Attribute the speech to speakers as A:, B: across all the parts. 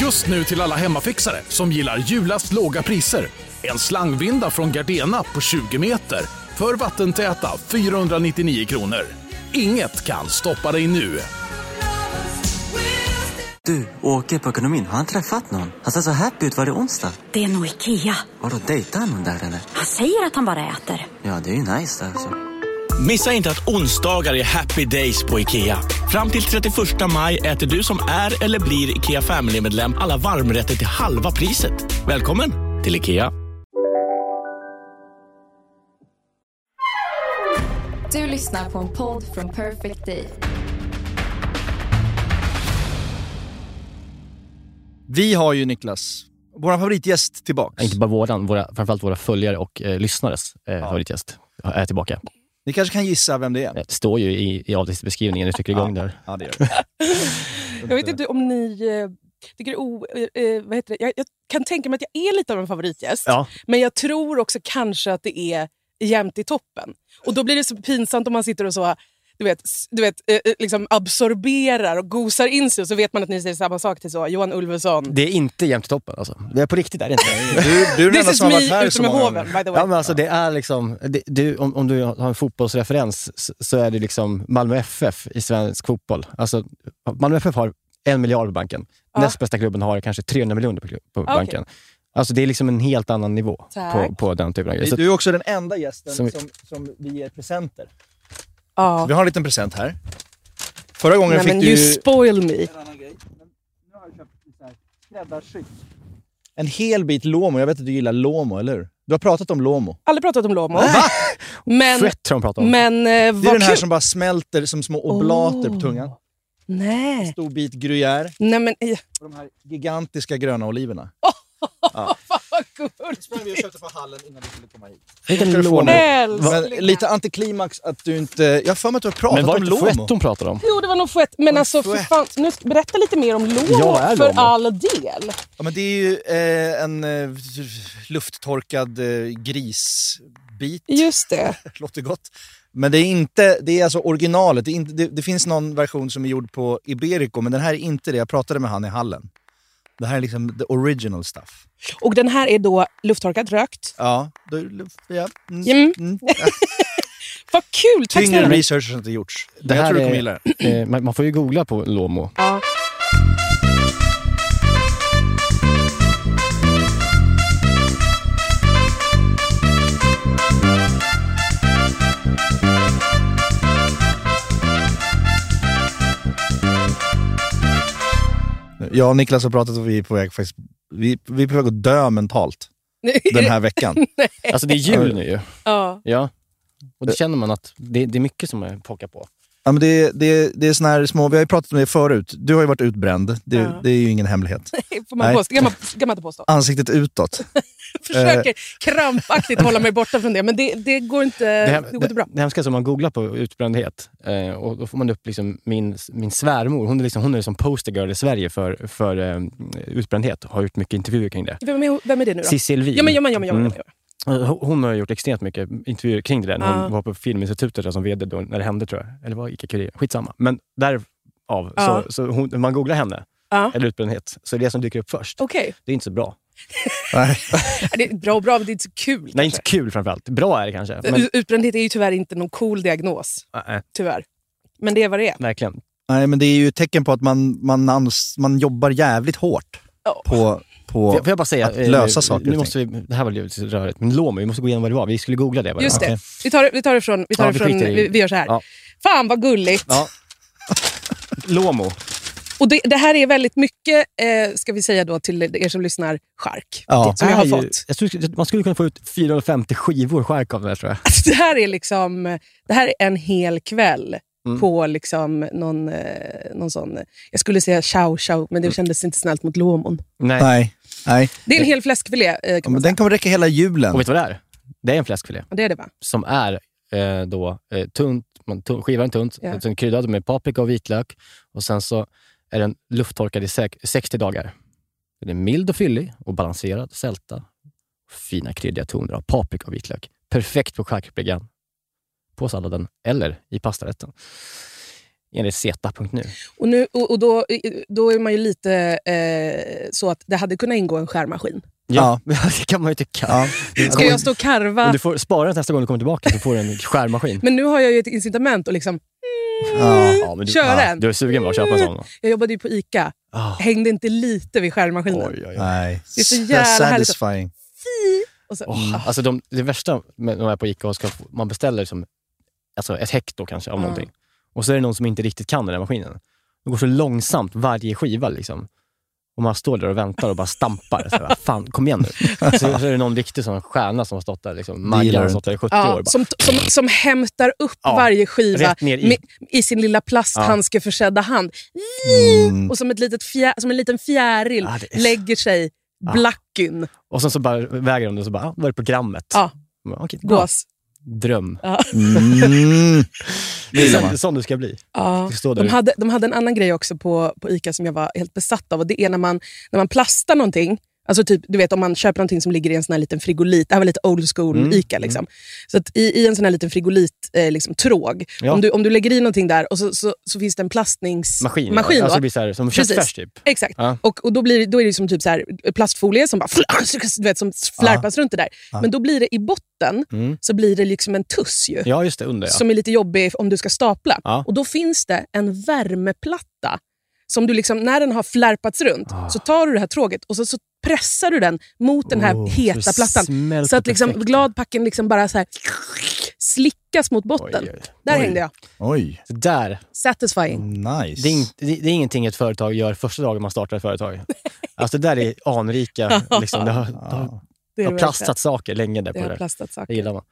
A: Just nu till alla hemmafixare som gillar julast låga priser. En slangvinda från Gardena på 20 meter för vattentäta 499 kronor. Inget kan stoppa dig nu.
B: Du, åker på ekonomin. Har han träffat någon? Han ser så happy ut. Var det onsdag?
C: Det är nog Ikea.
B: Har du dejtar han någon där eller?
C: Han säger att han bara äter.
B: Ja, det är ju nice där alltså.
D: Missa inte att onsdagar är happy days på IKEA. Fram till 31 maj äter du som är eller blir IKEA Family-medlem alla varmrätter till halva priset. Välkommen till IKEA.
E: Du lyssnar på en podd från Perfect Day.
F: Vi har ju Niklas, vår favoritgäst tillbaks.
G: Inte bara våran, våra, framförallt våra följare och eh, lyssnares eh, favoritgäst är tillbaka. Eh,
F: Ni kanske kan gissa vem det är?
G: Det står ju i, i avsnittsbeskrivningen när du trycker igång där.
F: Ja, det gör det.
H: Jag vet inte om ni eh, tycker det är o, eh, eh, vad heter det? Jag, jag kan tänka mig att jag är lite av en favoritgäst.
F: Ja.
H: Men jag tror också kanske att det är jämnt i toppen. Och då blir det så pinsamt om man sitter och så du vet, s- du vet, eh, eh, liksom absorberar och gosar in sig och så vet man att ni säger samma sak till så, Johan Ulveson.
G: Det är inte jämnt i toppen alltså. Det är på riktigt är det inte.
F: Du, du är den
H: This
F: enda
H: is
F: som har varit
H: me
F: här
H: ute
F: så
H: med
F: många
H: hoven,
F: gånger.
H: by the way.
G: Ja, men alltså, det är liksom, det, du, om, om du har en fotbollsreferens s- så är det liksom Malmö FF i svensk fotboll. Alltså, Malmö FF har en miljard på banken.
H: Ja.
G: Näst bästa klubben har kanske 300 miljoner på, klu- på
H: okej.
G: banken. Alltså, det är liksom en helt annan nivå på,
H: Tack.
G: på den typen av grejer. Så,
F: Du är också den enda gästen som,
G: Som-
F: som, vi ger presenter.
H: Ja.
F: Vi har en liten present här. Förra gången
H: Nej,
F: fick
H: men
F: du
H: you spoil me.
F: en hel bit Lomo. Jag vet att du gillar Lomo, eller hur? Du har pratat om Lomo.
H: Aldrig pratat om Lomo. Men,
G: Fett har de pratat om.
H: men
F: Det
H: eh,
F: är
H: vad
F: den här
H: kul.
F: som bara smälter som små oblater på
H: Oh.
F: tungan.
H: Nej.
F: Stor bit gruyère
H: Nej, men eh,
F: och de här gigantiska gröna oliverna.
H: vad gulligt.
F: Vi köpte på hallen innan du skulle komma hit.
G: Vilken
F: ska du få
G: lång-
F: nu.
H: Älskling.
F: Men lite antiklimax att du inte... Jag har för mig att du har pratat
G: Men var
F: om
G: det inte
F: Lomo.
G: fett de pratade om?
H: Jo, det var nog fett. Men alltså, för
F: fett.
H: fan, nu ska- berätta lite mer om
G: Jag
H: Lomo
G: är
H: för
G: Lomo.
H: all del.
F: Ja, men det är ju eh, en eh, lufttorkad eh, grisbit.
H: Just det.
F: Låter gott. Men det är inte, det är alltså originalet. Det, är inte, det, det finns någon version som är gjord på Iberico, men den här är inte det. Jag pratade med han i hallen. Det här är liksom the original stuff.
H: Och den här är då lufttorkad, rökt.
F: Ja, då, ja. Mm.
H: Mm.
F: Mm.
H: Vad kul! Tack snälla
F: Tyngre
H: ni.
F: research har inte gjorts.
G: Det
F: Men jag
G: här
F: tror du
G: är-
F: kommer gilla det.
G: Eh, man, man får ju googla på Lomo.
H: Ja.
F: Jag och Niklas har pratat och vi är på väg, faktiskt, vi, vi är på väg att dö mentalt den här veckan.
G: Alltså det är jul nu ju.
H: ja.
G: Ja. Och då känner man att det, det är mycket som man pockar på.
F: Ja, men det, det, det är såna här små, vi har ju pratat om det förut. Du har ju varit utbränd. Det,
H: Ja.
F: det är ju ingen hemlighet.
H: Får man
F: Nej.
H: påstå? Kan man, kan man inte påstå.
F: Ansiktet utåt.
H: Försöker krampaktigt hålla mig borta från det, men det, det går inte det
G: hem-
H: går inte bra.
G: det hemska är att man googlar på utbrändhet eh, och då får man upp liksom min, min svärmor. Hon är, liksom, hon är som postergirl i Sverige för, för eh, utbrändhet och har gjort mycket intervjuer kring det.
H: Vem är, vem är det nu då?
G: Cissi Elvin.
H: Ja, men, ja, men, ja, Ah. men, ja, men.
G: Mm. Hon- Hon har gjort extremt mycket intervjuer kring det där. När Hon
H: Ja.
G: var på Filminstitutet där som vd då, när det hände, tror jag. Eller var Ica Curie? Skitsamma. Men därav,
H: Ja.
G: så, så hon, när man googlar henne,
H: Ja.
G: eller utbrändhet, så är det som dyker upp först.
H: Okej.
G: Det är inte så bra.
F: Nej.
H: Det är bra och bra, men det är inte så kul.
G: Nej, inte kul framförallt. Bra är det kanske.
H: kanske.
G: Men,
H: U- Utbrändhet är ju tyvärr inte någon cool diagnos.
G: Nej,
H: Tyvärr. Men det är vad det är.
G: verkligen.
F: Nej, men det är ju ett tecken på att man, man, ans, man jobbar jävligt hårt
H: Ja.
F: på... på
G: Får får jag bara säga,
F: att
G: eh,
F: lösa
G: nu-
F: saker och
G: Nu
F: ting.
G: måste vi, det här var lite rörigt, men Lomi, vi måste gå igenom vad det var. Vi skulle googla det. bara.
H: Just
G: Okej.
H: det. Vi tar, vi tar det från... Vi, tar
G: Ja,
H: det
G: vi
H: från
G: skiter i-
H: vi, vi gör så här.
G: Ja.
H: Fan vad gulligt.
G: Ja. Lomo.
H: Och det, det här är väldigt mycket, eh, ska vi säga då till er som lyssnar, chark.
F: Ja.
H: Som jag har
G: Är ju-
H: fått.
G: Jag tror, man skulle kunna få ut 450 skivor skärk av det här, tror jag.
H: Alltså, det här är liksom, det här är en hel kväll
G: Mm.
H: på liksom någon, eh, någon sån... Jag skulle säga chow chow, men
G: Mm.
H: det kändes inte snällt mot lomon.
G: Nej.
F: Nej. Nej.
H: Det är en hel fläskfilé. Eh,
F: Ja,
H: kan man
F: men
H: säga.
F: den kommer räcka hela julen.
G: Och vet du vad det är? Det är en fläskfilé
H: Ja, Det är det, va?
G: som är eh, då eh, tunt, man tun, skivan tunt,
H: Ja.
G: sen kryddad med paprika och vitlök och sen så är den lufttorkad i sek- 60 dagar. Den är mild och fyllig och balanserad, sälta. Fina kryddiga toner av paprika och vitlök. Perfekt på charkbryggan, på salladen eller i pastarätten. enligt zeta.nu.
H: Och, nu, och, och då, då är man ju lite eh, så att det hade kunnat ingå en skärmaskin.
F: Ja.
G: det kan man ju tycka.
F: Ja.
H: Ska jag stå och karva?
G: Om du får spara den nästa gång du kommer tillbaka så får du en skärmaskin.
H: Men nu har jag ju ett incitament att liksom,
F: Ja.
G: Ja, men
H: Kör den.
G: Du är sugen på att köpa en sån? va?
H: jag jobbade ju på ICA.
G: Ah.
H: Hängde inte lite vid skärmaskinen.
G: Oj, oj, oj.
F: Nej.
H: Det är så jävla härligt att-
F: satisfying.
H: Och så,
G: Åh, Alltså de, det värsta med de här på Ica, och ska, man beställer liksom, alltså ett hekto kanske av
H: Ja.
G: någonting. Och så är det någon som inte riktigt kan den här maskinen. Det går så långsamt varje skiva. Liksom. Och man står där och väntar och bara stampar. Så här, Fan, kom igen nu. Så, så är det någon riktig sån stjärna som har stått där. Liksom. Maggan
F: gillar
G: har
F: du
G: stått där i 70 år.
H: ja,
G: Bara,
H: som, som, som hämtar upp
G: Ja,
H: varje skiva
G: rätt ner i.
H: med, i sin lilla plasthandskeförsedda hand.
F: Mm.
H: Och som, ett litet fjär, som en liten fjäril
G: Ja, det är-
H: lägger sig
G: Ja.
H: blacken.
G: Och sen så bara väger de det och så bara, ah, var är programmet?
H: Ja.
G: Man bara, Okej, bra.
H: Gås.
G: Dröm.
F: Mm.
G: Det är
F: gillar
G: sån,
F: man.
G: sån du ska bli.
H: Ja.
G: Du står där
H: De
G: ute.
H: hade, de hade en annan grej också på, på ICA som jag var helt besatt av. Och det är när man, när man plastar någonting. Alltså typ, du vet om man köper någonting som ligger i en sån här liten frigolit. Det här var lite old school
G: Mm,
H: ICA. Liksom. Så att i, i en sån här liten frigolit, eh, liksom, tråg.
G: Ja.
H: Om, du, om du lägger i någonting där och så, så, så finns det en plastningsmaskin.
G: Maskin. alltså, det
H: då.
G: blir så här, som
H: Precis.
G: köttfärs typ.
H: Exakt.
G: Ja.
H: Och, och då, blir, det- då är det som typ så här plastfolie som bara du vet, som flärpas runt det där. Men då blir det i botten
G: Mm.
H: så blir det liksom en tuss ju
G: Ja, just det. Under ja.
H: som är lite jobbig om du ska stapla.
G: Ja.
H: Och Då finns det en värmeplatta. Som du liksom, när den har flärpats runt
G: Ah.
H: så tar du det här tråget och så, så pressar du den mot den här
G: Oh,
H: heta
G: så det
H: plattan.
G: smälter
H: Så att liksom
G: perfekt.
H: gladpacken liksom bara så här slickas mot botten.
G: Oj, Mm. oj.
H: Där
F: Oj.
H: hängde jag.
F: Oj,
G: Så där
H: Satisfying.
F: nice.
G: Det är, ing- det, det är ingenting ett företag gör första dagen man startar ett företag. Alltså det där är anrika. Liksom. Det har, det har,
H: Det
G: det
H: är
G: har
H: det verkligen.
G: plastat saker länge där på
H: Det
G: det
H: har
G: där.
H: plastat
G: Det
H: saker.
G: gillar man.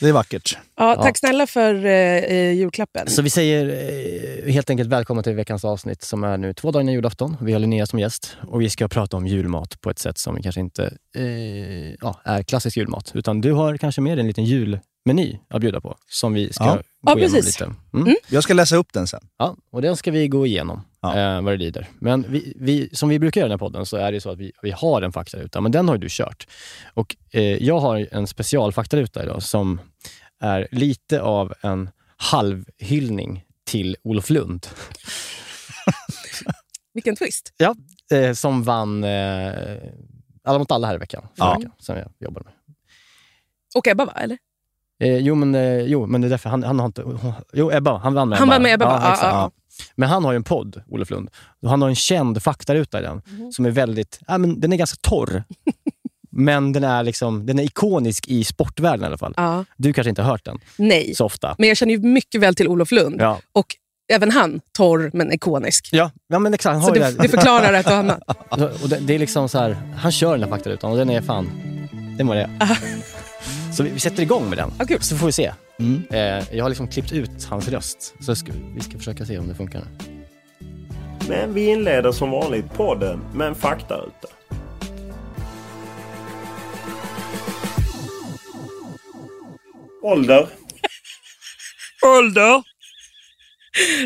F: Det är vackert.
H: Ja, tack snälla för eh, eh, julklappen.
G: Så vi säger eh, helt enkelt välkomna till veckans avsnitt som är nu två dagar innan julafton. Vi har Linnea som gäst och vi ska prata om julmat på ett sätt som kanske inte eh, ja, är klassisk julmat. Utan du har kanske med dig en liten julmeny att bjuda på som vi ska
F: Ja.
G: gå
H: Ja,
G: igenom
H: precis.
G: lite. Mm.
F: Jag ska läsa upp den sen.
G: Ja, och den ska vi gå igenom
F: Ja.
G: eh, vad det lider. Men vi, vi, som vi brukar göra i den här podden så är det så att vi, vi har en faktaruta, men den har ju du kört. Och eh, jag har en specialfaktaruta idag som är lite av en halvhyllning till Olof Lund
H: Vilken twist.
G: eh, som vann eh, Alla mot alla här i veckan, förra
F: Ja.
G: veckan, som jag jobbar med.
H: Och Ebba, va? Eller?
G: Eh, jo, men, eh, jo, men det är därför han, han har inte... hon- Jo, Ebba. Han vann med
H: Han vann med Ebba, va? Ja,
G: exakt.
H: ja, ja.
G: Men han har ju en podd, Olof Lund. Och han har en känd faktaruta i den
H: Mhm.
G: som är väldigt... Ja, men den är ganska torr. men den är, liksom, den är ikonisk i sportvärlden i alla fall.
H: Ja.
G: Du kanske inte har hört den
H: Nej.
G: så ofta.
H: Men jag känner ju mycket väl till Olof Lund.
G: Ja,
H: Och även han, torr men ikonisk.
G: ja, ja men exakt. Han
H: Så
G: har ju
H: det,
G: det,
H: det förklarar ett och annat.
G: här- och det, det är liksom så här, han kör den här faktarutan och den är fan... Den var det. Så vi, vi sätter igång med den,
H: Ja, kul.
G: så får vi se.
F: Mm.
G: Eh, jag har liksom klippt ut hans röst, så ska, vi ska försöka se om det funkar. nu.
I: Men vi inleder som vanligt podden med en faktaruta. Ålder?
H: Ålder?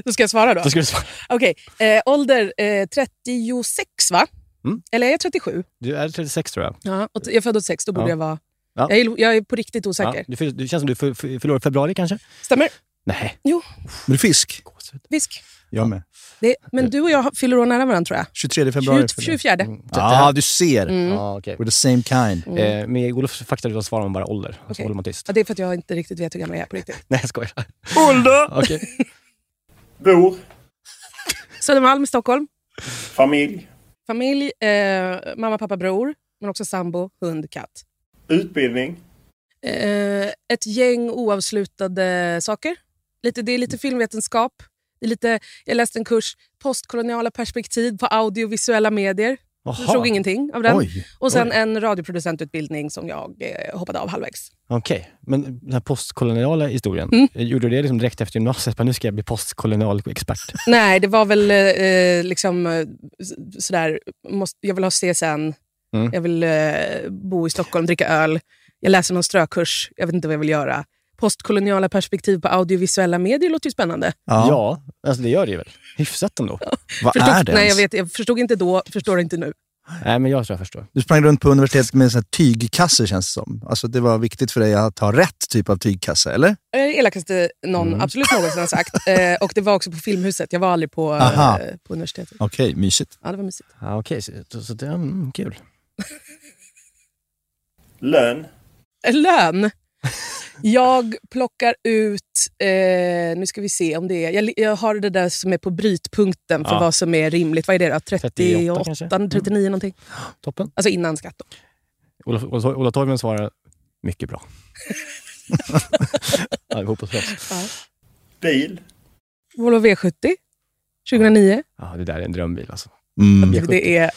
H: Då ska jag svara då.
G: Då ska du svara.
H: Okej, eh, ålder eh, 36 va?
G: Mm.
H: Eller är jag 37?
G: Du är 36 tror jag.
H: Ja, och t- jag är född 86, då borde
G: Ja.
H: jag vara...
G: Ja.
H: Jag, är, jag är på riktigt
G: Ja,
H: osäker.
G: du, fyll- du känns som du fyll- fyll- fyller år i februari kanske?
H: Stämmer?
G: Nej.
F: Men fisk.
G: Gåshud.
H: Fisk?
F: Jag med.
H: Det, men du och jag har- fyller år nära varandra tror jag.
F: 23 februari.
H: 20, 24.
F: Ja, ah, du ser.
H: Mm.
G: Mm. Ja, okej.
F: We're the same kind.
G: Eh, med Olofs faktaruta svarar man bara ålder, och så
H: Okej.
G: håller man tyst.
H: Ja, det är för att jag inte riktigt vet hur gammal jag är på riktigt.
G: Nej, jag skojar.
I: Ålder!
G: Okej.
I: Bor?
H: Södermalm, Stockholm.
I: Familj?
H: Familj, eh, mamma, pappa, bror. Men också sambo, hund, katt.
I: Utbildning?
H: Eh, ett gäng oavslutade saker. Lite, det är lite filmvetenskap. Det är lite, jag läste en kurs, postkoloniala perspektiv på audiovisuella medier. Jag
G: Jaha.
H: förstod ingenting av den.
F: Oj.
H: och sen en radioproducentutbildning som jag eh, hoppade av halvvägs.
G: Okej, men den här postkoloniala historien,
H: Mm.
G: eh, gjorde du det liksom direkt efter gymnasiet? Bara, nu ska jag bli postkolonial expert.
H: Nej, det var väl eh, liksom eh, s- sådär, måste, jag vill ha CSN,
G: Mm.
H: jag vill eh, bo i Stockholm, dricka öl, jag läser någon strökurs, jag vet inte vad jag vill göra. Postkoloniala perspektiv på audiovisuella medier låter ju spännande.
F: Ja.
G: Ja, alltså det gör det ju väl. Hyfsat ändå.
F: Vad
H: Förstod,
F: är det
H: nej,
F: ens?
H: jag, vet, jag förstod inte då, förstår inte nu.
G: Nej, men jag tror jag förstår.
F: Du sprang runt på universitetet med en sån här tygkasse känns det som. Alltså det var viktigt för dig att ha rätt typ av tygkasse, eller?
H: Det är det elakaste någon
F: Mm.
H: absolut någonsin har sagt. Eh, och det var också på Filmhuset. Jag var aldrig på,
F: Aha.
H: eh, på universitetet.
F: Okej, mysigt.
H: Ja, det var mysigt.
G: Ja, Okej, så, så det är mm, kul.
I: Lön.
H: Eh, Lön. Jag plockar ut, eh, nu ska vi se om det är, jag, jag har det där som är på brytpunkten för
G: Ja.
H: vad som är rimligt. Vad är det då? 38,
G: 38 kanske? Mm.
H: 39 någonting.
G: Toppen.
H: Alltså innan skatt då.
G: Ola, Ola, Ola Toivonen svarar, mycket bra. ja, vi hoppas på oss.
I: Bil.
H: Volvo V70, 2009.
G: Ja, det där är en drömbil alltså.
F: Mm.
H: Det är,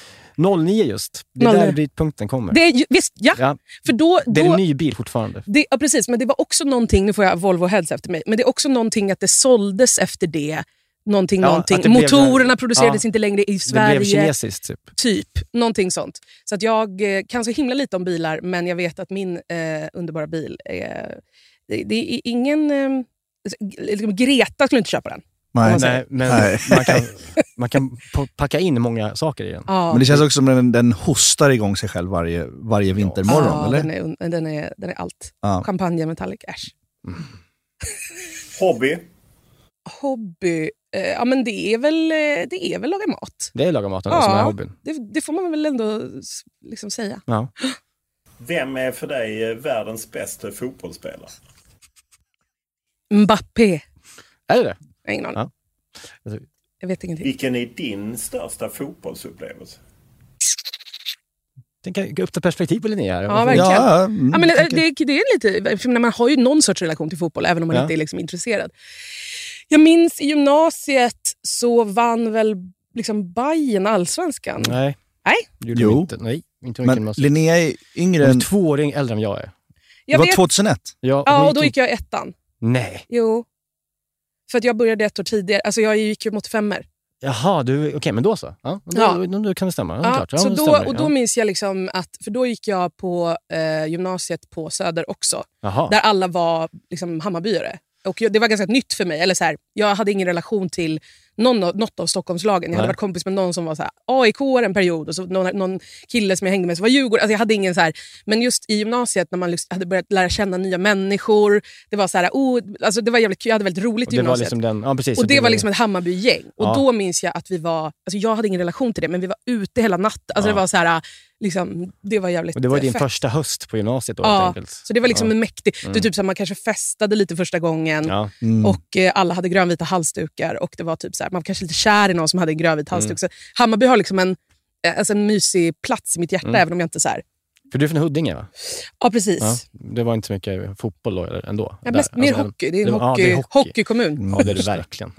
G: 09 just. Det är
H: 09.
G: där brytpunkten kommer.
H: det är ju- visst, ja.
G: Ja,
H: För då,
G: det är
H: då,
G: en ny bil fortfarande.
H: Det, ja, precis. Men det var också någonting, nu får jag Volvo heads efter mig, men det är också någonting att det såldes efter det. Någonting,
G: Ja,
H: någonting.
G: att det blev-
H: Motorerna producerades
G: ja.
H: inte längre
G: Det
H: i
G: blev
H: Sverige.
G: kinesiskt typ.
H: Typ. Någonting sånt. Så att jag eh, kan så himla lite om bilar, men jag vet att min eh, underbara bil, är, det, det är ingen... Eh, liksom Greta skulle inte köpa den.
F: Nej.
G: Nej, Eh, men
F: Nej.
G: man kan, man kan po- packa in många saker i den.
H: Ja.
F: Men det känns också som den, den hostar igång sig själv varje, varje vintermorgon,
H: ja,
F: eller?
H: Den är, un- den, är, den är allt.
F: Ja.
H: Champagne Metallic, äsch.
I: Hobby.
H: Hobby, eh, ja men det är väl, eh, det är väl laga mat.
G: Det är laga maten
H: Ja.
G: som är hobbyn.
H: Det, det får man väl ändå s- liksom säga.
G: Ja.
I: Vem är för dig eh, världens bästa fotbollsspelare?
H: Mbappé.
G: Är det det?
H: Jag har ingen aning.
G: Ja.
H: Jag vet ingenting.
I: Vilken är din största fotbollsupplevelse?
G: Tänk att upp till perspektiv på Linnea. här.
H: Ja,
G: Varför-
H: verkligen.
F: Ja, mm,
H: Ja, men det,
F: tänker-
H: det, det är lite, för man har ju någon sorts relation till fotboll, även om man
G: Ja.
H: inte är liksom intresserad. Jag minns i gymnasiet så vann väl liksom Bayern allsvenskan.
G: Nej.
H: Mm. Nej.
G: Det gjorde
F: Jo.
G: de inte. Nej, inte mycket.
F: Men
G: Men,
F: Linnea är yngre
G: Hon
F: än...
G: är två år äldre än jag är.
F: Det
H: Jag
F: var
H: vet,
F: 2001.
G: Ja, hon
H: ja, och då
G: in-
H: gick jag i ettan.
G: Nej.
H: Jo. För att jag började ett år tidigare. Alltså jag gick ju mot femmor.
G: Jaha, du, okej, men då så. Ja, då,
H: Ja.
G: Då, då, kan det stämma. Ja, det är
H: Ja,
G: klart. Ja,
H: så
G: det
H: då,
G: stämmer.
H: och då minns jag liksom att, för då gick jag på eh, gymnasiet på Söder också.
G: ja. Jaha.
H: där alla var liksom Hammarbyare. Och jag, det var ganska nytt för mig. Eller så här, jag hade ingen relation till någon, av- något av Stockholmslagen. Jag hade
G: Nej.
H: varit kompis med någon som var så här, AIK en period och så någon, någon kille som jag hängde med som var Djurgården. Alltså jag hade ingen så här, men just i gymnasiet när man liksom hade börjat lära känna nya människor. Det var så här, oh, alltså det var jävligt kul. Jag hade väldigt roligt
G: Och
H: i
G: det var
H: gymnasiet.
G: liksom den... Ja, precis.
H: Och det var liksom ett Hammarbygäng. Och
G: Ja.
H: då minns jag att vi var, alltså jag hade ingen relation till det, men vi var ute hela natten. Alltså
G: Ja.
H: det var så här, liksom, det var jävligt
G: och det var din
H: fett.
G: första höst på gymnasiet då, helt
H: Ja,
G: enkelt.
H: så det var liksom
G: ja.
H: en mäktig... Det
G: Mm.
H: är typ så här, man kanske festade lite första gången
G: Ja.
F: Mm.
H: och eh, alla hade grönvita halsdukar. Och det var typ så här, Man var kanske lite kär i någon som hade en grönvit
G: Mm.
H: halsduk. Så Hammarby har liksom en, eh, alltså en mysig plats i mitt hjärta, även om jag inte... så här.
G: För du är från Huddinge, va?
H: Ja, precis.
G: Mm. Ja. Det var inte så mycket fotboll då, eller, ändå?
H: Ja, mest,
G: Där.
H: mer
G: Alltså,
H: hockey. Det är en
G: det var- ja,
H: hockey,
G: det är hockey.
H: hockeykommun.
G: Ja, det är det verkligen.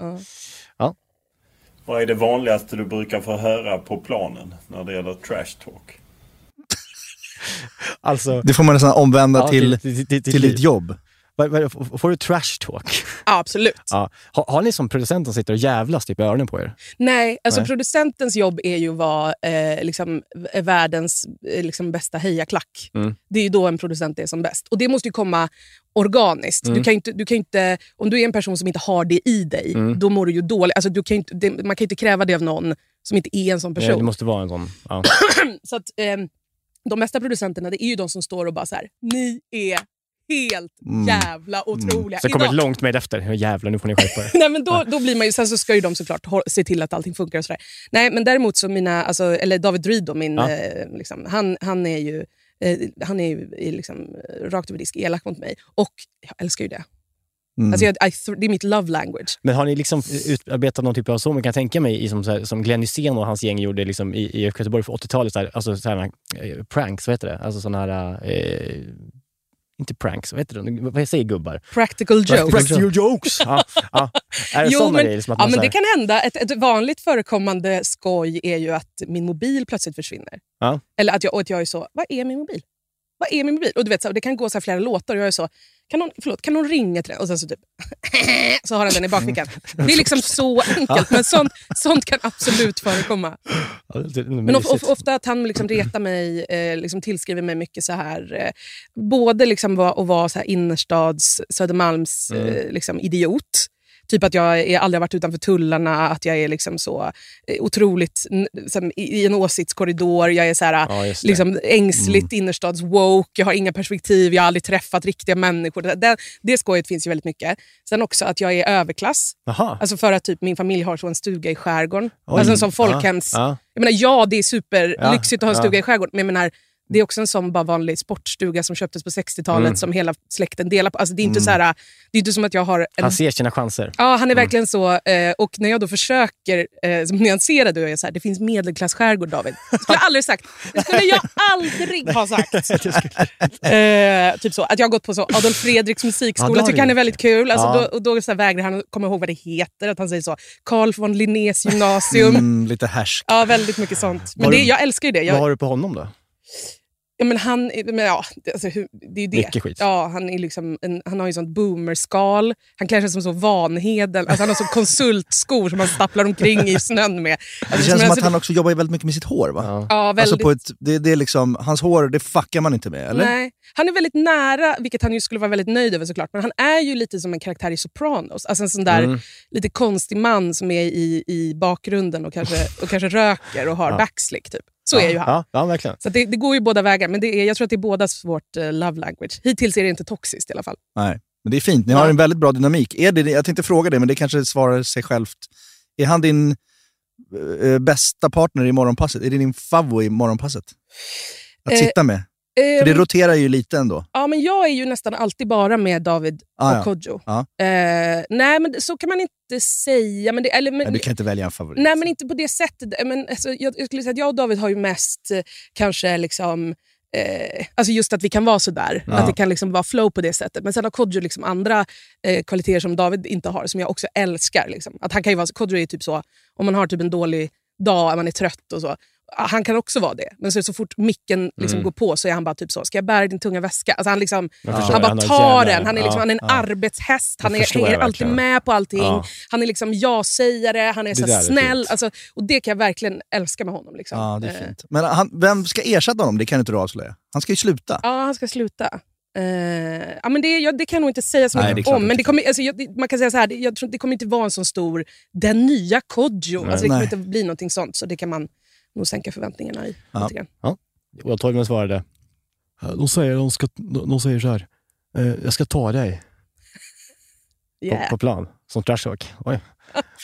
I: Vad är det vanligaste du brukar få höra på planen när det gäller trash talk?
G: Alltså,
F: Det får man nästan omvända
G: ja,
F: till,
G: till, till,
F: till ditt jobb.
G: Vad- vad- f- Får du trash talk?
H: Ja, absolut.
G: Ja. Har, har ni som producent som sitter och jävlas typ i öronen på er?
H: Nej, alltså
G: Nej.
H: producentens jobb är ju att vara eh, liksom, v- världens eh, liksom, bästa hejaklack.
G: Mm.
H: Det är ju då en producent är som bäst. Och det måste ju komma organiskt.
G: Mm.
H: Du kan ju inte, du kan ju inte, om du är en person som inte har det i dig,
G: Mm.
H: då mår du ju dåligt. Alltså, du kan ju inte, det, man kan ju inte kräva det av någon som inte är en sån person.
G: Ja, Eh, Det måste vara en sån... Ja.
H: Så att, ehm, de bästa producenterna det är ju de som står och bara så här, ni är helt
F: Mm.
H: jävla otroliga.
G: Sen Mm. kommer
H: Idag-
G: ett långt mejl efter. Ja, Jävlar, nu får ni skärpa er.
H: Nej, men då, då blir man ju, sen så ska ju de såklart hå- se till att allting funkar. och sådär. Nej, men däremot så mina, alltså, eller David Ryd då, min,
G: Ja.
H: eh, liksom, han, han är ju, eh, han är ju är liksom, eh, rakt över disk elak mot mig. Och jag älskar ju det.
F: Mm.
H: Alltså, jag, I th- det är mitt love language.
G: Men har ni liksom utarbetat någon typ av så man kan tänka mig i som, så här, som Glenn Hysén och hans gäng gjorde liksom i, i Göteborg för 80-talet? Så här, alltså sådana eh, pranks, vad heter det? Alltså sådana här... Eh, inte pranks, vad heter det? Vad säger gubbar?
H: Practical jokes.
G: Practical jokes! ja, ja. Är det sådana
H: men,
G: grejer? Som att
H: ja,
G: man
H: men
G: så
H: det
G: här,
H: kan hända. Ett, ett vanligt förekommande skoj är ju att min mobil plötsligt försvinner.
G: Ja.
H: Eller att jag, och att jag är så, vad är min mobil? Vad är min mobil? Och du vet, så här, det kan gå så här flera låtar och jag är så, kan någon, förlåt, kan någon ringa till den? Och sen så typ, så har den den i bakfickan. Det är liksom så enkelt, men sånt, sånt kan absolut förekomma.
G: ja, det, det,
H: Men of, of, ofta att han liksom retar mig, eh, liksom tillskriver mig mycket så här, eh,
G: Mm.
H: både liksom va- att vara så här innerstads Södermalms eh, liksom idiot, Typ att jag är, aldrig har varit utanför tullarna, att jag är liksom så eh, otroligt n- som, i, i en åsiktskorridor. Jag är så här,
G: Ja, just det. Mm.
H: liksom, ängsligt innerstads-woke, jag har inga perspektiv, jag har aldrig träffat riktiga människor. Det, det, det skojet finns ju väldigt mycket. Sen också att jag är överklass.
G: Jaha.
H: Alltså för att typ min familj har så en stuga i skärgården. alltså en sån folkhems...
G: Ja,
H: Jag menar, ja, det är superlyxigt att ha en
G: Ja, ja.
H: stuga i skärgården, men jag menar, det är också en sån bara vanlig sportstuga som köptes på 60-talet
G: Mm.
H: som hela släkten delar på. Alltså det, är inte så här, det är inte som att jag har en
G: Han ser sina chanser.
H: Ja, han är verkligen så. eh, Och när jag då försöker eh, som nyansera det och jag är så här, det finns medelklassskärgård David. Det skulle jag aldrig sagt. Det skulle jag aldrig ha sagt. eh, typ så, att jag har gått på så Adolf Fredriks
G: Ja,
H: musikskola,
G: det har
H: tycker
G: du
H: han är
G: gjort.
H: väldigt kul. Alltså,
G: Ja.
H: då, och då så här vägrar han att komma ihåg vad det heter. Att han säger så, Carl von Linnés gymnasium.
F: Mm, lite härsk.
H: Ja, väldigt mycket sånt. Men
G: Var
H: det,
G: du-
H: jag älskar ju det.
G: Vad
H: Jag,
G: har du på honom då?
H: ja, men han, är- men ja, det- alltså, hur, det är ju det.
G: Mycket skit.
H: Ja, han, är liksom en, han har ju sånt boomerskal. Han klär sig som så Vanheden. Alltså, han har så konsultskor som han stapplar omkring i snön med. Alltså,
F: Det känns
H: men
F: som att
H: alltså-
F: han också jobbar väldigt mycket med sitt hår va?
G: Ja.
H: Ja, väldigt.
F: Alltså på ett, det, det är liksom, hans hår, det fuckar man inte med eller?
H: Nej. Han är väldigt nära, vilket han ju skulle vara väldigt nöjd över såklart, men han är ju lite som en karaktär i Sopranos. Alltså en sån där
F: Mm.
H: lite konstig man som är i, i bakgrunden och kanske, och kanske röker och har backslick. Typ. Så är ju han.
G: Ja, ja verkligen.
H: Så att det, det går ju båda vägar, men det är, jag tror att det är bådas vårt eh, love language. Hittills är det inte toxiskt i alla fall.
F: Nej. Men det är fint, ni har en väldigt bra dynamik. Är det, jag tänkte fråga dig, men det kanske svarar sig självt. Är han din eh, bästa partner i morgonpasset? Är det din favvo i morgonpasset? Att
H: Eh,
F: sitta med? För det
H: Ehm,
F: roterar ju lite ändå.
H: Ja, men jag är ju nästan alltid bara med David
F: Ah, ja.
H: och Kodjo.
F: Ja.
H: Eh, nej, men det- så kan man inte säga. Men det, eller, men,
F: Nej, du kan inte välja en favorit.
H: nej, men inte på det sättet. Eh, Men, alltså, jag, jag skulle säga att jag och David har ju mest eh, kanske liksom... Eh, alltså just att vi kan vara sådär. Att det kan liksom vara flow på det sättet. Men sen har Kodjo liksom andra eh, kvaliteter som David inte har, som jag också älskar. Liksom. Att han kan ju vara, så- Kodjo är ju typ så, om man har typ en dålig dag, man är trött och så. Han kan också vara det, men så, så fort micken liksom
G: Mm.
H: går på så är han bara typ så, ska jag bära din tunga väska? Alltså han, liksom,
G: förstår,
H: han bara
G: han har
H: tar
G: jävla-
H: den, han är, liksom,
G: ja,
H: han är en
G: ja.
H: arbetshäst, han
G: Det
H: är,
G: förstår jag
H: hänger alltid
G: verkligen.
H: med på allting.
G: Ja.
H: Han är liksom ja-sägare, han är, så
G: där
H: här
G: är
H: snäll.
G: fint.
H: alltså, och det kan jag verkligen älska med honom. Liksom.
F: Ja, det är
H: Eh,
F: fint. Men han, vem ska ersätta honom? Det kan inte du avslöja. Han ska ju sluta.
H: Ja, han ska sluta. Eh, ja, men det, ja, det kan jag nog inte säga så
F: Nej, det är
H: mycket
F: klart
H: om.
F: inte.
H: Men det kommer, alltså, jag, det- man kan säga så här, det, jag tror, det kommer inte vara en sån stor, den nya Kodjo. Alltså, det kommer
F: Nej.
H: inte bli någonting sånt, så det kan man nog sänka förväntningarna i.
F: Ja.
H: lite grann.
G: Will Torgman svarade. De säger, de ska, de, de säger så här. "Eh, Jag ska ta dig
H: Yeah.
G: på, på plan som trash talk. Oj.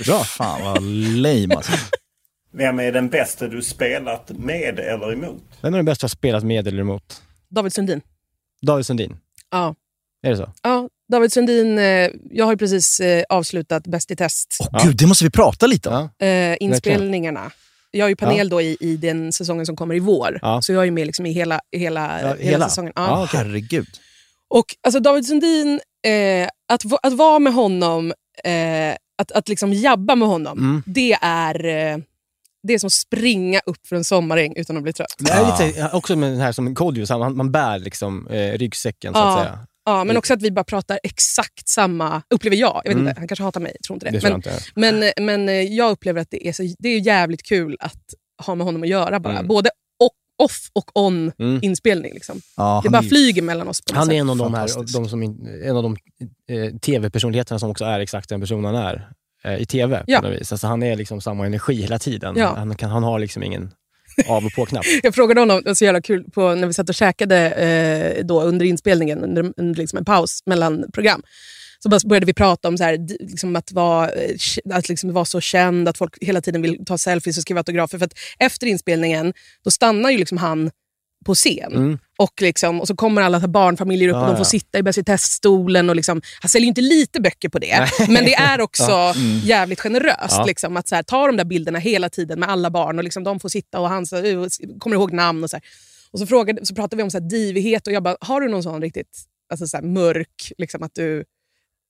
F: Bra. Fan vad lame alltså.
I: Vem är den bästa du spelat med eller emot?
G: Vem är den bästa du har spelat med eller emot?
H: David Sundin.
G: David Sundin.
H: Ja.
G: Är det så?
H: ja, David Sundin. Eh, jag har ju precis eh, avslutat Bäst i test.
F: Åh gud, det måste vi prata lite om.
G: Ja.
H: eh, inspelningarna. Jag har ju panel
G: Ja.
H: då i, i den säsongen som kommer i vår.
G: Ja.
H: Så jag är ju med liksom i hela, hela,
G: Ja,
H: hela.
G: hela.
H: säsongen.
G: Ja, okej.
F: Herregud.
H: Och alltså, David Sundin, eh, att, va- att vara med honom, eh, att, att liksom jabba med honom,
G: Mm.
H: det är eh, det är som att springa upp för en sommaräng utan att bli trött.
G: Det är lite, också med den här som Kodjo, så man, man bär liksom eh, ryggsäcken så att
H: Ja.
G: säga.
H: Ja, men också att vi bara pratar exakt samma, upplever jag. jag vet
G: Mm.
H: inte, han kanske hatar mig, jag tror inte
G: Det
H: det.
G: tror jag
H: men,
G: inte.
H: men, eh, men eh, jag upplever att det är, så, det är jävligt kul att ha med honom att göra. bara.
G: Mm.
H: Både o- off och on
G: Mm.
H: inspelning. Liksom.
F: Ja,
H: Det
F: han
H: bara
F: är-
H: flyger mellan oss. På något
G: Han är
H: sätt.
G: en av de, här,
F: Fantastisk.
G: de, som in, en av de eh, tv-personligheterna som också är exakt den person han är eh, i tv.
H: Ja.
G: På något vis. Alltså, han är liksom samma energi hela tiden.
H: Ja.
G: Han, kan, han har liksom ingen av och på-knapp.
H: Jag frågade honom, det var så jävla kul, på, när vi satt och käkade eh, då under inspelningen, under, under liksom en paus mellan program. Så bara började vi prata om så här, d- liksom att, vara, eh, k- att liksom vara så känd, att folk hela tiden vill ta selfies och skriva autografer. För att efter inspelningen, då stannar ju liksom han på scen.
G: Mm.
H: Och, liksom, och så kommer alla så här barnfamiljer upp
G: Ja,
H: och de får
G: ja.
H: sitta i Bäst i teststolen. Och liksom, han säljer ju inte lite böcker på det, men det är också jävligt generöst.
G: Mm. Ja.
H: Liksom, att så här, ta de där bilderna hela tiden med alla barn och liksom, de får sitta och han så, uh, och s- kommer ihåg namn. och så här. Och så, frågade, så pratade vi om så här, divighet och jag bara, har du någon sån riktigt alltså, så här, mörk, liksom, att du,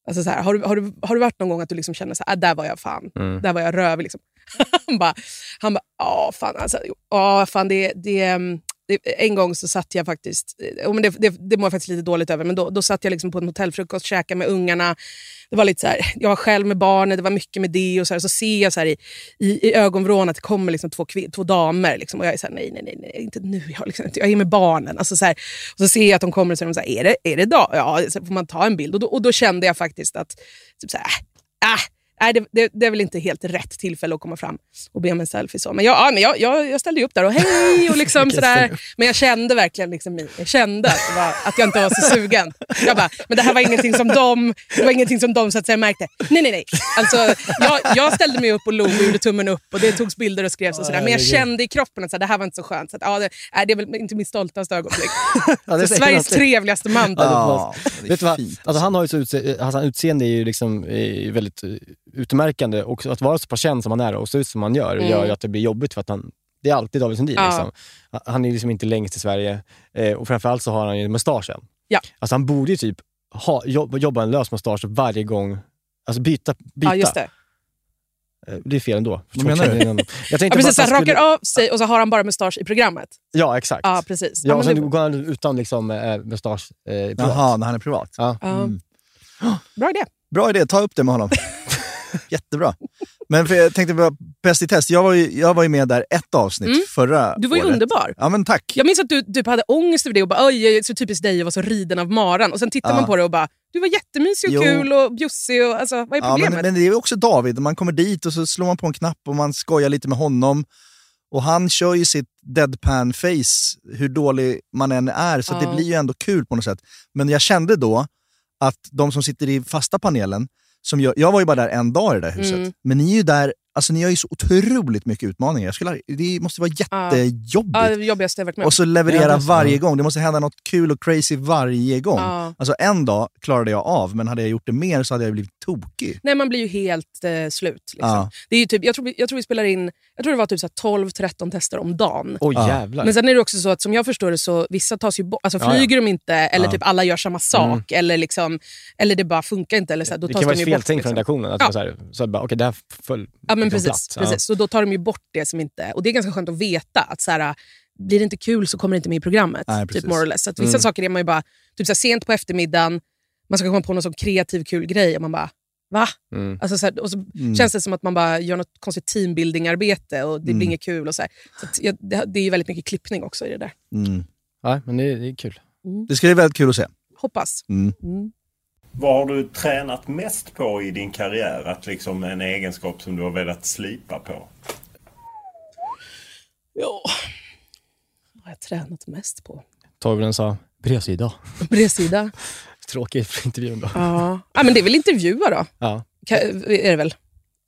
H: alltså, så här, har, du, har, du, har du varit någon gång att du liksom känner så här, ah, där var jag fan,
G: Mm.
H: där var jag röv. Liksom. han bara, han bara, ja fan, alltså, ja, fan det, det, mm, det, en gång så satt jag faktiskt, eh, oh, men det, det, det mår jag faktiskt lite dåligt över, men då, då satt jag liksom på en hotellfrukost, käkade med ungarna. Det var lite så här, jag var själv med barnen, det var mycket med det. och Så, här, så ser jag så här i, i, i ögonvrån att det kommer liksom två, kvin- två damer. Liksom, och jag är så här, nej, nej, nej, nej inte nu. Jag, har liksom, inte- jag är med barnen. Alltså, så, här, och så ser jag att de kommer och så är de så här, är det, är det dag? Ja, så får man ta en bild. Och då, och då kände jag faktiskt att, typ så här, äh, ah, nej, det, det, det är väl inte helt rätt tillfälle att komma fram och be om en selfie. Så. Men, jag, ja, men jag, jag, jag ställde ju upp där och hej och liksom sådär. Men jag kände verkligen liksom, jag kände att, det var, att jag inte var så sugen. Jag bara, men det här var ingenting som de, det var ingenting som de så att säga, märkte. Nej, nej, nej. Alltså, jag, jag ställde mig upp och log och gjorde tummen upp och det togs bilder och skrevs och sådär. Men jag kände i kroppen att så här, det här var inte så skönt. Så att, ja, det, nej, det är väl inte mitt stoltaste ögonblick.
G: Ja,
H: Så
G: det säger
H: Sveriges
G: någonting.
H: trevligaste man.
F: Ja, det är
G: Vet du vad?
F: fint,
G: Alltså, han har ju så utse- alltså, hans utseende är ju liksom eh, väldigt eh, utmärkande. Och att vara så pass känd som han är och se ut som han gör, gör ju att det blir jobbigt för att han det är alltid David Sundin.
H: Mm. Ja.
G: Liksom. Han- Han är liksom inte längst i Sverige eh, och framförallt så har han ju mustaschen.
H: Ja.
G: Alltså, han borde ju typ ha, jobba, jobba en lös mustasch varje gång. Alltså byta. byta.
H: Ja, just det.
G: Eh, det är fel ändå.
F: Vad menar du?
G: Jag
H: Ja,
G: tänkte bara
H: precis,
G: att
H: så
G: han
H: här,
G: skulle...
H: rakar av sig och så har han bara mustasch i programmet.
G: Ja, exakt.
H: Ja, precis.
G: Ja,
H: Ja,
G: och
H: men
G: sen
H: det,
G: går han utan liksom, eh, mustasch eh, privat.
F: Jaha, när han är privat.
G: Ja.
H: ja.
F: Mm.
H: Bra idé.
F: Bra idé, ta upp det med honom. Jättebra. Men för jag tänkte bara, Bäst i test. Jag var, ju, jag var ju med där ett avsnitt förra
H: Mm. Du var ju
F: året.
H: underbar.
F: Ja, men tack.
H: Jag minns att du typ hade ångest över det och bara oj, oj, så typiskt dig att vara så riden av maran. Och sen tittar
F: Ja.
H: man på det och bara, du var jättemysig och
F: Jo.
H: kul och bjussig. Och, alltså, vad är
F: Ja, men,
H: problemet?
F: men det är ju också David. Man kommer dit och så slår man på en knapp och man skojar lite med honom. Och han kör ju sitt deadpan-face, hur dålig man än är, så
H: Ja.
F: det blir ju ändå kul på något sätt. Men jag kände då att de som sitter i fasta panelen, som gör, jag var ju bara där en dag i det där huset,
H: Mm.
F: men ni är ju där, alltså ni har ju så otroligt mycket utmaningar. Jag skulle, aldrig- det måste vara jättejobbigt.
H: ja, det jobbigaste jag varit med om.
F: Och så
G: Ja,
F: leverera
G: det-
F: varje gång. Det måste hända något kul och crazy varje gång.
H: Ja.
F: Alltså en dag klarade jag av, men hade jag gjort det mer så hade jag blivit tokig.
H: Nej, man blir ju helt eh, slut. Liksom.
F: Ja.
H: Det är ju typ, jag, tror, vi- jag tror vi spelar in jag tror det var typ så här 12-13 tester om dagen.
G: Oj,
F: Ja.
G: jävlar.
H: Men sen är det också så att som jag förstår det så vissa tas ju bort. Alltså
G: Ja, ja.
H: flyger de inte eller typ alla gör samma sak eller, liksom, eller det bara funkar inte. Eller så här, då
G: det
H: tas
G: kan vara
H: de
G: ett
H: ju bort,
G: feltänk
H: liksom.
G: från redaktionen. Att
H: Ja.
G: man så här, så här bara, okej, det här föll
H: Ja, men
G: liksom
H: precis.
G: platt. Ja.
H: precis. Så då tar de ju bort det som inte... Och Det är ganska skönt att veta. att så här, Blir det inte kul så kommer det inte med i programmet.
F: Nej,
H: typ
F: precis.
H: more or less. Så att vissa
G: Mm.
H: saker är man ju bara... Typ så här, sent på eftermiddagen, man ska komma på någon sån kreativ kul grej och man bara va?
G: Mm.
H: Alltså, så här, och så känns det som att man bara gör något konstigt teambuilding-arbete och det
G: Mm.
H: blir inget kul. Och så här. Så att, jag, det, det är ju väldigt mycket klippning också i det där.
G: Ja, men det, det är kul.
F: Det ska bli väldigt kul att se.
H: Hoppas. Mm.
I: Vad har du tränat mest på i din karriär? Att liksom en egenskap som du har velat slipa på?
H: Ja. Vad har jag tränat mest på?
G: Torgren sa, bredsida.
H: Bredsida.
G: Tråkigt för intervjun då.
H: ja. ja, men det är väl intervjua då.
G: Ja.
H: Ka- är det väl,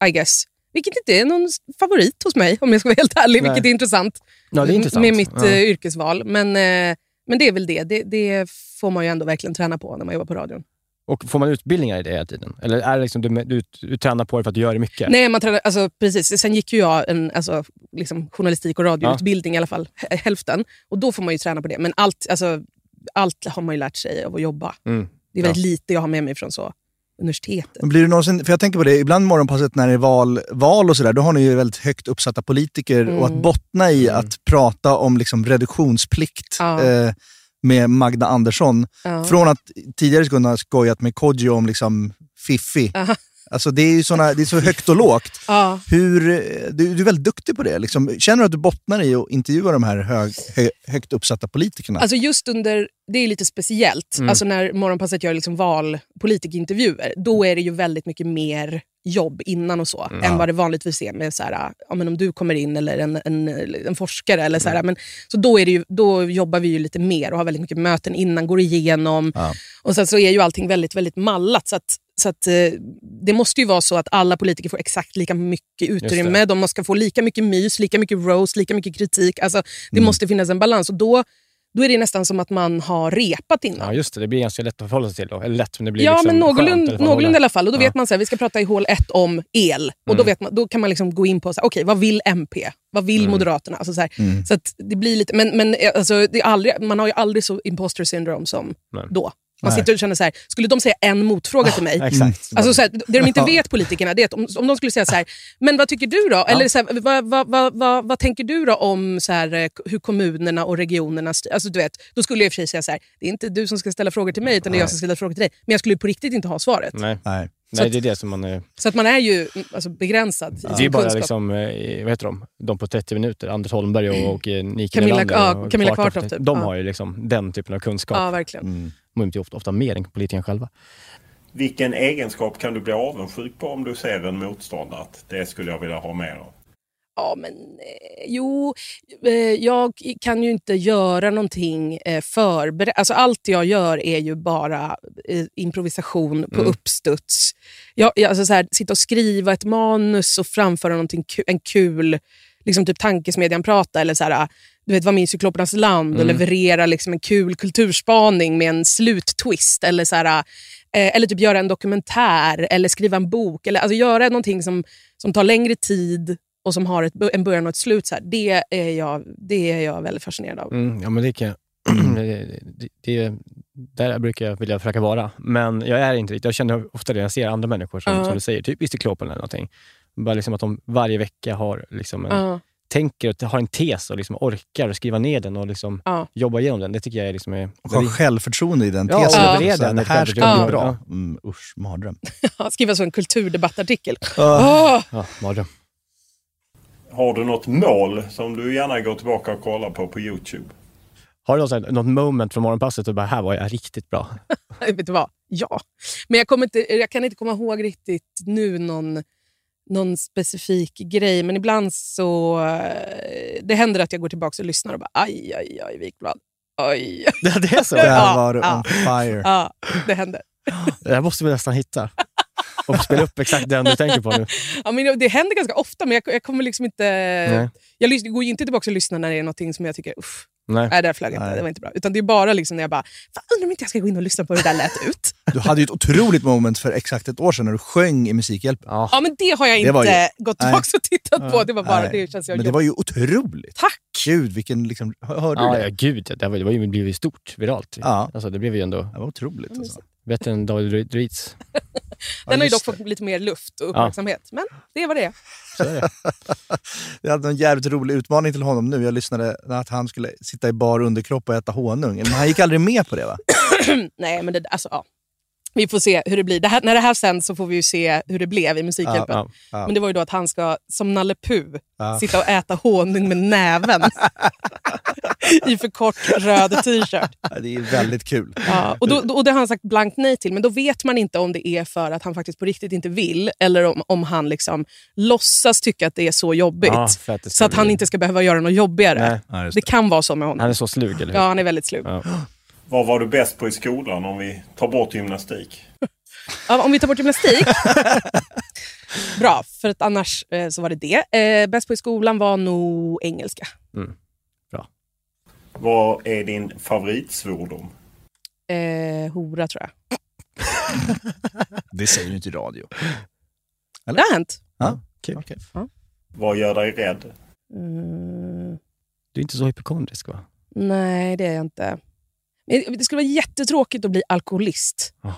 H: I guess. Vilket inte är någon favorit hos mig, om jag ska vara helt ärlig,
G: Nej.
H: vilket är intressant,
G: ja, det är intressant.
H: med mitt
G: ja.
H: eh, yrkesval. Men, eh, men det är väl det. det. Det får man ju ändå verkligen träna på när man jobbar på radion.
G: Och får man utbildningar i det hela tiden? Eller är det liksom, du, du, du tränar på det för att du gör det mycket?
H: Nej, man tränar, alltså, precis. Sen gick ju jag en alltså, liksom, journalistik och radioutbildning i alla fall, h- hälften. Och då får man ju träna på det. Men allt, alltså, allt har man ju lärt sig av att jobba.
G: Mm.
H: Det är väldigt lite jag har med mig från så, universitetet.
F: Men Blir du någonsin, för jag tänker på det, ibland morgonpasset när det är val, val och sådär, då har ni ju väldigt högt uppsatta politiker och
H: Mm.
F: att bottna i
G: Mm.
F: att prata om liksom reduktionsplikt
H: Ja.
F: eh, med Magda Andersson.
H: Ja.
F: Från att tidigare skulle ha skojat med Kodjo om liksom Fiffi. Alltså det är ju såna, det är så högt och lågt.
H: Ja.
F: Hur, eh, du, du är väldigt duktig på det. Liksom. Känner du att du bottnar i att intervjua de här hög, hö, högt uppsatta politikerna?
H: Alltså just under, det är lite speciellt, alltså när Morgonpasset gör liksom valpolitikintervjuer, då är det ju väldigt mycket mer jobb innan och så, än vad det vanligtvis är med så här, ja, men om du kommer in eller en, en, en forskare. Eller så här, men, så då, är det ju, då jobbar vi ju lite mer och har väldigt mycket möten innan, går igenom. Och sen så är ju allting väldigt, väldigt mallat. Så att, så att, eh, det måste ju vara så att alla politiker får exakt lika mycket utrymme. eh, De måste få lika mycket mys, lika mycket roast, lika mycket kritik. Alltså,
G: Mm.
H: det måste finnas en balans. Och då, då är det nästan som att man har repat innan.
G: Ja, just det. Det blir ganska lätt att förhålla sig till då. Eller lätt, men det blir
H: Ja,
G: liksom
H: men
G: skönt
H: någorlunda,
G: att förhålla.
H: någorlunda i alla fall. Och då
G: Ja. Mm.
H: vet man att vi ska prata i hål ett om el. Och då, vet man, då kan man liksom gå in på så här, okej, vad vill MP? Vad vill
G: Mm.
H: Moderaterna? Alltså så här, så att det blir lite, men men eh, alltså, det är aldrig, man har ju aldrig så imposter syndrome som
G: Nej.
H: då. Man sitter och känner så här, skulle de säga en motfråga till mig,
G: Exakt.
H: Alltså, så här, det de inte vet politikerna det är att om, om de skulle säga så här, men vad tycker du då? Eller så här, vad, vad, vad, vad, vad tänker du då om så här, eh, hur kommunerna och regionerna styr? Alltså, du vet, då skulle jag i och för sig säga så här, det är inte du som ska ställa frågor till mig utan det är jag som ska ställa frågor till dig. Men jag skulle ju på riktigt inte ha svaret.
G: Nej.
F: Nej.
G: Nej, det är det som man... eh,
H: Så att man är ju mm, alltså, begränsad i
G: Det är
H: sin
G: bara
H: kunskap.
G: liksom, eh, vad heter de? De på 30 minuter. Anders Holmberg och, och eh, Nike
H: Camilla-
G: Nylander
H: ja,
G: och
H: Camilla Kvartoft, typ.
G: De
H: Ja.
G: har ju liksom den typen av kunskap.
H: Ja, verkligen.
G: De är inte ofta, ofta mer än politikerna själva.
I: Vilken egenskap kan du bli avundsjuk på om du ser en motståndare? Att Det skulle jag vilja ha mer av.
H: Ja, men eh, jo, eh, jag kan ju inte göra någonting eh, förberett. Alltså, allt jag gör är ju bara eh, improvisation på
G: Mm.
H: uppstuds. Jag, jag, alltså, så här, sitta och skriva ett manus och framföra någonting ku- en kul liksom, typ tankesmedjan prata eller så här, ah, du vet, vara med i Cyklopernas land och leverera liksom, en kul kulturspaning med en sluttwist. Eller, så här, ah, eh, eller typ göra en dokumentär eller skriva en bok. Eller, alltså, göra någonting som, som tar längre tid och som har ett, bo- en början och ett slut. Så här, det, är jag, det är jag väldigt fascinerad av.
G: Mm, ja, men det kan jag. det, det, det, där brukar jag vilja försöka vara, men jag är inte riktigt. Jag känner ofta det när jag ser andra människor, som,
H: Ja.
G: som du säger, typ i Cyklopen eller någonting. Bara liksom att de varje vecka har liksom en,
H: Ja,
G: tänker och har en tes och liksom orkar skriva ner den och liksom
H: ja.
G: jobba igenom den. Det tycker jag är... Liksom är
F: Och ha självförtroende i den
G: Ja,
F: tesen.
H: och
F: också.
G: bereda
F: Så här,
G: den
F: Det här ska
G: självförtroende.
F: bli bra.
G: Ja.
F: Mm, usch, mardröm.
H: Skriva så en kulturdebattartikel.
F: Ah.
H: Åh!
G: ja, mardröm.
I: Har du något mål som du gärna går tillbaka och kollar på på Youtube?
G: Har du något, så här, något moment från morgonpasset och bara, här var jag riktigt bra?
H: vet du vad? Ja. Men jag, kommer inte, jag kan inte komma ihåg riktigt nu någon, någon specifik grej, men ibland så... eh, Det händer att jag går tillbaka och lyssnar och bara aj, aj, aj, Wikblad. Oj.
G: Det, det är så?
H: Ja,
F: Där var du
H: ja.
F: on fire.
H: Ja, det händer.
G: Det här måste vi nästan hitta. Och spela upp exakt den du tänker på nu.
H: Ja, men det händer ganska ofta, men jag, jag kommer liksom inte...
G: Nej.
H: Jag lys- går ju inte tillbaka och lyssnar när det är någonting som jag tycker uff,
G: Nej.
H: Nej, där flög jag inte.
F: Nej.
H: Det var inte bra. Utan det är bara liksom när jag bara, fan, undrar om inte jag ska gå in och lyssna på hur det där lät ut.
F: Du hade ju ett otroligt moment för exakt ett år sedan när du sjöng i Musikhjälpen.
G: Ja.
H: ja, men det har jag
F: Det var
H: inte gått
F: nej.
H: tillbaka och tittat på. Det var bara,
F: Nej,
H: det känns jag
F: Eh, Men det var ju otroligt.
H: Tack!
F: Gud, vilken... Liksom, hör- hörde du
G: Ja,
F: det?
G: ja, gud. Det, var, det, var ju, det blev ju stort, viralt.
F: Ja.
G: Alltså, det blev ju ändå
F: Det var otroligt. Alltså.
G: bättre än David Ruiz.
F: Ja,
H: Mm. Den har ju dock
F: just
H: fått lite mer luft och uppmärksamhet. Men det var det.
G: Så är det.
F: Jag hade en jävligt rolig utmaning till honom nu. Jag lyssnade att han skulle sitta i bar underkropp och äta honung. Men han gick aldrig med på det va?
H: Nej, men det, alltså, ja. Vi får se hur det blir. Det här, när det här sänds så får vi ju se hur det blev i Musikhjälpen.
G: Ja,
F: ja.
H: Men det var ju då att han ska, som Nalle Puh,
F: Ja.
H: sitta och äta honung med näven i för kort röd t-shirt.
F: Ja, Det är väldigt kul.
H: Ja, och, då, då- och Det har han sagt blankt nej till, men då vet man inte om det är för att han faktiskt på riktigt inte vill eller om, om han liksom låtsas tycka att det är så jobbigt.
G: Ja, för att det ska
H: så att han
G: bli-
H: inte ska behöva göra något jobbigare.
G: Nej.
F: Ja, just
H: Det kan vara så med honom.
G: Han är så slug, eller hur?
H: Ja, han är väldigt slug.
G: Ja.
I: Vad var du bäst på i skolan om vi tar bort gymnastik?
H: Ja, om vi tar bort gymnastik. Bra, för att annars eh, så var det det. Eh, bäst på i skolan var nog engelska.
G: Mm.
I: Vad är din favoritsvordom?
H: Eh, hora, tror jag.
F: Det säger du inte i radio.
H: Det har hänt.
G: Kul.
I: Vad gör dig rädd?
H: Mm,
G: Du är inte så hypokondrisk, va?
H: nej, det är jag inte. Men Det skulle vara jättetråkigt att bli alkoholist.
G: Ja.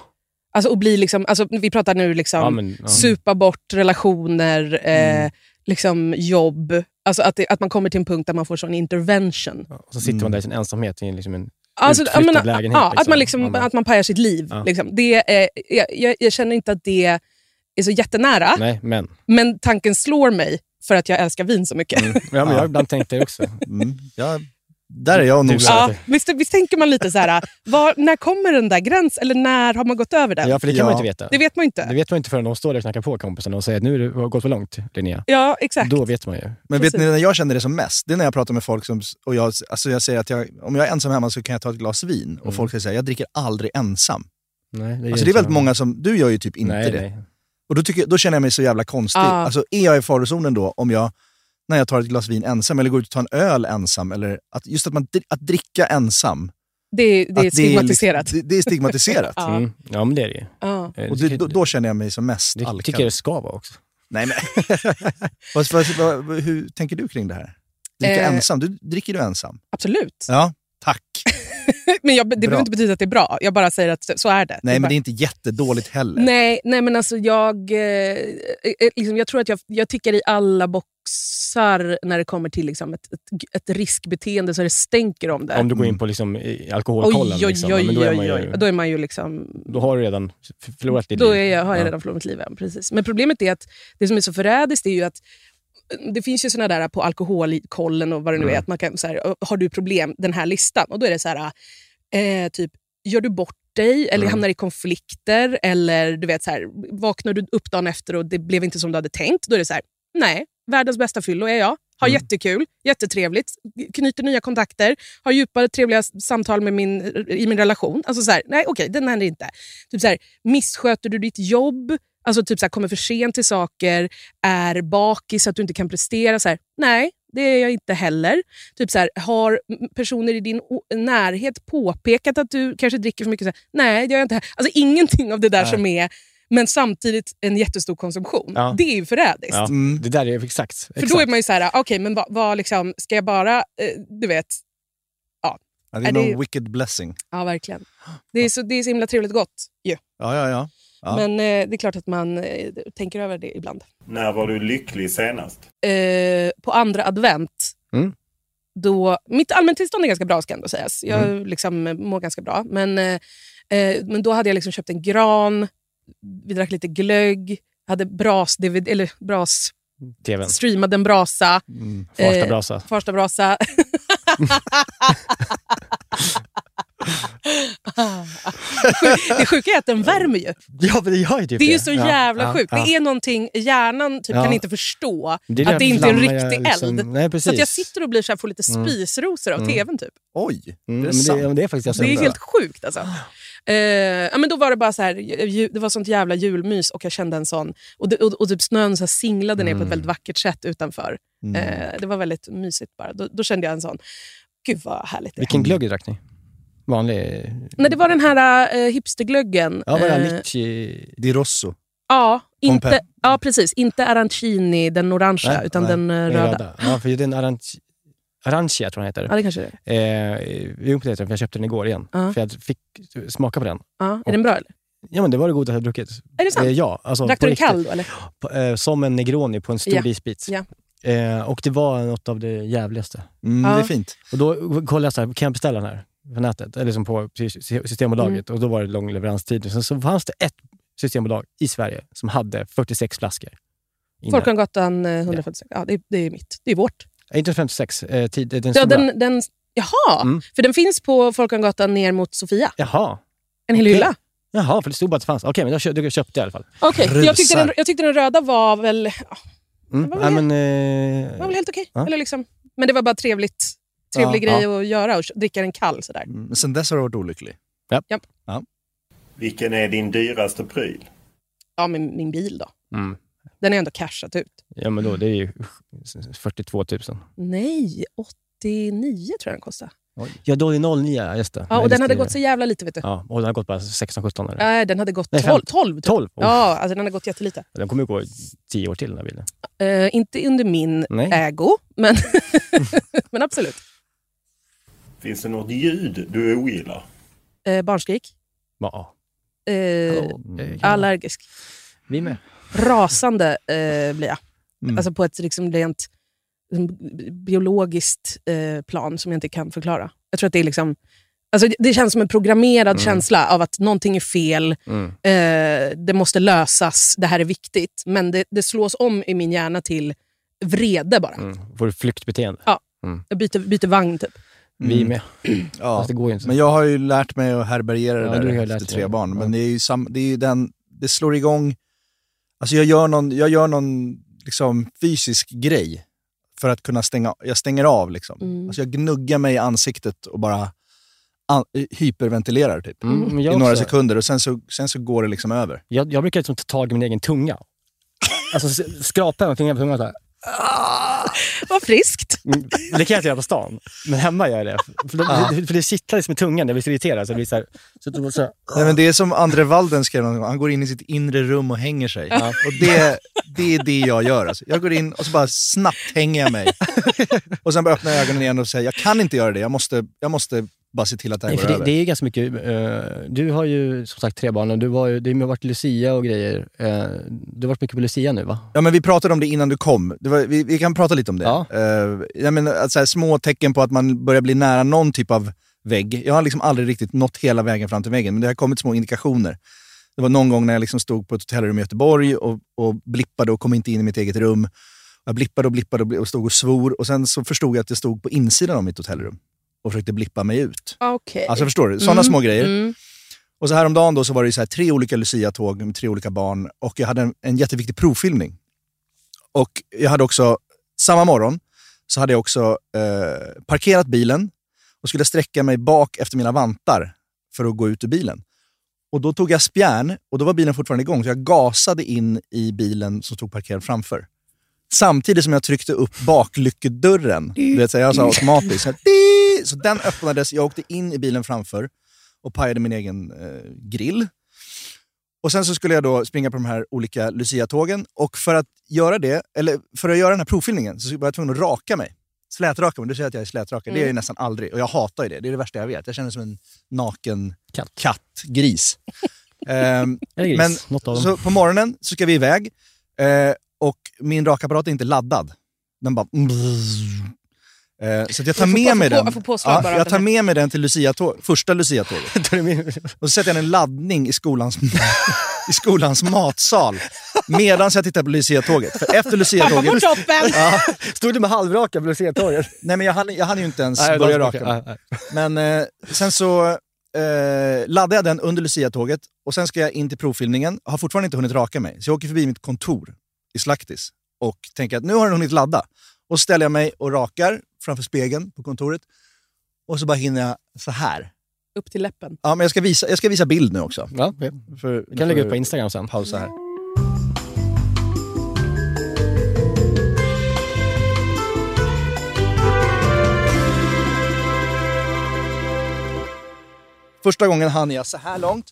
H: Alltså, och bli liksom, alltså, vi pratar nu liksom
G: men, Ah. ja. Mm.
H: supa bort relationer, eh, liksom jobb. Alltså att, det, att man kommer till en punkt där man får sån intervention.
G: Ja, Och så sitter man där i sin ensamhet i en, liksom en
H: Alltså, jag
G: Utflyttad
H: menar,
G: lägenhet,
H: ja, Att,
G: liksom.
H: man liksom,
G: Man bara-
H: att man pajar sitt liv.
G: Ja.
H: Liksom. Det, eh, jag, jag, jag känner inte att det är så jättenära,
G: Nej, men.
H: men tanken slår mig för att jag älskar vin så mycket.
G: Mm. Ja, men jag har ibland tänkt det också.
F: Mm. Ja, där är jag
G: Du
F: nog.
G: är-
H: Ja, visst, visst tänker man lite så här, var, när kommer den där gränsen? Eller när har man gått över den?
G: Ja, för det kan
F: Ja.
G: man inte veta.
H: Det vet man ju inte.
G: Det vet man inte förrän de står där och knackar på kompisarna och säger att nu har det har gått för långt, Linnea.
H: Ja, exakt.
G: Då vet man ju.
F: Men vet ni
H: Precis.
F: när jag känner det som mest? Det är när jag pratar med folk som, och jag, alltså jag säger att jag, om jag är ensam hemma så kan jag ta ett glas vin.
G: Mm.
F: Och folk säger så här, jag dricker aldrig ensam.
G: Nej, det,
F: Alltså det är väldigt många som, du gör ju typ inte
G: nej,
F: det.
G: Nej.
F: Och då, tycker, jag- då känner jag mig så jävla konstig.
H: Ja.
F: Alltså, är jag i farozonen då om jag, när jag tar ett glas vin ensam eller går ut och tar en öl ensam? Eller att, just att, man, dri- att dricka ensam.
H: Det, är- det är
F: att liksom-
H: stigmatiserat.
F: Det, det är stigmatiserat.
H: Ja.
G: Mm. Ja, men det är det ju.
H: Ja.
G: Eh,
F: Och
G: det-
F: det, då, då känner jag mig som mest
G: Det
F: alkad.
G: tycker jag det ska vara också.
F: Nej, men. vad, vad, vad, hur tänker du kring det här? Dricka
H: Eh.
F: ensam? Du, dricker du ensam?
H: Absolut.
F: Ja, tack.
H: Men jag, det behöver
F: Bra.
H: inte betyda att det är bra. Jag bara säger att så är det.
F: Nej,
H: bara-
F: men det är inte jättedåligt heller.
H: Nej, nej men alltså jag, eh, eh, liksom, jag tror att jag, jag tickar i alla boxar när det kommer till liksom, ett, ett, ett riskbeteende så det stänker om det.
G: Om du går in på liksom, i- alkoholkollen, liksom, ja, men då, är man ju,
H: Då är man ju liksom...
G: då har du redan f- förlorat ditt
H: Då
G: liv.
H: är jag, har jag
G: Ja.
H: redan förlorat mitt liv. ja, Precis. Men problemet är att det som är så förrädiskt är ju att eh, det finns ju såna där på alkoholkollen och vad det nu är. Att man kan, så här, har du problem? Den här listan. Och då är det så här, eh, typ, eh, gör du bort dig eller hamnar i konflikter eller du vet så här, vaknar du upp dagen efter och det blev inte som du hade tänkt, då är det så här, nej, världens bästa fyllo är jag. Har jättekul, jättetrevligt, knyter nya kontakter, har djupare trevliga s- samtal med min, i min relation. Alltså så här, nej okej, den händer inte. Typ så här, missköter du ditt jobb, alltså typ så här, kommer för sent till saker, är bakis så att du inte kan prestera. Så här, nej, det är jag inte heller. Typ så här, har m- personer i din o- närhet påpekat att du kanske dricker för mycket? Så här, nej, det gör jag inte. heller." Alltså ingenting av det där som är, men samtidigt en jättestor konsumtion.
G: Ja.
H: Det är ju förrädiskt.
G: Ja,
F: Mm.
G: Det där är exakt.
H: För då är man ju så här, okej, men vad, vad liksom, ska jag bara, eh, du vet.
F: Ja, det är,
H: Är
F: någon
H: det-
F: wicked blessing.
H: Ja, verkligen. Det är så, det är så himla trevligt gott ju.
F: Ja, ja, ja. Ja.
H: Men eh, det är klart att man eh, tänker över det ibland.
I: När var du lycklig senast?
H: eh, på andra advent.
G: Mm.
H: Då, mitt allmäntillstånd är ganska bra ska ändå sägas. Jag liksom, eh, mår ganska bra. Men, eh, eh, men då hade jag liksom köpt en gran, vi drack lite glögg, hade bras, DVD, eller bras,
G: TVn.
H: streamade en brasa, Eh,
G: Farsta brasa. Mm,
H: första brasa. det sjuka är att den värmer ju.
G: Ja, men det gör ju typ
H: Det är ju så jävla
G: ja,
H: sjukt.
G: ja.
H: Det är någonting hjärnan typ,
G: Ja.
H: kan inte förstå
G: Det är
H: att det inte är en
G: flammar jag
H: riktig
G: liksom-
H: eld.
G: Nej, precis.
H: Så att jag sitter och blir så här, får lite spisrosor av tvn. Typ.
F: Oj!
G: Mm,
F: det är
G: men det,
F: sant.
G: ja, men det är faktiskt jag som
H: Det är
G: undrar.
H: helt sjukt. Alltså. Eh, ja, men då var det bara så här, ju- det var sånt jävla julmys och jag kände en sån... Och, det, och, och typ snön så här singlade ner på
G: Mm.
H: ett väldigt vackert sätt utanför. Eh, det var väldigt mysigt bara. Då, då kände jag en sån... Gud vad härligt det är.
G: Vilken glögg drack ni? Vanlig?
H: Nej, Det var den här eh, hipsterglöggen.
G: Ja, var det
H: Eh,
G: Amici?
F: Di Rosso.
H: ja,
F: Pompe.
H: inte, ja, precis. Inte arancini, den orangea,
G: Nej,
H: utan
G: nej,
H: den eh,
G: Den
H: röda.
G: Ja, för det är en Aranci- Arancia, tror jag den
H: Ja,
G: heter.
H: det kanske det är.
G: Eh, jo, det heter den, för jag köpte den igår igen.
H: Ja.
G: För jag fick smaka på den.
H: Ja, är den bra eller?
G: Ja, men det var det godaste jag druckit.
H: Är det sant?
G: Eh, ja, alltså,
H: Drack
G: på
H: du den
G: riktigt.
H: kall då? Eller?
G: På, eh, som en negroni på en stor
H: Ja.
G: isbit.
H: Ja.
G: Eh, och det var något av det jävligaste.
F: Mm,
H: Ja.
F: Det är fint.
G: Och då kollade jag så här, kan jag beställa den här på nätet? Eller som på
H: Mm.
G: Systembolaget. Och då var det lång leveranstid. Sen så fanns det ett systembolag i Sverige som hade 46 flaskor. inne.
H: Folkungagatan eh, 146. Ja, det, är- det är mitt. Det är vårt.
G: Eh, Inte 56, eh, tid, eh, den
H: Ja,
G: stora.
H: den, den, jaha,
G: Mm.
H: för den finns på Folkungagatan ner mot Sofia.
G: Jaha.
H: En hel
G: Okej.
H: hylla.
G: Jaha, för det stod bara att det fanns. Okej, men jag köpte, jag köpte i alla fall.
H: Okej, för jag, tyckte
F: Rusar.
H: den, jag tyckte den röda var väl,
G: Mm.
H: Ja, vad
G: Nej,
H: var
G: men,
H: var
G: eh,
H: väl helt okej.
G: Ja.
H: Eller liksom, men det var bara trevligt. Trevlig
G: Ja,
H: grej att göra och dricka den kall sådär.
F: Mm, Sen dess har du varit olycklig.
I: Vilken är din dyraste pryl?
H: Ja, min, min bil då.
G: mm.
H: Den är ändå cashat ut.
G: ja, men då, det är ju 42 000.
H: Nej, 89 tror jag den kostade.
G: Ja, då är det 09, ja, just det.
H: Ja,
G: Nej,
H: och
G: just
H: den hade
G: det.
H: gått så jävla lite vet du.
G: Ja, och den har gått bara 16-17 eller?
H: Nej, den hade gått
G: Nej,
H: 12.
G: fem-
H: 12, typ.
G: 12? Oh.
H: Ja, alltså den hade gått jättelite.
G: Den kommer ju gå i 10 år till den här bilen.
H: Eh, inte under min
G: Nej.
H: ägo, men, men absolut.
I: Finns det något ljud du ogillar?
H: Eh, barnskrik.
G: Ja.
H: Eh,
G: Mm.
H: allergisk.
G: Vi med.
H: Rasande eh, blir jag.
F: Mm.
H: Alltså på ett liksom rent mm, biologiskt eh, plan som jag inte kan förklara. Jag tror att det är liksom... Alltså det- det känns som en programmerad känsla av att någonting är fel,
G: Mm.
H: eh, det måste lösas, det här är viktigt. Men det, det slås om i min hjärna till vrede bara.
G: Mm. Får du flyktbeteende?
H: Ja. Jag byter, byter vagn typ.
G: Vi med.
F: Mm. Ja.
G: Fast det går ju inte.
F: Men jag har ju lärt mig att härbärgera det
G: Ja, du har
F: där
G: ju
F: efter
G: lärt dig
F: tre
G: det.
F: barn. Men
G: Ja.
F: det är ju sam, det, är ju den, det slår igång... Alltså jag gör någon, jag gör någon liksom fysisk grej för att kunna stänga Jag stänger av. Liksom.
H: Mm.
F: Alltså jag gnuggar mig i ansiktet och bara an, hyperventilerar typ.
G: Mm, men jag
F: I några
G: också.
F: sekunder och sen så, sen så går det liksom över.
G: Jag, jag brukar liksom ta tag i min egen tunga. Alltså s- skrapa med fingrarna på tungan såhär.
H: Vad friskt!
F: Mm.
G: Det kan jag inte göra på stan, men hemma gör jag det. För, det- för det kittlar liksom i tungan när jag blir så irriterad. Så det blir så här, så att det blir så här,
F: Nej, men det är som Andre Walden skrev någon gång, han går in i sitt inre rum och hänger sig. Och det, det är det jag gör. Alltså. Jag går in och så bara snabbt hänger jag mig. Och sen bara öppnar jag ögonen igen och säger, jag kan inte göra det, jag måste, jag måste bara se till att det här
G: Nej,
F: går
G: för det,
F: över.
G: det är ju ganska mycket. eh, du har ju som sagt tre barn och du var ju, det har varit Lucia och grejer. Eh, du har varit mycket på Lucia nu va?
F: Ja, men vi pratade om det innan du kom. Det var, vi, vi kan prata lite om det.
G: Ja.
F: Eh, jag menar, att så här, små tecken på att man börjar bli nära någon typ av vägg. Jag har liksom aldrig riktigt nått hela vägen fram till väggen, men det har kommit små indikationer. Det var någon gång när jag liksom stod på ett hotellrum i Göteborg och, och blippade och kom inte in i mitt eget rum. Jag blippade och blippade och, bli- och stod och svor och sen så förstod jag att jag stod på insidan av mitt hotellrum och försökte blippa mig ut.
H: Ah, Okej.
F: Alltså förstår du? Sådana små grejer.
H: Mm.
F: Och så häromdagen då så var det ju så här, tre olika Lucia-tåg med tre olika barn och jag hade en, en jätteviktig provfilmning. Och jag hade också, samma morgon, så hade jag också eh, parkerat bilen och skulle sträcka mig bak efter mina vantar för att gå ut ur bilen. Och Då tog jag spjärn och då var bilen fortfarande igång, så jag gasade in i bilen som stod parkerad framför. Samtidigt som jag tryckte upp baklyckedörren. Du vet, så här, jag sa automatiskt. Så, här, "Di!" så den öppnades, jag åkte in i bilen framför och pajade min egen eh, grill. Och Sen så skulle jag då springa på de här olika Lucia-tågen. Och för att göra det, eller för att göra den här provfilmningen så var jag tvungen att raka mig. Slätraka mig. Du säger att jag är slätrakad. Det är jag ju nästan aldrig. Och jag hatar ju det. Det är det värsta jag vet. Jag känner mig som en naken
G: Katt.
F: gris. Ehm,
G: Eller gris,
F: men
G: något av dem.
F: så på morgonen så ska vi iväg eh, och min rakapparat är inte laddad. Den bara... mm, Eh, så att jag tar
H: Jag får på-
F: med mig
H: jag får på-
F: den.
H: jag får påslag bara
F: ja,
H: av
F: jag
H: den
F: tar
H: här.
F: med mig den till Lucia-tåg, första Lucia-tåget.
G: Då är det min-
F: Och så sätter jag en laddning i skolans, i skolans matsal medan jag tittar på Lucia-tåget. För efter
H: Pappa på
F: Lucia-tåget...
H: toppen!
F: Ja,
G: Stod du med halvraka Blusétorget?
F: nej, men jag hann, jag hann ju inte ens börja raka mig. Men eh, sen så eh, laddade jag den under Lucia-tåget och sen ska jag in till provfilmningen. Har fortfarande inte hunnit raka mig, så jag åker förbi mitt kontor i Slaktis och tänker att nu har den hunnit ladda. Och så ställer jag mig och rakar framför spegeln på kontoret och så bara hinner jag så här.
H: Upp till läppen.
F: Ja, men jag ska visa, jag ska visa bild nu också.
G: Ja, ja.
F: För,
G: Vi kan lägga ut på Instagram sen.
F: pausa här. Första gången hann jag så här långt.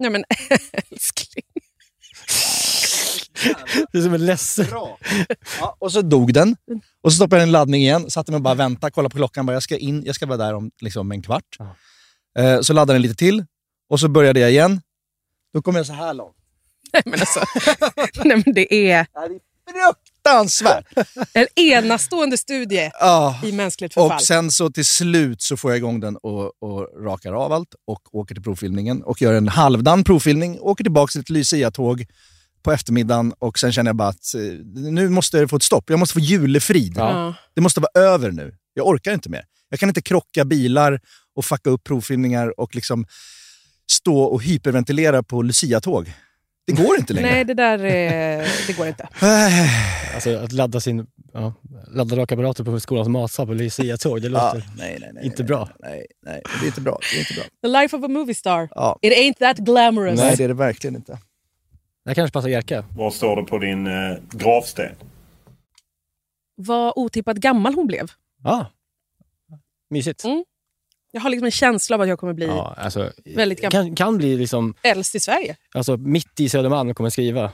H: Nej men älskling.
G: Det är som en ledsen...
F: Bra. Ja, och så dog den. Och så stoppade jag den i laddning igen. Satte mig och bara väntade, kollade på klockan. Bara, jag ska in, jag ska vara där om liksom, en kvart. Eh, så laddade den lite till. Och så började jag igen. Då kom jag så här långt.
H: Nej men alltså. Nej men det är
F: Det här är fruktansvärt!
H: en enastående studie
F: Ah.
H: i mänskligt förfall.
F: Och sen så till slut så får jag igång den och, och rakar av allt och åker till provfilmningen och gör en halvdan provfilmning. Åker tillbaka till ett Lucia-tåg på eftermiddagen och sen känner jag bara att eh, nu måste jag få ett stopp. Jag måste få julefrid.
H: Ja.
F: Det måste vara över nu. Jag orkar inte mer. Jag kan inte krocka bilar och fucka upp provfilmningar och liksom stå och hyperventilera på Lucia-tåg. Det går inte längre. Ah,
H: Nej det där eh, det går inte.
G: Alltså att ladda sin... Ja, ladda rakapparater på skolans matsal på Lucia-tåg, det
F: Ja,
G: låter...
F: nej, nej, nej,
G: Inte bra.
F: Nej, nej, det är inte bra. Det är inte bra.
H: The life of a movie star.
F: Ja. Mm.
H: It ain't that glamorous.
F: Nej, det är det verkligen inte.
G: Det här kanske passar Jerka.
I: Vad står det på din eh, gravsten?
H: Vad otippat gammal hon blev.
G: Ja. Mysigt.
H: Mm. Jag har liksom en känsla av att jag kommer bli
G: Ja, alltså,
H: Väldigt gammal.
G: kan, kan bli liksom...
H: äldst i Sverige.
G: Alltså mitt i Södermalm kommer skriva.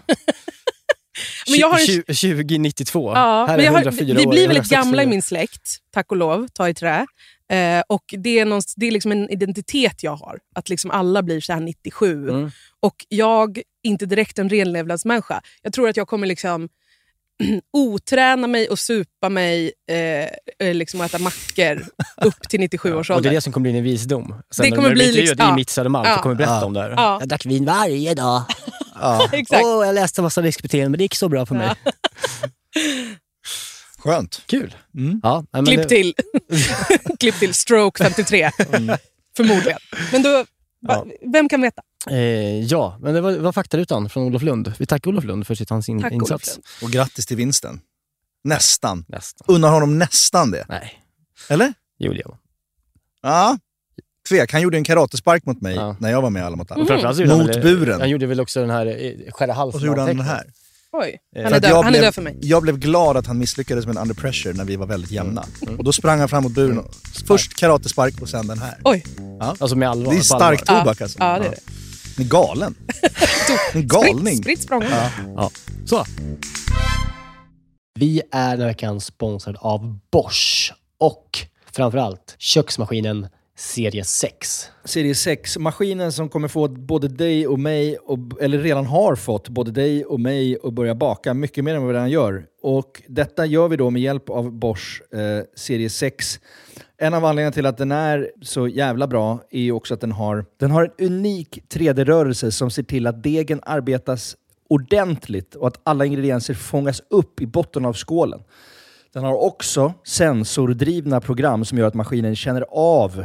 H: Men jag har en-
G: Tju- tju- 2092.
H: Ja,
G: här är
H: men jag har,
G: 104
H: vi
G: år,
H: vi blir väldigt
G: 164.
H: gamla i min släkt, tack och lov, ta i trä. Eh, och det är, någonst- det är liksom en identitet jag har, att liksom alla blir så här 97.
G: Mm.
H: Och jag är inte direkt en renlevnadsmänniska. Jag tror att jag kommer liksom oträna mig och supa mig eh, eh, liksom och äta mackor upp till 97 års
G: Och det
H: ålder.
G: är det som kommer bli din visdom. Sen
H: Det
G: när
H: kommer
G: du
H: bli
G: intervjuad
H: liksom-
G: i
H: ja.
G: Mitt Södermalm
H: Ja.
G: så kommer du berätta
F: Ja.
G: om det här.
H: Ja.
G: Jag drack vin varje dag.
F: Ja,
H: Exakt.
G: Åh, jag läste massa riskbeteende, men det gick så bra för mig.
F: skönt.
G: Kul.
F: Mm.
G: Ja, nej, men
H: Klipp
G: det-
H: till. Klipp till stroke 53.
G: Mm.
H: Förmodligen. Men då, va, vem kan veta?
G: Eh, ja, men det var, var faktarutan från Olof Lund. Vi tackar Olof Lund för sitt, hans in,
H: Tack, Olof
G: insats.
H: Lund.
F: Och grattis till vinsten. Nästan.
G: Nästan.
F: Unnar honom nästan det.
G: Nej,
F: Eller?
G: Julia.
F: Ja. Tvek. Han gjorde en karatespark mot mig
G: Ja.
F: när jag var med i Alla mot alla.
G: Framförallt så gjorde han
F: Mot
G: väl-
F: buren.
G: Han gjorde väl också den här eh, skära halsen
F: Och så gjorde han den
G: anteckningen.
F: här.
H: Oj,
G: Eh, För
H: han är,
F: att
H: död.
F: jag
H: han är
F: blev-
H: död för mig.
F: Jag blev glad att han misslyckades med en under pressure när vi var väldigt jämna.
H: Mm.
F: Och då sprang han fram mot buren. Och, först karatespark och sen den här.
H: Oj,
G: Alltså med allvar.
F: Det är
G: på allvar.
F: starkt tobak alltså.
H: ja, det är det.
F: Ni är galen. En galning.
H: Spritt, spritt språng.
G: Ja. Så.
J: Vi är den här veckan sponsrad av Bosch och framförallt köksmaskinen serie 6.
K: Serie 6, maskinen som kommer få både dig och mig, och, eller redan har fått både dig och mig att börja baka mycket mer än vad vi redan gör. Och detta gör vi då med hjälp av Bosch eh, Serie 6. En av anledningarna till att den är så jävla bra är ju också att den har, den har en unik 3D-rörelse som ser till att degen arbetas ordentligt och att alla ingredienser fångas upp i botten av skålen. Den har också sensordrivna program som gör att maskinen känner av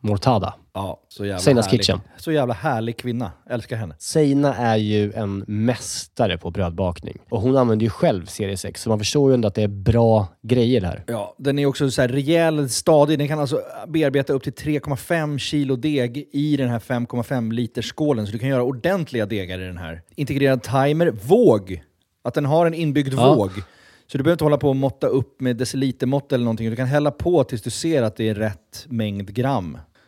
G: Mortada.
F: Ja, så jävla
G: Seinas
F: härlig.
G: Kitchen.
F: Så jävla härlig kvinna. Älskar henne.
G: Seina är ju en mästare på brödbakning och hon använder ju själv serie 6, så man förstår ju ändå att det är bra grejer det här.
F: Ja, den är också så här rejäl, stadig. Den kan alltså bearbeta upp till 3,5 kilo deg i den här 5,5 liters skålen. Så du kan göra ordentliga degar i den här. Integrerad timer, våg. Att den har en inbyggd
G: Ja.
F: våg. Så du behöver inte hålla på och måtta upp med decilitermått eller någonting. Du kan hälla på tills du ser att det är rätt mängd gram.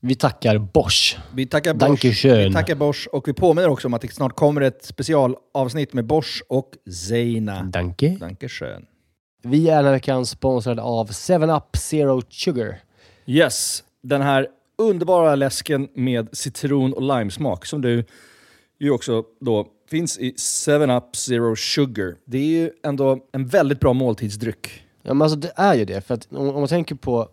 G: Vi tackar Bosch.
F: Vi tackar Bosch.
G: Dankeschön.
F: Vi tackar Bosch och vi påminner också om att det snart kommer ett specialavsnitt med Bosch och Zeina.
G: Danke.
F: Dankeschön.
G: Vi är den här veckan sponsrade av 7up Zero Sugar.
F: Yes, den här underbara läsken med citron och limesmak som du ju också då finns i 7-Up Zero Sugar. Det är ju ändå en väldigt bra måltidsdryck.
G: Ja, men alltså det är ju det. För att om, om man tänker på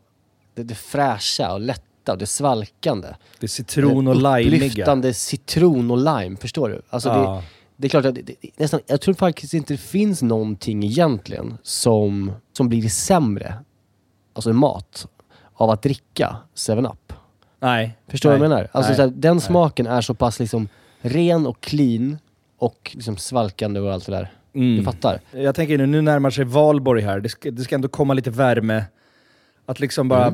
G: det, det fräscha och lätta och det svalkande.
F: Det är citron och
G: det
F: limeiga.
G: upplyftande citron och lime, förstår du? Alltså
F: Ja.
G: det, det är klart att det, det, det- nästan, jag tror faktiskt inte det finns någonting egentligen som, som blir sämre, alltså i mat, av att dricka 7-Up.
F: Nej.
G: Förstår du vad jag menar? Alltså
F: Nej.
G: så här, den smaken är så pass liksom ren och clean och liksom svalkande och allt det där.
F: Mm.
G: Du fattar?
F: Jag tänker nu, nu närmar sig valborg här. Det ska, det ska ändå komma lite värme. Att liksom bara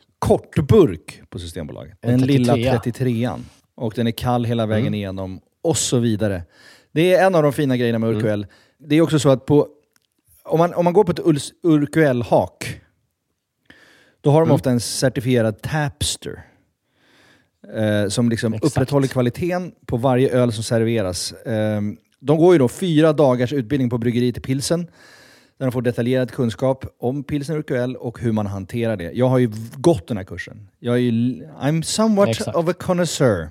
F: kortburk på Systembolaget.
G: En
F: Den lilla
G: 33.
F: 33an. Och den är kall hela vägen igenom och så vidare. Det är en av de fina grejerna med Urquell. Det är också så att på, om, man, om man går på ett Urs- Urquell-hak då har de
G: Mm.
F: ofta en certifierad tapster. Eh, som liksom
G: Exakt.
F: upprätthåller kvaliteten på varje öl som serveras. Eh, de går ju då fyra dagars utbildning på bryggeriet i pilsen. Där de får detaljerad kunskap om pilsner urquell och hur man hanterar det. Jag har ju v- gått den här kursen. Jag är ju, l- I'm somewhat
G: Exakt.
F: of a connoisseur.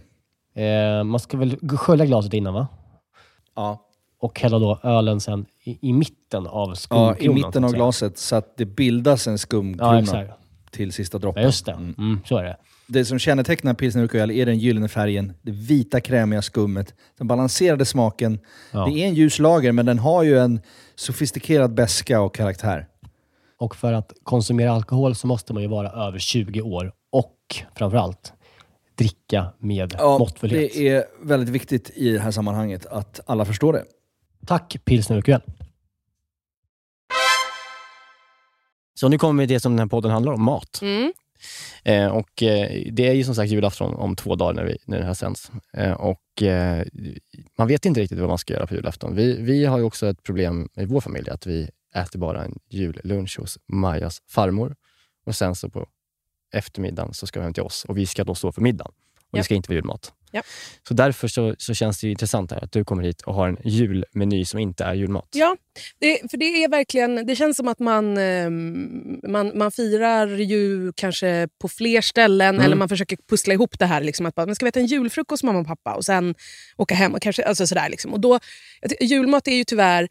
G: Eh, man ska väl g- skölja glaset innan va?
F: Ja.
G: Och hälla då ölen sen i, i mitten av
F: Ja,
G: skumkronan.
F: I mitten
G: så
F: av
G: att säga.
F: glaset så att det bildas en skumkrona
G: Ja, exakt.
F: till sista
G: Ja,
F: droppen.
G: just det. Mm, så är det.
F: Det som kännetecknar pilsner urquell är den gyllene färgen, det vita krämiga skummet, den balanserade smaken.
G: Ja.
F: Det är en ljus lager, men den har ju en sofistikerad beska och karaktär.
G: Och för att konsumera alkohol så måste man ju vara över 20 år och framförallt dricka med måttfullhet.
F: det är väldigt viktigt i det här sammanhanget att alla förstår det.
G: Tack Pilsner och kväll. Så nu kommer vi till det som den här podden handlar om, mat.
H: Mm.
G: Eh, och eh, Det är ju som sagt julafton om två dagar när, vi, när det här sänds. Eh, och, eh, man vet inte riktigt vad man ska göra på julafton. Vi, vi har ju också ett problem i vår familj, att vi äter bara en jullunch hos Majas farmor. Och Sen så på eftermiddagen så ska vi hem till oss och vi ska då stå för middagen. Och Det
H: Ja.
G: ska inte vara julmat.
H: Ja.
G: Så därför så, så känns det ju intressant här att du kommer hit och har en julmeny som inte är julmat.
H: Ja, det, för det är verkligen... Det känns som att man, ehm, man, man firar ju kanske på fler ställen
G: Mm.
H: eller man försöker pussla ihop det här. Liksom, att bara, man ska vi äta en julfrukost mamma och pappa och sen åka hem. Och kanske, alltså sådär, liksom. och då, jag tycker- julmat är ju tyvärr...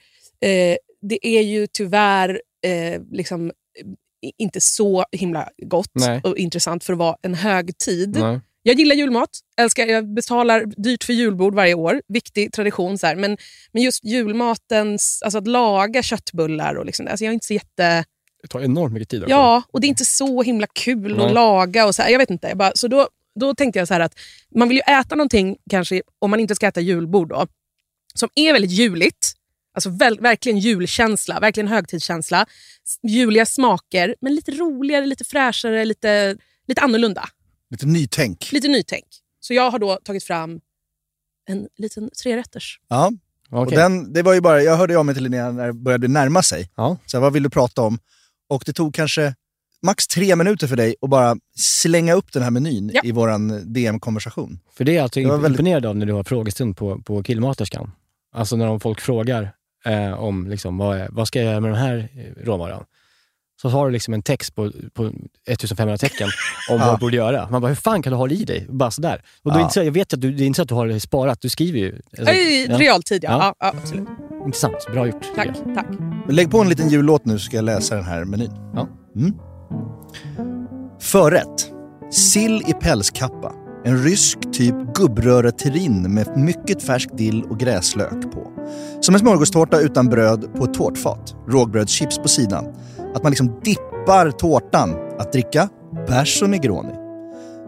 H: Eh, det är ju tyvärr eh, liksom, eh, inte så himla gott
G: Nej.
H: och intressant för att vara en högtid.
G: Nej.
H: Jag gillar julmat. Älskar, jag betalar dyrt för julbord varje år. Viktig tradition. Så här. Men, men just julmatens, alltså att laga köttbullar och liksom det. Alltså jag är inte så jätte...
G: Det tar enormt mycket tid. också.
H: Ja, och det är inte så himla kul
G: Nej.
H: att laga. och så här. Jag vet inte. Jag bara, så då, då tänkte jag så här att man vill ju äta någonting, kanske om man inte ska äta julbord, då, som är väldigt juligt. Alltså väl, verkligen julkänsla, verkligen högtidskänsla. S- Juliga smaker, men lite roligare, lite fräschare, lite, lite annorlunda
F: Lite nytänk.
H: lite nytänk. Så jag har då tagit fram en liten trerätters.
F: Ja. Och
G: Okej.
F: den, det var ju bara, jag hörde av mig till Linnea när det började närma sig.
G: Ja.
F: Så här, vad vill du prata om? Och det tog kanske max tre minuter för dig att bara slänga upp den här menyn
H: Ja.
F: i våran DM-konversation.
G: För det är jag alltså
F: Det var
G: imp-
F: väldigt-
G: imponerad av när du har frågestund på, på killmaterskan. Alltså när de folk frågar eh, om liksom, vad, är, vad ska jag göra med den här eh, råvaran? Så har du liksom en text på, på 1500 tecken om vad
F: Ja.
G: du borde göra. Man bara, hur fan kan du ha det i dig? Bara sådär. Och då är
F: Ja.
G: inte så, jag vet att du, det är inte så att du har det sparat, du skriver ju. Alltså,
H: I
G: ja.
H: realtid, ja.
G: Ja.
H: ja. ja absolut.
G: Intressant, bra gjort. tycker
H: Tack,
G: jag.
H: tack.
F: Men lägg på en liten jullåt nu så ska jag läsa den här menyn.
G: Ja.
F: Mm. Förrätt. Sill i pälskappa. En rysk typ gubbröra-terrine med mycket färsk dill och gräslök på. Som en smörgåstårta utan bröd på ett tårtfat. Rågbrödschips på sidan. Att man liksom dippar tårtan. Att dricka bärs och negroni.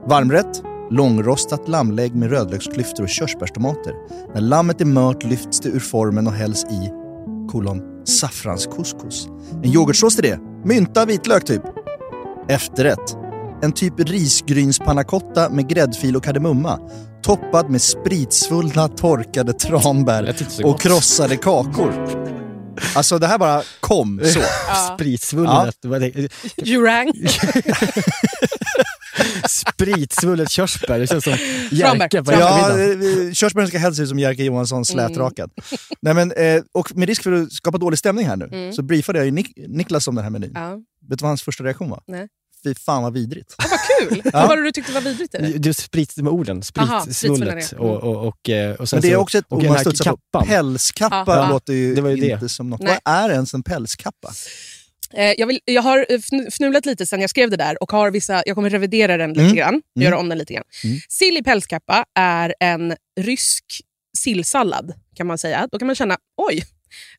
F: Varmrätt. Långrostat lammlägg med rödlöksklyftor och körsbärstomater. När lammet är mört lyfts det ur formen och hälls i kolon saffranskouscous. En yoghurtsås till det. Mynta, vitlök typ. Efterrätt. En typ risgrynspannacotta med gräddfil och kardemumma. Toppad med spritsvullna torkade tranbär
G: Lät inte så
F: och
G: gott.
F: krossade kakor. Alltså det här bara kom så.
H: Ja.
G: Spritsvullet, ja.
H: Jurang.
G: spritsvullet körsbär. Det känns som
H: Tranbär,
G: Jerka på
F: Ja,
G: eftermiddagen.
F: eh, körsbären ska helst se ut som Jerker Johansson
H: Mm.
F: slätrakad. Nej, men, eh, och med risk för att skapa dålig stämning här nu,
H: Mm.
F: så briefade jag ju Nik- Niklas om den här menyn.
H: Ja.
F: Vet du vad hans första reaktion var?
H: Nej.
F: Fy fan vad vidrigt.
H: Kul! Vad var det du tyckte var vidrigt i det?
G: Du sprit med orden,
H: Aha,
G: spritsvullet.
H: spritsvullet, ja. Mm.
G: Och, och, och, eh, och sen
F: Men det är
G: så-
F: också ett
G: och
F: ord
G: den
F: Alltså, man
G: här
F: studsar på.
G: kappan.
F: Pälskappa
H: Aha.
F: låter ju,
G: Det var ju
F: inte som något.
H: Nej.
F: Vad är ens en pälskappa?
H: Eh, jag, vill, jag har eh, fn- fnulat lite sen jag skrev det där och har vissa, jag kommer revidera den lite
F: Mm.
H: grann.
F: Mm.
H: Göra om den lite grann.
F: Mm.
H: Sill i pälskappa är en rysk sillsallad kan man säga. Då kan man känna, oj,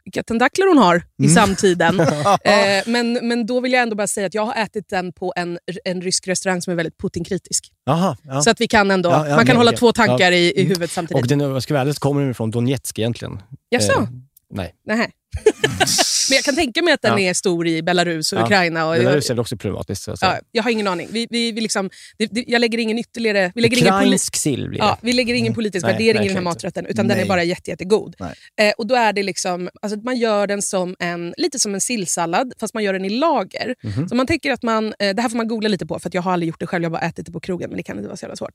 H: vilka tentakler hon har i
F: Mm.
H: samtiden. Eh, men, men då vill jag ändå bara säga att jag har ätit den på en, en rysk restaurang som är väldigt Putin-kritisk.
G: Aha, ja.
H: Så att vi kan ändå,
G: Ja, ja,
H: man kan
G: men-
H: hålla
G: okej.
H: två tankar i, i
G: Mm.
H: huvudet samtidigt.
G: Och den, om jag ska vara ärlig, så kommer den från Donetsk egentligen.
H: Jaså?
G: Eh, nej.
H: Nähä. men jag kan tänka mig att den
G: Ja.
H: är stor i Belarus och
G: Ja.
H: Ukraina. Och
G: Belarus är väl också problematiskt. Så att
H: Ja,
G: säga.
H: jag har ingen aning. Vi, vi, vi liksom, det, det, jag lägger ingen ytterligare... Vi lägger ingen poli-
G: Ukrainsk sill blir det. Mm.
H: Ja, vi lägger ingen politisk
G: Nej,
H: värdering i den här
G: verkligen inte.
H: maträtten, utan den
F: Nej.
H: är bara jätte, jättegod.
F: Nej.
H: Eh, och då är det liksom, alltså, man gör den som en, lite som en sillsallad, fast man gör den i lager.
G: Mhm.
H: Så man tänker att man, eh, det här får man googla lite på, för att jag har aldrig gjort det själv. Jag har bara ätit det på krogen, men det kan inte vara så jävla svårt.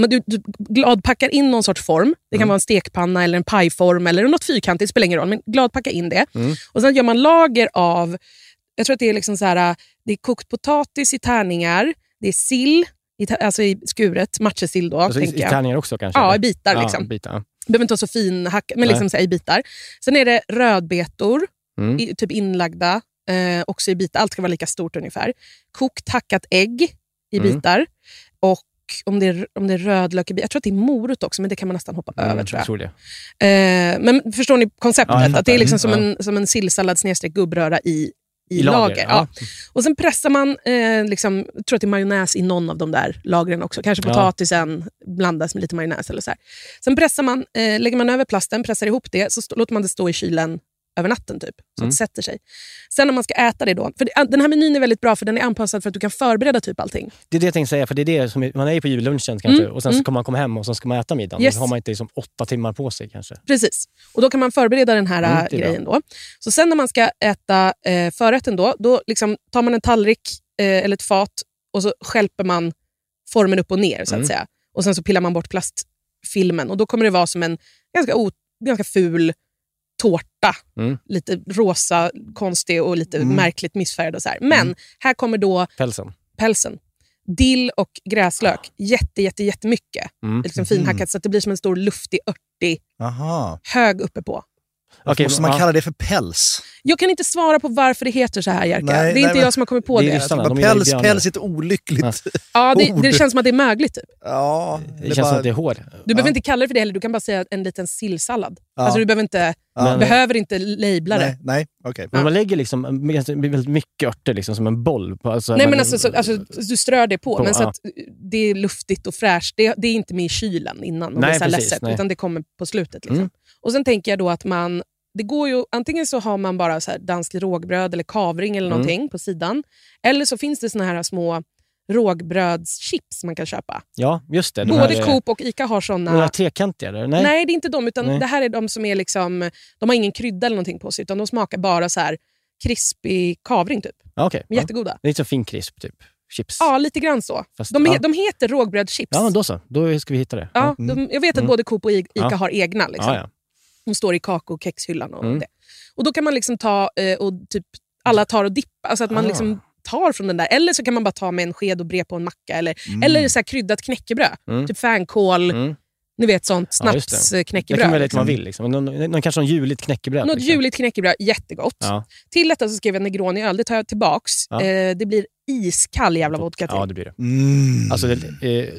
H: Men du, du gladpackar in någon sorts form. Det kan
G: Mm.
H: vara en stekpanna, eller en pajform eller något fyrkantigt, spelar ingen roll. Men gladpacka in det. Och Sen gör man lager av, jag tror att det är liksom så här, eh, det är kokt potatis i tärningar, det är sill, i, ta- alltså i skuret, matjessill då.
G: Alltså, i,
H: tänker
G: I
H: jag.
G: tärningar också kanske?
H: Ja,
G: eller?
H: i bitar.
G: Ja, i
H: liksom.
G: bitar.
H: behöver inte vara så finhackat, men
G: Nej.
H: liksom så här, i bitar. Sen är det rödbetor,
G: Mm.
H: i, typ inlagda, eh, också i bitar. Allt ska vara lika stort ungefär. Kokt hackat ägg i
G: Mm.
H: bitar. Och om det, är, om det är rödlök i bitar. Jag tror att det är morot också, men det kan man nästan hoppa över. tror jag.
G: Mm, tror det.
H: Eh, men förstår ni konceptet?
G: Ja, jag
H: att det är
G: fattar.
H: liksom som,
G: Mm,
H: en, som en sillsallad snedstreck gubbröra i, i,
G: I
H: lager.
G: lager,
H: Ja.
G: ja.
H: Och Sen pressar man, eh, liksom, jag tror att det är majonnäs i någon av de där lagren också. Kanske
G: Ja.
H: potatisen blandas med lite majonnäs. eller så här. Sen pressar man, eh, lägger man över plasten, pressar ihop det, så stå, låter man det stå i kylen över natten typ, så
L: Mm.
H: att det sätter sig. Sen när man ska äta det då, för det- den här menyn är väldigt bra för den är anpassad för att du kan förbereda typ allting.
G: Det är det jag tänkte säga, för det är det som är, man är ju på jullunchen kanske
H: Mm,
G: och sen så
H: mm.
G: kommer man komma hem och sen ska man äta middagen.
H: Yes.
G: Då har man inte liksom åtta timmar på sig kanske.
H: Precis. Och Då kan man förbereda den här
G: Mm,
H: äh,
G: det är
H: grejen.
G: bra.
H: Då. Så Sen när man ska äta eh, förrätten, då, då liksom tar man en tallrik eh, eller ett fat och så skälper man formen upp och ner. så att
L: Mm.
H: säga. Och Sen så pillar man bort plastfilmen och då kommer det vara som en ganska, o, ganska ful tårta.
G: Mm.
H: Lite rosa, konstig och lite
G: Mm.
H: märkligt missfärgad. Och så här. Men här kommer då
G: Pälsen.
H: pälsen. Dill och gräslök. Jätte, jätte, jättemycket.
G: Ah. Mm.
H: Liksom finhackat
G: Mm.
H: så att det blir som en stor luftig, örtig
F: Aha.
H: hög uppe på.
F: Varför måste man
G: ja.
F: kalla det för päls?
H: Jag kan inte svara på varför det heter så här, Jerka.
F: Nej,
H: det är
F: nej,
H: inte
F: men-
H: jag som har kommit på det.
F: Bara päls, päls är ett olyckligt
H: Ja, det,
F: ord.
H: det känns som att det är mögligt. Typ.
F: Ja,
G: Det känns som att det är hår.
H: Du behöver inte kalla det för det heller, du kan bara säga en liten sillsallad.
G: Ja.
H: Alltså, du behöver inte,
G: Ja.
H: behöver inte labla det.
F: Nej, okej.
G: Men man lägger liksom en- ganska- väldigt mycket örter liksom, som en boll. På, alltså,
H: Nej, men alltså, så, alltså, du strör det på,
G: På,
H: men så
G: ja.
H: att eh, det är luftigt och fräscht. Det, det är inte med i kylen innan, om
G: Nej,
H: det är så här
G: precis,
H: lässet,
G: nej.
H: utan det kommer på slutet. Liksom.
G: Mm.
H: Och Sen tänker jag då att man... Det går ju, antingen så har man bara så här danskt rågbröd eller kavring eller
L: Mm.
H: någonting på sidan. Eller så finns det såna här små rågbrödschips man kan köpa.
G: Ja, just det. de
H: Både
G: här, eh,
H: Coop och Ica har såna.
G: De här trekantiga? Eller?
H: Nej.
G: Nej.
H: det är inte de. Utan
G: Nej.
H: Det här är de som är liksom, de har ingen krydda eller någonting på sig, utan de smakar bara så här krispig kavring. Typ.
G: Ja, okej.
H: De är jättegoda.
G: Ja. Det är lite som fin crisp, typ. Chips.
H: Ja, lite grann så.
G: Fast-
H: de, he-
G: ja.
H: de heter rågbrödschips.
G: Ja, men då så. Då ska vi hitta det.
H: Ja, de, jag vet att
G: Mm.
H: både Coop och I- Ica
G: Ja.
H: har egna. Liksom.
G: Ja, ja.
H: De står i kakao och kexhyllan. Och,
G: Mm.
H: det. och Då kan man liksom ta eh, och typ alla tar och dippar. Alltså att man
L: Ah.
H: liksom tar från den där. Eller så kan man bara ta med en sked och bre på en macka. Eller,
L: Mm.
H: eller så här kryddat knäckebröd.
G: Mm.
H: Typ fänkål, ni vet sånt
G: Ja, just det.
H: snapsknäckebröd.
G: Det kan man välja lite man vill. Liksom. Någon, någon, kanske någon juligt knäckebröd.
H: Något
G: liksom.
H: juligt knäckebröd, jättegott.
G: Ja.
H: Till detta så skrev jag Negroni-öl, det tar jag tillbaks.
G: Ja.
H: Eh, det blir iskall jävla vodka till.
G: Ja, det blir det.
F: Mm.
G: Alltså, det eh,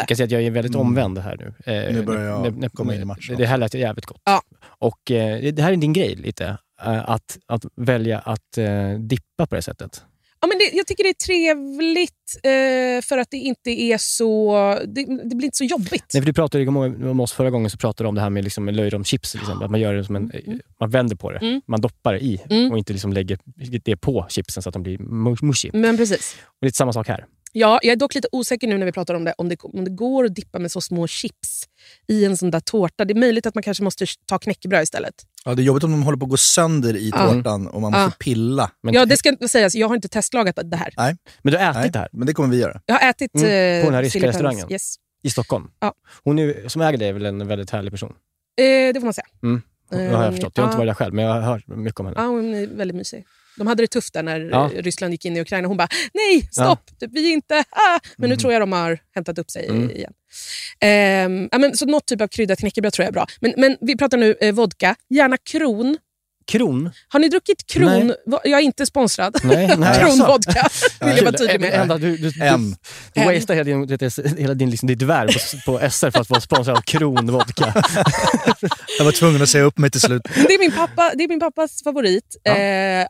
G: åh, jag kan säga att jag är väldigt omvänd här Mm. nu. Eh,
F: Nu börjar jag
G: komma in i matchen. Det här lät ju jävligt gott.
H: Ja.
G: Och eh, det- det här är din grej lite, eh, att, att välja att eh, dippa på det sättet.
H: Ja, men det, jag tycker det är trevligt eh, för att det inte är så... Det, det blir inte så jobbigt.
G: Nej, för du pratade ju om- om oss förra gången, så pratade du om det här med liksom löjromschips. Till exempel. Att man, gör det som en, eh, man vänder på det,
H: Mm.
G: man doppar det i
H: Mm.
G: och inte liksom lägger det på chipsen så att de blir mu- mushy.
H: Men precis.
G: Och det är samma sak här.
H: Ja, jag är dock lite osäker nu när vi pratar om det, om det, om det går att dippa med så små chips i en sån där tårta. Det är möjligt att man kanske måste ta knäckebröd istället.
F: Ja, det är jobbigt om de håller på att gå sönder i
H: Ja.
F: tårtan och man måste
H: Ja.
F: pilla.
H: ja, det ska inte sägas. Jag har inte testlagat det här.
F: Nej.
G: Men du har ätit
F: det här? Men det kommer vi göra.
H: Jag har ätit...
G: Mm,
H: eh,
G: på den här ryska
H: Silly Pans.
G: restaurangen?
H: Yes.
G: I Stockholm.
H: Ja.
G: Hon är, som äger det är väl en väldigt härlig person?
H: Eh, det får man säga.
G: Mm. Hon- Det har
H: Eh,
G: jag förstått. Jag har inte
H: ja.
G: varit där själv, men jag har hört mycket om henne.
H: Ja, hon är väldigt mysig. De hade det tufft där när
G: Ja.
H: eh, Ryssland gick in i Ukraina. Hon bara, nej, stopp, typ, vi är inte... Ah! Men nu
G: Mm.
H: tror jag de har hämtat upp sig
G: Mm.
H: igen. Ehm, ja, men, så något typ av kryddat knäckebröd tror jag är bra. Men, men vi pratar nu eh, vodka, gärna kron.
G: Kron?
H: Har ni druckit kron?
G: Nej.
H: Va- Jag är inte sponsrad.
G: Nej, nej.
H: Kronvodka, vill jag vara tydlig
G: Kul. Ändå,
H: med.
G: Du, du,
H: M.
G: du, du
H: M.
G: wastear hela din, det är- hela din liksom, ditt värv på, på SR för att vara sponsrad av Kronvodka.
F: Jag var tvungen att säga upp mig till slut.
H: Men Det är, min pappa, det är min pappas favorit. Eh,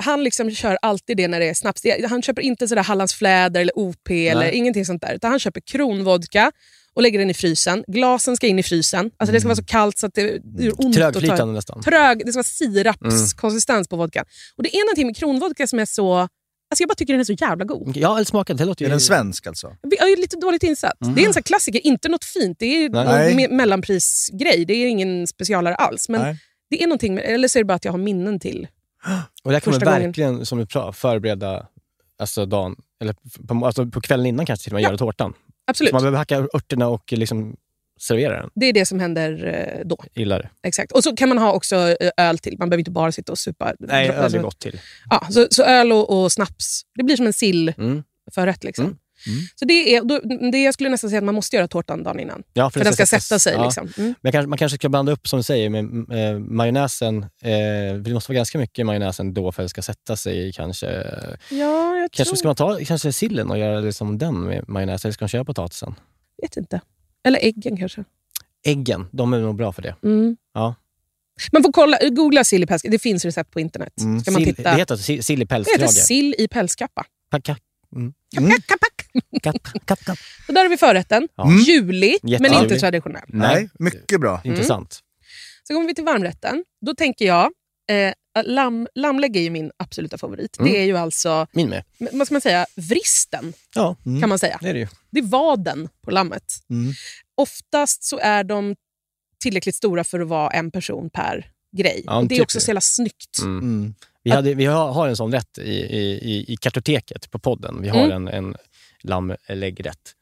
H: han liksom kör alltid det när det är snaps. Det- Han köper inte sådär Hallands fläder eller OP eller ingenting sånt där. Utan han köper kronvodka och lägger den i frysen. Glasen ska in i frysen. Alltså Det ska vara så kallt så att det gör ont.
G: Trögflytande
H: att ta-
G: nästan.
H: Trög, det ska vara sirapskonsistens på vodkan. Och Det är någonting med kronvodka som är så... Alltså jag bara tycker den är så jävla god.
G: Jag har aldrig smakat. Det låter
F: Är den svensk alltså?
H: Jag är lite dåligt insatt.
F: Mm.
H: Det är en sån här klassiker, inte något fint. Det är
F: Nej.
H: någon me- mellanprisgrej. Det är ingen specialare alls. Men
G: Nej.
H: det är någonting med, eller så är det bara att jag har minnen till.
G: Och där kan man
H: Första gången.
G: verkligen, som du sa, förbereda alltså dagen, eller på, alltså på kvällen innan kanske till och med, göra tårtan.
H: Absolut.
G: Så man behöver hacka örterna och liksom servera den.
H: Det är det som händer eh, då.
G: Gillar det.
H: Exakt. Och så kan man ha också eh, öl till. Man behöver inte bara sitta och supa.
G: Nej, öl
H: Alltså-
G: är gott till.
H: Ja, så, så öl och, och snaps. Det blir som en sillförrätt.
G: Mm.
H: Liksom. Så det är, då, det jag skulle nästan säga att man måste göra tårtan dagen innan.
G: Ja,
H: för den ska sätta sig.
G: Ja.
H: Liksom. Mm.
G: Men kanske, man kanske ska blanda upp, som du säger, med eh, majonnäsen. Eh, för det måste vara ganska mycket majonnäsen då för att det ska sätta sig. i Kanske
H: Ja, jag
G: Kanske
H: tror...
G: ska man ta kanske sillen och göra liksom den med majonnäs, eller ska man köra potatisen?
H: vet inte. Eller äggen kanske.
G: Äggen, de är nog bra för det.
H: Mm.
G: Ja.
H: Man får kolla, googla sill i pälskappa. Det finns recept på internet. Ska man
G: Mm. sill,
H: titta.
G: Det heter alltså si- sill i
H: Det heter
G: pälskrage.
H: sill i pälskappa.
G: Packa. Mm.
H: Så där har vi förrätten.
G: Ja. Mm.
H: Julig, men inte
G: Jättetrevlig.
H: traditionell.
G: Nej. Mm.
F: Mycket bra.
G: Intressant.
H: Så kommer vi till varmrätten. Då tänker jag Eh, lamm, lammlägg är ju min absoluta favorit.
G: Mm.
H: Det är ju alltså,
G: Min med.
H: m- vad ska man säga, vristen
G: Ja, mm.
H: kan man säga.
G: Det är det ju.
H: Det är vaden på lammet.
M: Mm.
H: Oftast så är de tillräckligt stora för att vara en person per grej.
G: Ja,
H: och det är
G: typ
H: också
G: det.
H: så jävla snyggt.
G: Mm. Vi, hade, vi har, har en sån rätt i, i, i- i kartoteket på podden. Vi har
H: Mm.
G: en, en lammläggrätt.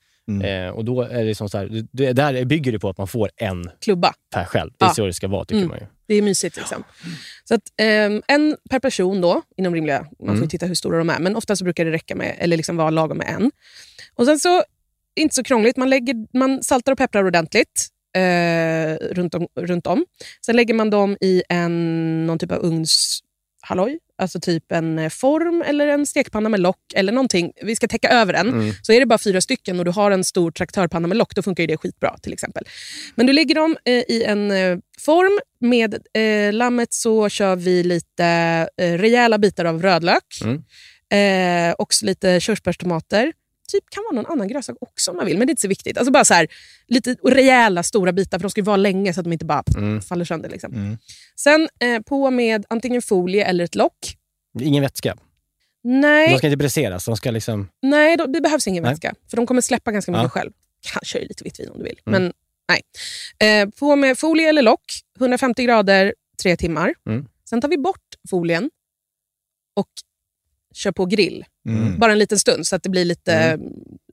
G: Eh, och då är det som så här, det, där bygger det på att man får en
H: Klubba.
G: per själv. Det är
H: Ja.
G: så det ska vara, tycker
H: Mm.
G: man ju.
H: Det är mysigt. Liksom. Så att, ehm, en per person då, inom rimliga... Man får ju
G: Mm.
H: titta hur stora de är, men ofta så brukar det räcka med, eller liksom vara lagom med en. Och sen så, inte så krångligt, man, lägger, man saltar och pepprar ordentligt eh, runt, om, runt om. Sen lägger man dem i en, någon typ av ugnshalloj, alltså typ en eh, form eller en stekpanna med lock eller någonting. Vi ska täcka över den.
N: Mm.
H: Så är det bara fyra stycken och du har en stor traktörpanna med lock, då funkar ju det skitbra till exempel. Men du lägger dem eh, i en eh, form. Med eh, lammet så kör vi lite eh, rejäla bitar av rödlök.
G: Mm.
H: Eh, också lite körsbärstomater. Typ kan vara någon annan grönsak också om man vill, men det är inte så viktigt. Alltså bara så här, lite rejäla stora bitar, för de ska ju vara länge så att de inte bara
G: Mm.
H: faller sönder. Liksom.
G: Mm.
H: Sen eh, på med antingen folie eller ett lock.
G: Ingen vätska.
H: Nej, Typ.
G: De ska inte bräseras. De ska liksom...
H: Nej, då, det behövs ingen
G: Nej.
H: vätska. För de kommer släppa ganska mycket
G: Ja.
H: själv. Kanske lite vitt vin om du vill.
G: Mm.
H: Men nej. Eh, på med folie eller lock, 150 grader, tre timmar.
G: Mm.
H: Sen tar vi bort folien och kör på grill.
G: Mm.
H: Bara en liten stund så att det blir lite eh,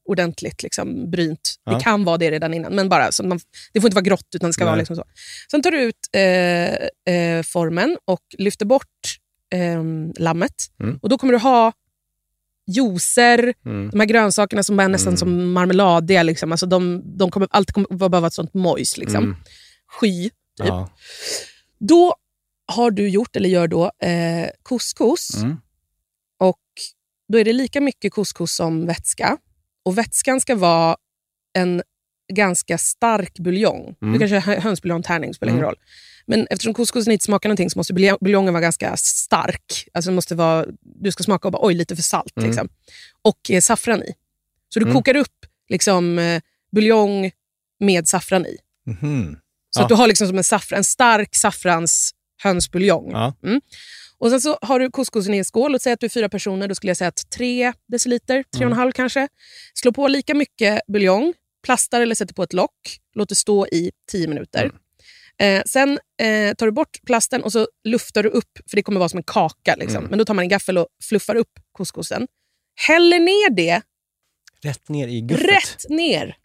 H: ordentligt liksom, brynt.
G: Ja.
H: Det kan vara det redan innan, men bara, så att man, det får inte vara grått. utan det ska vara
G: Nej.
H: liksom så. Sen tar du ut eh, eh, formen och lyfter bort ehm, lammet.
G: Mm.
H: Och Då kommer du ha juicer,
G: Mm.
H: de här grönsakerna som är nästan som marmeladiga. Liksom. Alltså de, de kommer, allt kommer behöva ett sånt mojs. Liksom.
G: Mm.
H: Sky, typ.
G: Ja.
H: Då har du gjort, eller gör då, eh, couscous.
G: Mm.
H: Och Då är det lika mycket couscous som vätska. Och Vätskan ska vara en ganska stark buljong.
N: Mm.
H: Du kanske har hö- hönsbuljong, tärning, spelar ingen
N: Mm.
H: roll. Men eftersom couscousen inte smakar någonting så måste bulja- buljongen vara ganska stark. Alltså den måste vara, du ska smaka och bara oj, lite för salt.
N: Mm.
H: Liksom. Och eh, saffran i. Så du
N: Mm.
H: kokar upp liksom, eh, buljong med saffran i.
M: Mhm.
H: Så att du har liksom som en, saffran, en stark saffrans hönsbuljong.
M: Ja.
H: Mm. Och sen så har du couscousen i en skål. Låt säga att du är fyra personer. Då skulle jag säga att tre deciliter, tre och en
N: Mm.
H: halv kanske. Slå på lika mycket buljong, plastar eller sätter på ett lock. Låt det stå i tio minuter. Eh, sen eh, tar du bort plasten och så luftar du upp, för det kommer vara som en kaka. Liksom.
G: Mm.
H: Men då tar man en gaffel och fluffar upp couscousen. Häller ner det
G: Rätt ner i guffet.
H: rätt ner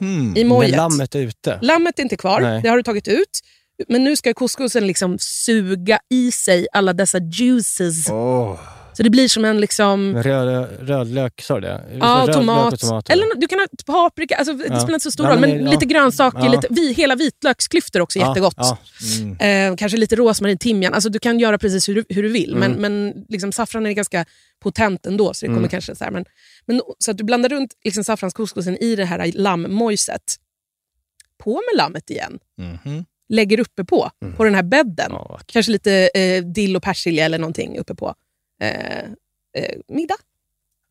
G: Mm.
H: i mojet.
G: Med lammet ute.
H: Lammet är inte kvar,
G: Nej.
H: det har du tagit ut. Men nu ska couscousen liksom suga i sig alla dessa juices. Så det blir som en... liksom...
G: Med röd, rödlök, sa du det?
H: Ja,
G: Rödlök och
H: tomat.
G: tomater.
H: Eller no- du kan ha paprika. Alltså, det
G: Ja.
H: spelar inte så stor
G: Ja,
H: roll.
G: men
H: Men
G: det- ja.
H: lite grönsaker,
G: Ja.
H: lite, vi, hela vitlöksklyftor också är
G: Ja,
H: jättegott.
G: ja.
H: Eh, kanske lite rosmarin, timjan. Alltså, du kan göra precis hur, du- hur du vill.
N: Mm.
H: Men, men liksom, saffran är ganska potent ändå. Så det kommer
N: Mm.
H: kanske så här, men, men, så att du blandar runt liksom, saffranskouscousen i det här lammmojset. På med lammet igen
N: Mhm.
H: lägger uppe på,
N: Mm.
H: på den här bädden. Kanske lite eh, dill och persilja eller någonting uppe på eh, eh, middag.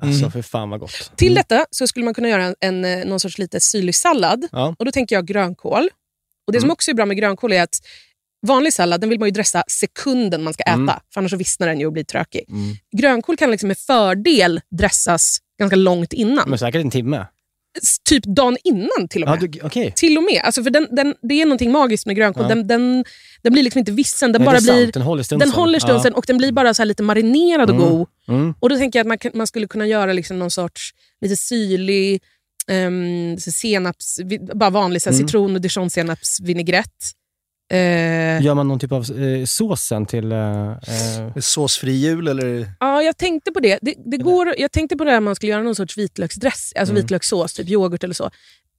G: Alltså, för fan vad gott.
H: Mm. Till detta så skulle man kunna göra en, en, eh, någon sorts lite syrlig sallad.
G: Ja. Mm.
H: Och då tänker jag grönkål. Och Det som också är bra med grönkål är att vanlig sallad den vill man ju dressa sekunden man ska äta,
N: Mm.
H: för annars så vissnar den ju och blir trökig.
G: Mm.
H: Grönkål kan liksom med fördel dressas ganska långt innan.
G: Men säkert en timme.
H: S- Typ dagen innan till och
G: Ja,
H: med.
G: du- okej.
H: Till och med. Alltså för den, den, det är någonting magiskt med grönkål.
G: Ja.
H: Den, den, den blir liksom inte vissen. Den,
G: Nej,
H: bara
G: det är sant.
H: blir,
G: Den håller
H: den
G: stunsen.
H: håller stunsen
G: Ja.
H: och den blir bara så här lite marinerad och god.
G: Mm.
H: Och Då tänker jag att man, kan- man skulle kunna göra liksom någon sorts lite syrlig um, senaps, vi- bara vanlig så här,
G: Mm.
H: citron och dijonsenapsvinägrett. Eh,
G: Gör man någon typ av eh, såsen till... Eh, eh,
M: Såsfri jul eller?
H: Ja, jag tänkte på det. det, det går, jag tänkte på det här man skulle göra någon sorts vitlöksdress, alltså
G: Mm.
H: vitlökssås, typ yoghurt eller så.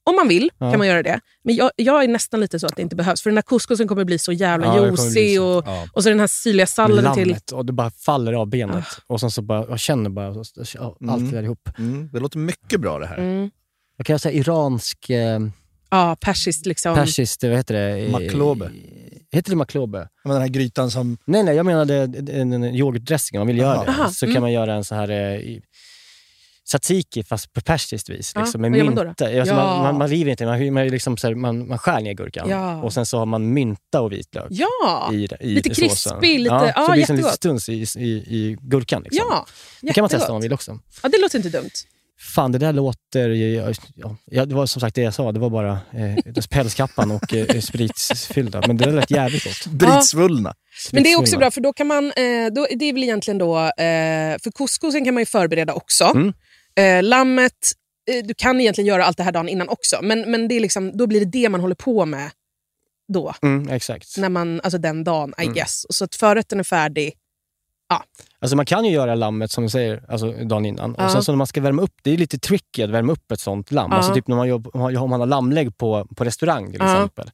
H: Om man vill
G: Ja.
H: kan man göra det, men jag, jag är nästan lite så att det inte behövs. För den här couscousen kommer bli så jävla
G: Ja, det kommer bli
H: juicy
G: så-
H: och,
G: ja.
H: och så den här syrliga salladen till... Ah.
G: lammet och det bara faller av benet. Och sen så bara, jag känner bara så- så- allt det där ihop.
M: Det låter mycket bra det här.
H: Mm.
G: Jag kan säga iransk, eh,
H: Ja, persiskt liksom.
G: persiskt, vad heter det? Eh,
M: Maklobe.
G: Heter det maklobe?
M: Men den här grytan som...
G: Nej, nej, jag menade en, en yoghurtdressing. Om man vill göra
M: Aha.
G: det
H: Aha,
G: så
H: mm.
G: kan man göra en så här eh, i- tzatziki fast på persiskt vis.
H: Ja,
G: Liksom, med
H: vad gör man då
G: mynta.
H: då?
G: Alltså,
H: Ja.
G: man, man, man river inte, man, man, liksom, så här, man, man skär ner gurkan
H: Ja.
G: och sen så har man mynta och vitlök
H: Ja!
G: i, det- i
H: lite
G: såsen.
H: krispig, lite...
G: ja,
H: Ja,
G: så det blir som lite
H: jättegott.
G: stuns i, i, i gurkan. Liksom.
H: Ja,
G: det kan man testa
H: jättegott.
G: om man vill också.
H: Ja, det låter inte dumt.
G: Fan, det där låter... Ja, ja, ja, det var som sagt det jag sa, det var bara eh, pälskappan och eh, spritsfyllda. Men det där lät jävligt gott.
M: Dritsvullna.
H: Men det är också bra, för då kan man... Eh, då, det är väl egentligen då... Eh, för couscousen kan man ju förbereda också.
G: Mm.
H: Eh, lammet, eh, du kan egentligen göra allt det här dagen innan också, men, men det är liksom, då blir det det man håller på med då.
G: Mm, exakt.
H: När man, alltså den dagen, I
G: Mm.
H: guess. Så att förrätten är färdig.
G: Alltså man kan ju göra lammet som du säger, alltså dagen innan.
H: Ja.
G: Och sen så när man ska värma upp, det är lite tricky att värma upp ett sånt lamm.
H: Ja.
G: Alltså typ när man jobb, om man- om man har lammlägg på, på restaurang till
H: Ja.
G: exempel,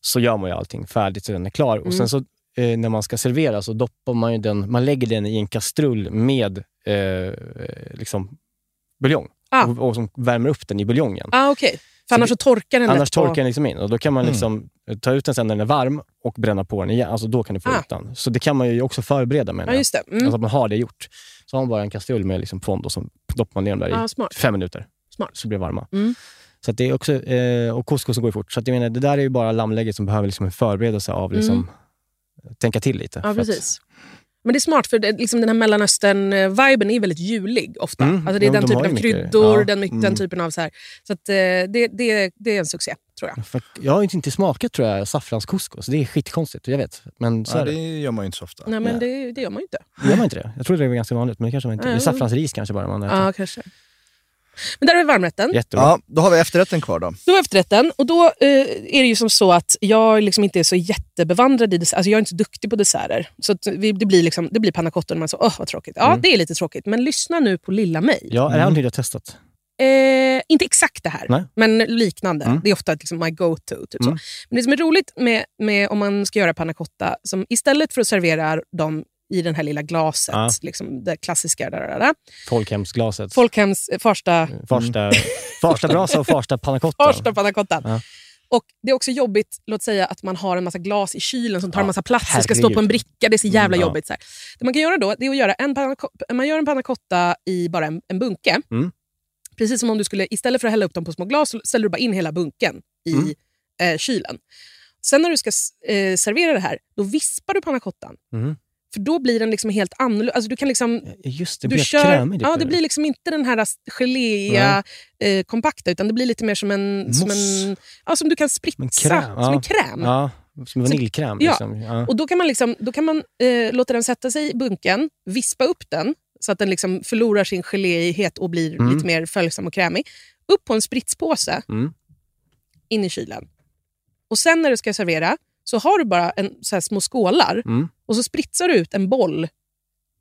G: så gör man ju allting färdigt så den är klar. Och
H: Mm.
G: sen så eh, när man ska servera så doppar man ju den, man lägger den i en kastrull med eh, liksom buljong.
H: Ah.
G: Och, och som värmer upp den i buljongen.
H: Ah, okej. För
G: Så
H: annars
G: det-
H: så torkar den
G: Annars
H: lätt på-
G: torkar den liksom in och då kan man
H: Mm.
G: liksom eh, ta ut den sen när den är varm och bränna på den igen. Alltså då kan du få
H: Ah.
G: ut den. Så det kan man ju också förbereda med.
H: Ja, just det. Mm.
G: Alltså att man har det gjort. Så har man bara en kastrull med liksom fond och så doppar man ner dem där
H: Ah,
G: i
H: smart.
G: fem minuter.
H: Smart.
G: Så blir det varma.
H: Mm.
G: Så att det är också, eh, och couscousen går ju fort. Så att jag menar, det där är ju bara lammlägget som behöver liksom en förberedelse av liksom, tänka till lite.
H: Mm. Ja,
G: För att-
H: precis. Men det är smart, för det, liksom den här Mellanöstern-viben är väldigt julig ofta.
G: Mm,
H: Alltså det
G: ja, men
H: är den
G: de
H: typen
G: har
H: av
G: ju mycket-
H: kryddor,
G: ja,
H: den, my- den
G: mm.
H: typen av... så här. Så att, eh, det, det, det är en succé, tror jag.
G: för att jag har ju inte smakat tror jag, saffranskouscous. Det är skitkonstigt, jag vet. Men så
M: Ja,
G: är det.
M: det gör man ju inte så ofta.
H: Nej, men det, det gör man ju inte.
G: Gör man inte det? Jag trodde det var ganska vanligt, men det kanske man inte...
H: Ja,
G: det är
H: ja.
G: saffransris kanske bara man äter.
H: Ja, kanske. Men där har vi varmrätten.
G: Jättebra.
M: Ja, då har vi efterrätten kvar då.
H: Då är efterrätten. Och då eh, är det ju som så att jag liksom inte är så jättebevandrad i dessert. Alltså jag är inte så duktig på desserter. Så att vi, det blir, liksom, det blir panna cotta och man säger åh vad tråkigt. Ja,
G: Mm.
H: det är lite tråkigt. Men lyssna nu på lilla mig.
G: Ja, är det här någonting du har testat?
H: Eh, inte exakt det här,
G: Nej.
H: men liknande.
G: Mm.
H: Det är ofta liksom my go-to. Typ
G: Mm.
H: så. Men det som är roligt med, med om man ska göra panna cotta, som istället för att servera dem i den här lilla glaset,
G: Ja.
H: liksom det klassiska, där, där, där,
G: Folkhemsglaset.
H: folkhems eh, Farsta,
G: Farsta, Farsta brasa och Farsta pannacotta.
H: Mm. farsta panna cotta.
G: Ja.
H: Och det är också jobbigt, låt säga att man har en massa glas i kylen som tar en
G: Ja,
H: massa plats och ska stå
G: herregud.
H: på en bricka. Det är så jävla
G: Mm, ja.
H: jobbigt. Så här. Det man kan göra då, det är att göra en panna, co- man gör en panna cotta i bara en, en bunke.
G: Mm.
H: Precis som om du skulle, istället för att hälla upp dem på små glas, så ställer du bara in hela bunken i
G: Mm.
H: eh, kylen. Sen när du ska s- eh, servera det här, då vispar du panna cottan.
G: Mm.
H: För då blir den liksom helt annorlunda. Alltså du kan liksom,
G: Eh, Just det,
H: du
G: blir
H: kör-
G: krämig.
H: ja, det blir liksom inte den här geléiga, eh, kompakta, utan det blir lite mer som en... Som,
G: Mousse.
H: en, ja, som du kan spritsa,
G: kräm,
H: som
G: ja.
H: en kräm.
G: Ja, som vaniljkräm.
H: Ja.
G: Liksom. Ja.
H: Och Då kan man, liksom, då kan man eh, låta den sätta sig i bunken, vispa upp den så att den liksom förlorar sin geléighet och blir
G: Mm.
H: lite mer följsam och krämig. Upp på en spritspåse,
G: Mm.
H: in i kylen. Och Sen när du ska servera så har du bara en, så här små skålar
G: Mm.
H: och så spritsar du ut en boll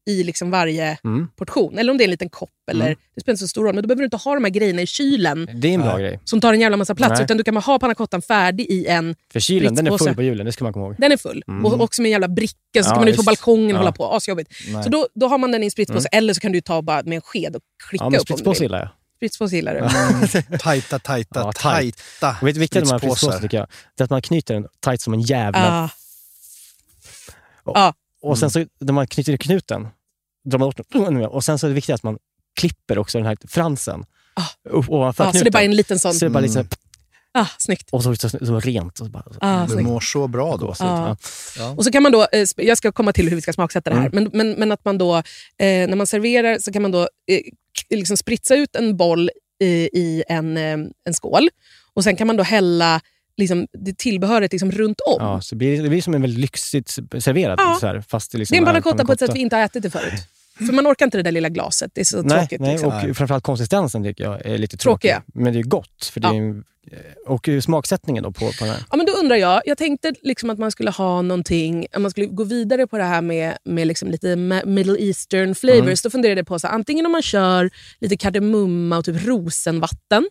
H: i liksom varje
G: Mm.
H: portion. Eller om det är en liten kopp. Eller,
G: Mm.
H: Det spelar inte så stor roll, men då behöver du inte ha de här grejerna i kylen
G: Det är en bra grej.
H: som tar en jävla massa plats.
G: Nej.
H: Utan du kan bara ha pannacottan färdig i en
G: För kylen, den är
H: spritspåse.
G: full på julen, det ska man komma ihåg.
H: Den är full.
G: Mm.
H: Och också med en jävla bricka, så ska
G: Ja,
H: man ut på
G: visst.
H: balkongen och
G: Ja.
H: hålla på. Asjobbigt.
G: Nej. Mm.
H: Så då, då har man den i en spritpåse, eller så kan du ta bara med en sked och klicka
G: Ja, men
H: upp om du
G: spritspåse
H: vill.
G: gillar jag.
H: Spritspåse gillar du. Ah,
M: Tajta, tajta,
G: Ja, tajt.
M: tajta
G: Och Vet du viktigt med de här
M: spritspåsar.
G: spritspåsar tycker jag? Det är att man knyter den tight som en jävla...
H: Ah. Ah.
G: Och sen så när man knyter i knuten, drar man bort den. Och sen så är det viktigt att man klipper också den här fransen. Upp ovanför
H: Ah, så
G: knuten.
H: det är bara en liten sån...
G: Så det är bara lite så här-
H: Ah, snyggt.
G: Och så, så, så, så rent. Och så bara,
H: Ah,
M: Du
H: snyggt.
M: mår så bra då.
H: Ah. Och så kan man då, eh, sp- jag ska komma till hur vi ska smaksätta det här,
G: Mm.
H: men, men, men att man då, eh, när man serverar så kan man då eh, k- liksom spritsa ut en boll eh, i en, eh, en skål och sen kan man då hälla liksom, det tillbehöret liksom runt om.
G: Ja, så det blir, det blir som en väldigt lyxigt serverad.
H: Ja.
G: Så här, fast det, liksom
H: det är en
G: panna
H: panna cotta på ett
G: cotta.
H: sätt vi inte har ätit det förut. För man orkar inte det där lilla glaset, det är så
G: Nej,
H: tråkigt.
G: nej
H: liksom.
G: och framförallt konsistensen tycker jag är lite tråkig.
H: Tråkiga.
G: Men det är gott. För det är, ju- och smaksättningen då på, på den här.
H: Ja, men då undrar jag, jag tänkte liksom att man skulle ha någonting, att man skulle gå vidare på det här med, med liksom lite ma- middle eastern flavors.
G: Mm.
H: Då funderade jag på så här, antingen om man kör lite kardemumma och typ rosenvatten.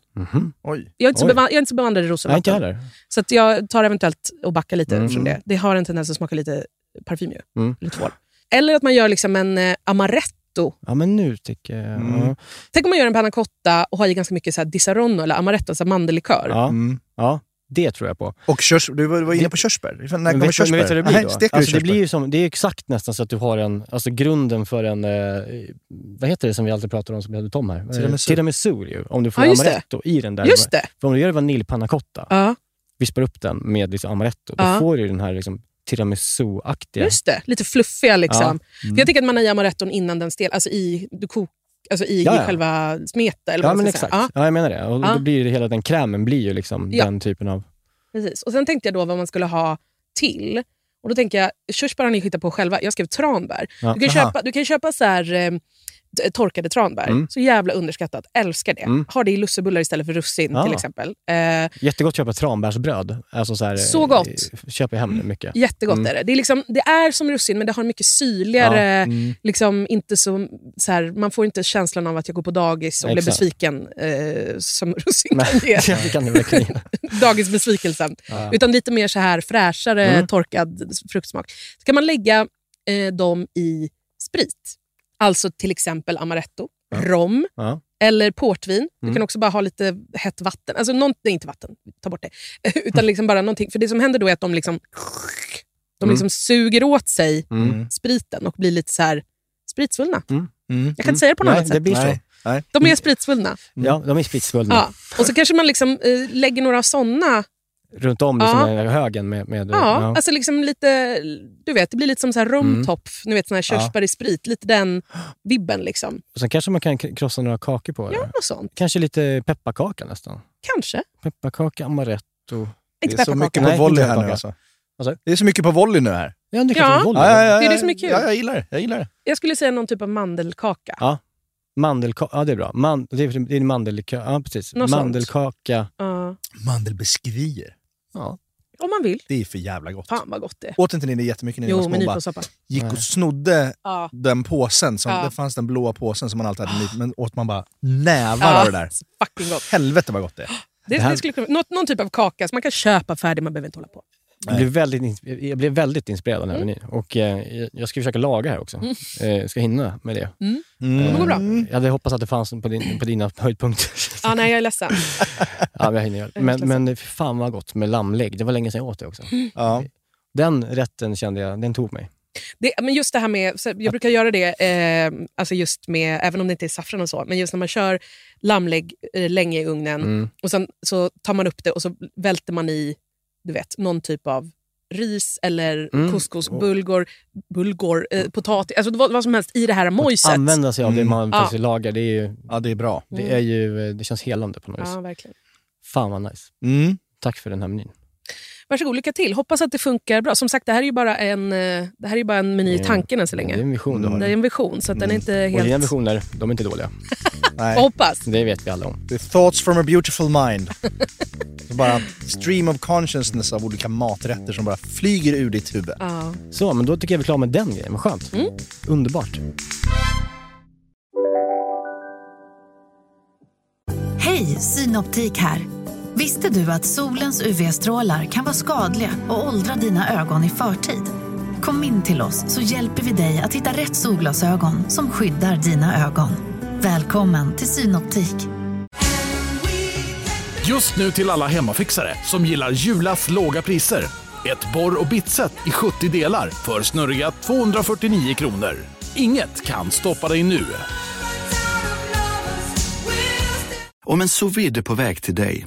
M: Oj.
H: Jag är inte, så,
G: Oj.
H: bevan- jag är inte så bevandrad i
G: Nej, inte
H: rosenvatten.
G: jag heller.
H: så att jag tar eventuellt och backar lite
G: Mm.
H: från det. Det har en tendens att smaka lite parfym ju,
G: Mm.
H: eller tvål. Eller att man gör liksom en eh, amaretto.
G: Ja, men nu tycker jag... Ja.
H: Tänk om man gör en panna cotta och har i ganska mycket så här disaronno eller amaretto, alltså mandellikör.
G: Mm. Ja. ja. Det tror jag på.
M: Och körs, du var du var inne på körsbär. När
G: Men
M: kommer
G: vet, men
M: körsbär?
G: vet du vad det blir
M: Nej,
G: då?
M: steker du
G: alltså, det,
M: körsbär?
G: blir ju som, det är exakt nästan så att du har en, alltså grunden för en, eh, vad heter det som vi alltid pratar om som vi hade Tom här? Eh,
M: Tiramisu.
G: Tiramisu ju, om du får
H: Ja, just det.
G: amaretto i den där.
H: Just det.
G: För om du gör vanilj cotta,
H: Ja,
G: vispar upp den med liksom amaretto, då
H: Ja.
G: får du ju den här liksom, tiramisu-aktiga.
H: just det. Lite fluffiga liksom.
G: Ja. Mm.
H: För jag tänker att man har i amaretton innan den stel, alltså i, du kok, alltså i,
G: Ja, ja.
H: i själva smeten. Eller
G: Ja,
H: vad
G: men
H: man ska
G: exakt.
H: säga.
G: Ja.
H: Ja.
G: jag menar det. Och
H: Ja.
G: då blir ju hela den krämen blir ju liksom
H: Ja.
G: den typen av...
H: Precis. Och Sen tänkte jag då vad man skulle ha till. Och Då tänker jag, körsbär har ni hittat på själva. Jag skrev tranbär.
G: Ja.
H: Du kan
G: Aha.
H: köpa, du kan köpa så här, eh, t- torkade tranbär.
G: Mm.
H: Så jävla underskattat. Älskar det.
G: Mm.
H: Ha det i lussebullar istället för russin
G: Ja.
H: till exempel. Eh,
G: Jättegott att köpa tranbärsbröd. Alltså så, här,
H: Så gott.
G: eh, Köper jag hem det mycket.
H: jättegott
G: Mm.
H: är det. Det är, liksom, det är som russin, men det har en mycket syrligare...
G: Ja. Mm.
H: Liksom inte så, så här, man får inte känslan av att jag går på dagis och blir
G: Exakt.
H: besviken, eh, som russin
G: Nej,
H: kan ge.
G: det kan det verkligen göra.
H: dagisbesvikelsen.
G: Ja.
H: Utan lite mer så här fräschare
G: Mm.
H: torkad fruktsmak. Så kan man lägga eh, dem i sprit. Alltså till exempel amaretto,
G: Ja.
H: rom
G: Ja.
H: eller portvin. Du
G: Mm.
H: kan också bara ha lite hett vatten. Alltså någon, nej, inte vatten, ta bort det. Utan liksom bara någonting. För det som händer då är att de liksom, de
G: Mm.
H: liksom suger åt sig
G: Mm.
H: spriten och blir lite så här spritsvullna.
M: Mm.
H: Jag kan inte säga det på något
G: Nej,
H: annat
G: det
H: sätt.
G: blir så.
M: Nej. Mm. Nej.
H: De är spritsvullna.
G: Ja, de är spritsvullna.
H: Ja. Och så kanske man liksom, eh, lägger några såna
G: Runt om liksom,
H: Ja.
G: den här högen med... med
H: Ja, alltså liksom lite, du vet, det blir lite som så här
M: Mm.
H: romtopf, ni vet sån här körsbär i sprit, lite den vibben liksom.
G: Och sen kanske man kan k- krossa några kakor på det.
H: Något sånt,
G: Kanske lite pepparkaka nästan.
H: kanske.
G: Pepparkaka, amaretto.
H: Inte
M: Det är så mycket
G: Nej,
M: på
G: inte
M: volley här
G: pepparkaka.
M: nu alltså.
G: Vad sa du?
M: Det är så mycket på volley nu här.
G: Ja, det är klart
H: Ja.
G: att volley.
M: Ja, ja, ja,
H: Det är
M: ja.
H: det som är kul.
M: Ja, jag gillar det. Jag gillar det.
H: Jag skulle säga någon typ av mandelkaka.
G: Ja. Mandelkaka, ja det är bra. Man, det är, det är mandelkaka, ja precis.
H: Något sånt.
G: mandelkaka.
H: Ja.
M: Mandelbiskvier.
G: Ja.
H: om man vill.
M: Det är för jävla gott.
H: Fan vad gott det är.
M: Åt inte ni det jättemycket när ni var
H: Jo,
M: små?
H: med
M: bara
H: nyponsoppa.
M: gick
G: Nej.
M: och snodde
H: Ja.
M: den påsen. Som,
H: Ja.
M: Det fanns den blåa påsen som man alltid hade nyp, men åt man bara nävar av det där.
H: så Fucking gott.
M: Helvete vad gott det är.
H: Det,
G: Det här-
H: det skulle, kunna- något, någon typ av kaka som man kan köpa färdig, man behöver inte hålla på.
G: Jag blev väldigt, ins- jag blev väldigt inspirerad av den här
H: Mm.
G: menyn. Och eh, jag- jag ska försöka laga här också. Eh, ska hinna med det.
H: Det kommer gå bra.
M: Mm.
G: Jag hade hoppats att det fanns på, din, på dina höjdpunkter.
H: Mm. Ja, nej, jag är ledsen.
G: ja, men jag hinner göra det. Men, men fy fan vad gott med lammlägg. Det var länge sedan jag åt det också.
H: Mm.
M: Ja.
G: Den rätten kände jag, den tog mig.
H: Det, men just det här med, så jag brukar göra det, eh, alltså just med, även om det inte är saffran och så, men just när man kör lammlägg eh, länge i ugnen
G: Mm.
H: och sen så tar man upp det och så välter man i du vet, någon typ av ris eller
G: Mm.
H: couscous, bulgur, bulgur eh, potatis, alltså vad, vad som helst i det här mojset. Mm.
G: Använda sig av det man
H: Ja.
G: faktiskt lagar, det, är ju,
M: ja, det är bra.
G: det, är ju, eh, det känns helande på något vis.
H: Ja, verkligen.
G: Fan vad nice.
M: Mm.
G: Tack för den här menyn.
H: Varsågod, lycka till. Hoppas att det funkar bra. Som sagt, det här är ju bara en, eh, det här är ju bara en meny i
G: Ja.
H: tanken än så
G: Det är
H: länge.
G: en vision du har.
H: Det är en vision, så att den är inte
G: Mm. Och dina
H: helt...
G: visioner, de är inte dåliga.
H: Jag
M: Nej.
H: hoppas.
G: Det vet vi alla om.
M: Det är thoughts from a beautiful mind. Så bara stream of consciousness av olika maträtter som bara flyger ur ditt huvud.
H: Ja.
G: Så, men då tycker jag vi är klara med den grejen. Vad skönt.
H: Mm.
G: Underbart.
O: Hej, Synoptik här. Visste du att solens UV-strålar kan vara skadliga och åldra dina ögon i förtid? Kom in till oss så hjälper vi dig att hitta rätt solglasögon som skyddar dina ögon. Välkommen till Synoptik.
P: Just nu till alla hemmafixare som gillar Julas låga priser. Ett borr och bitset i 70 delar för snurriga 249 kronor. Inget kan stoppa dig nu.
D: Om en sous vide är på väg till dig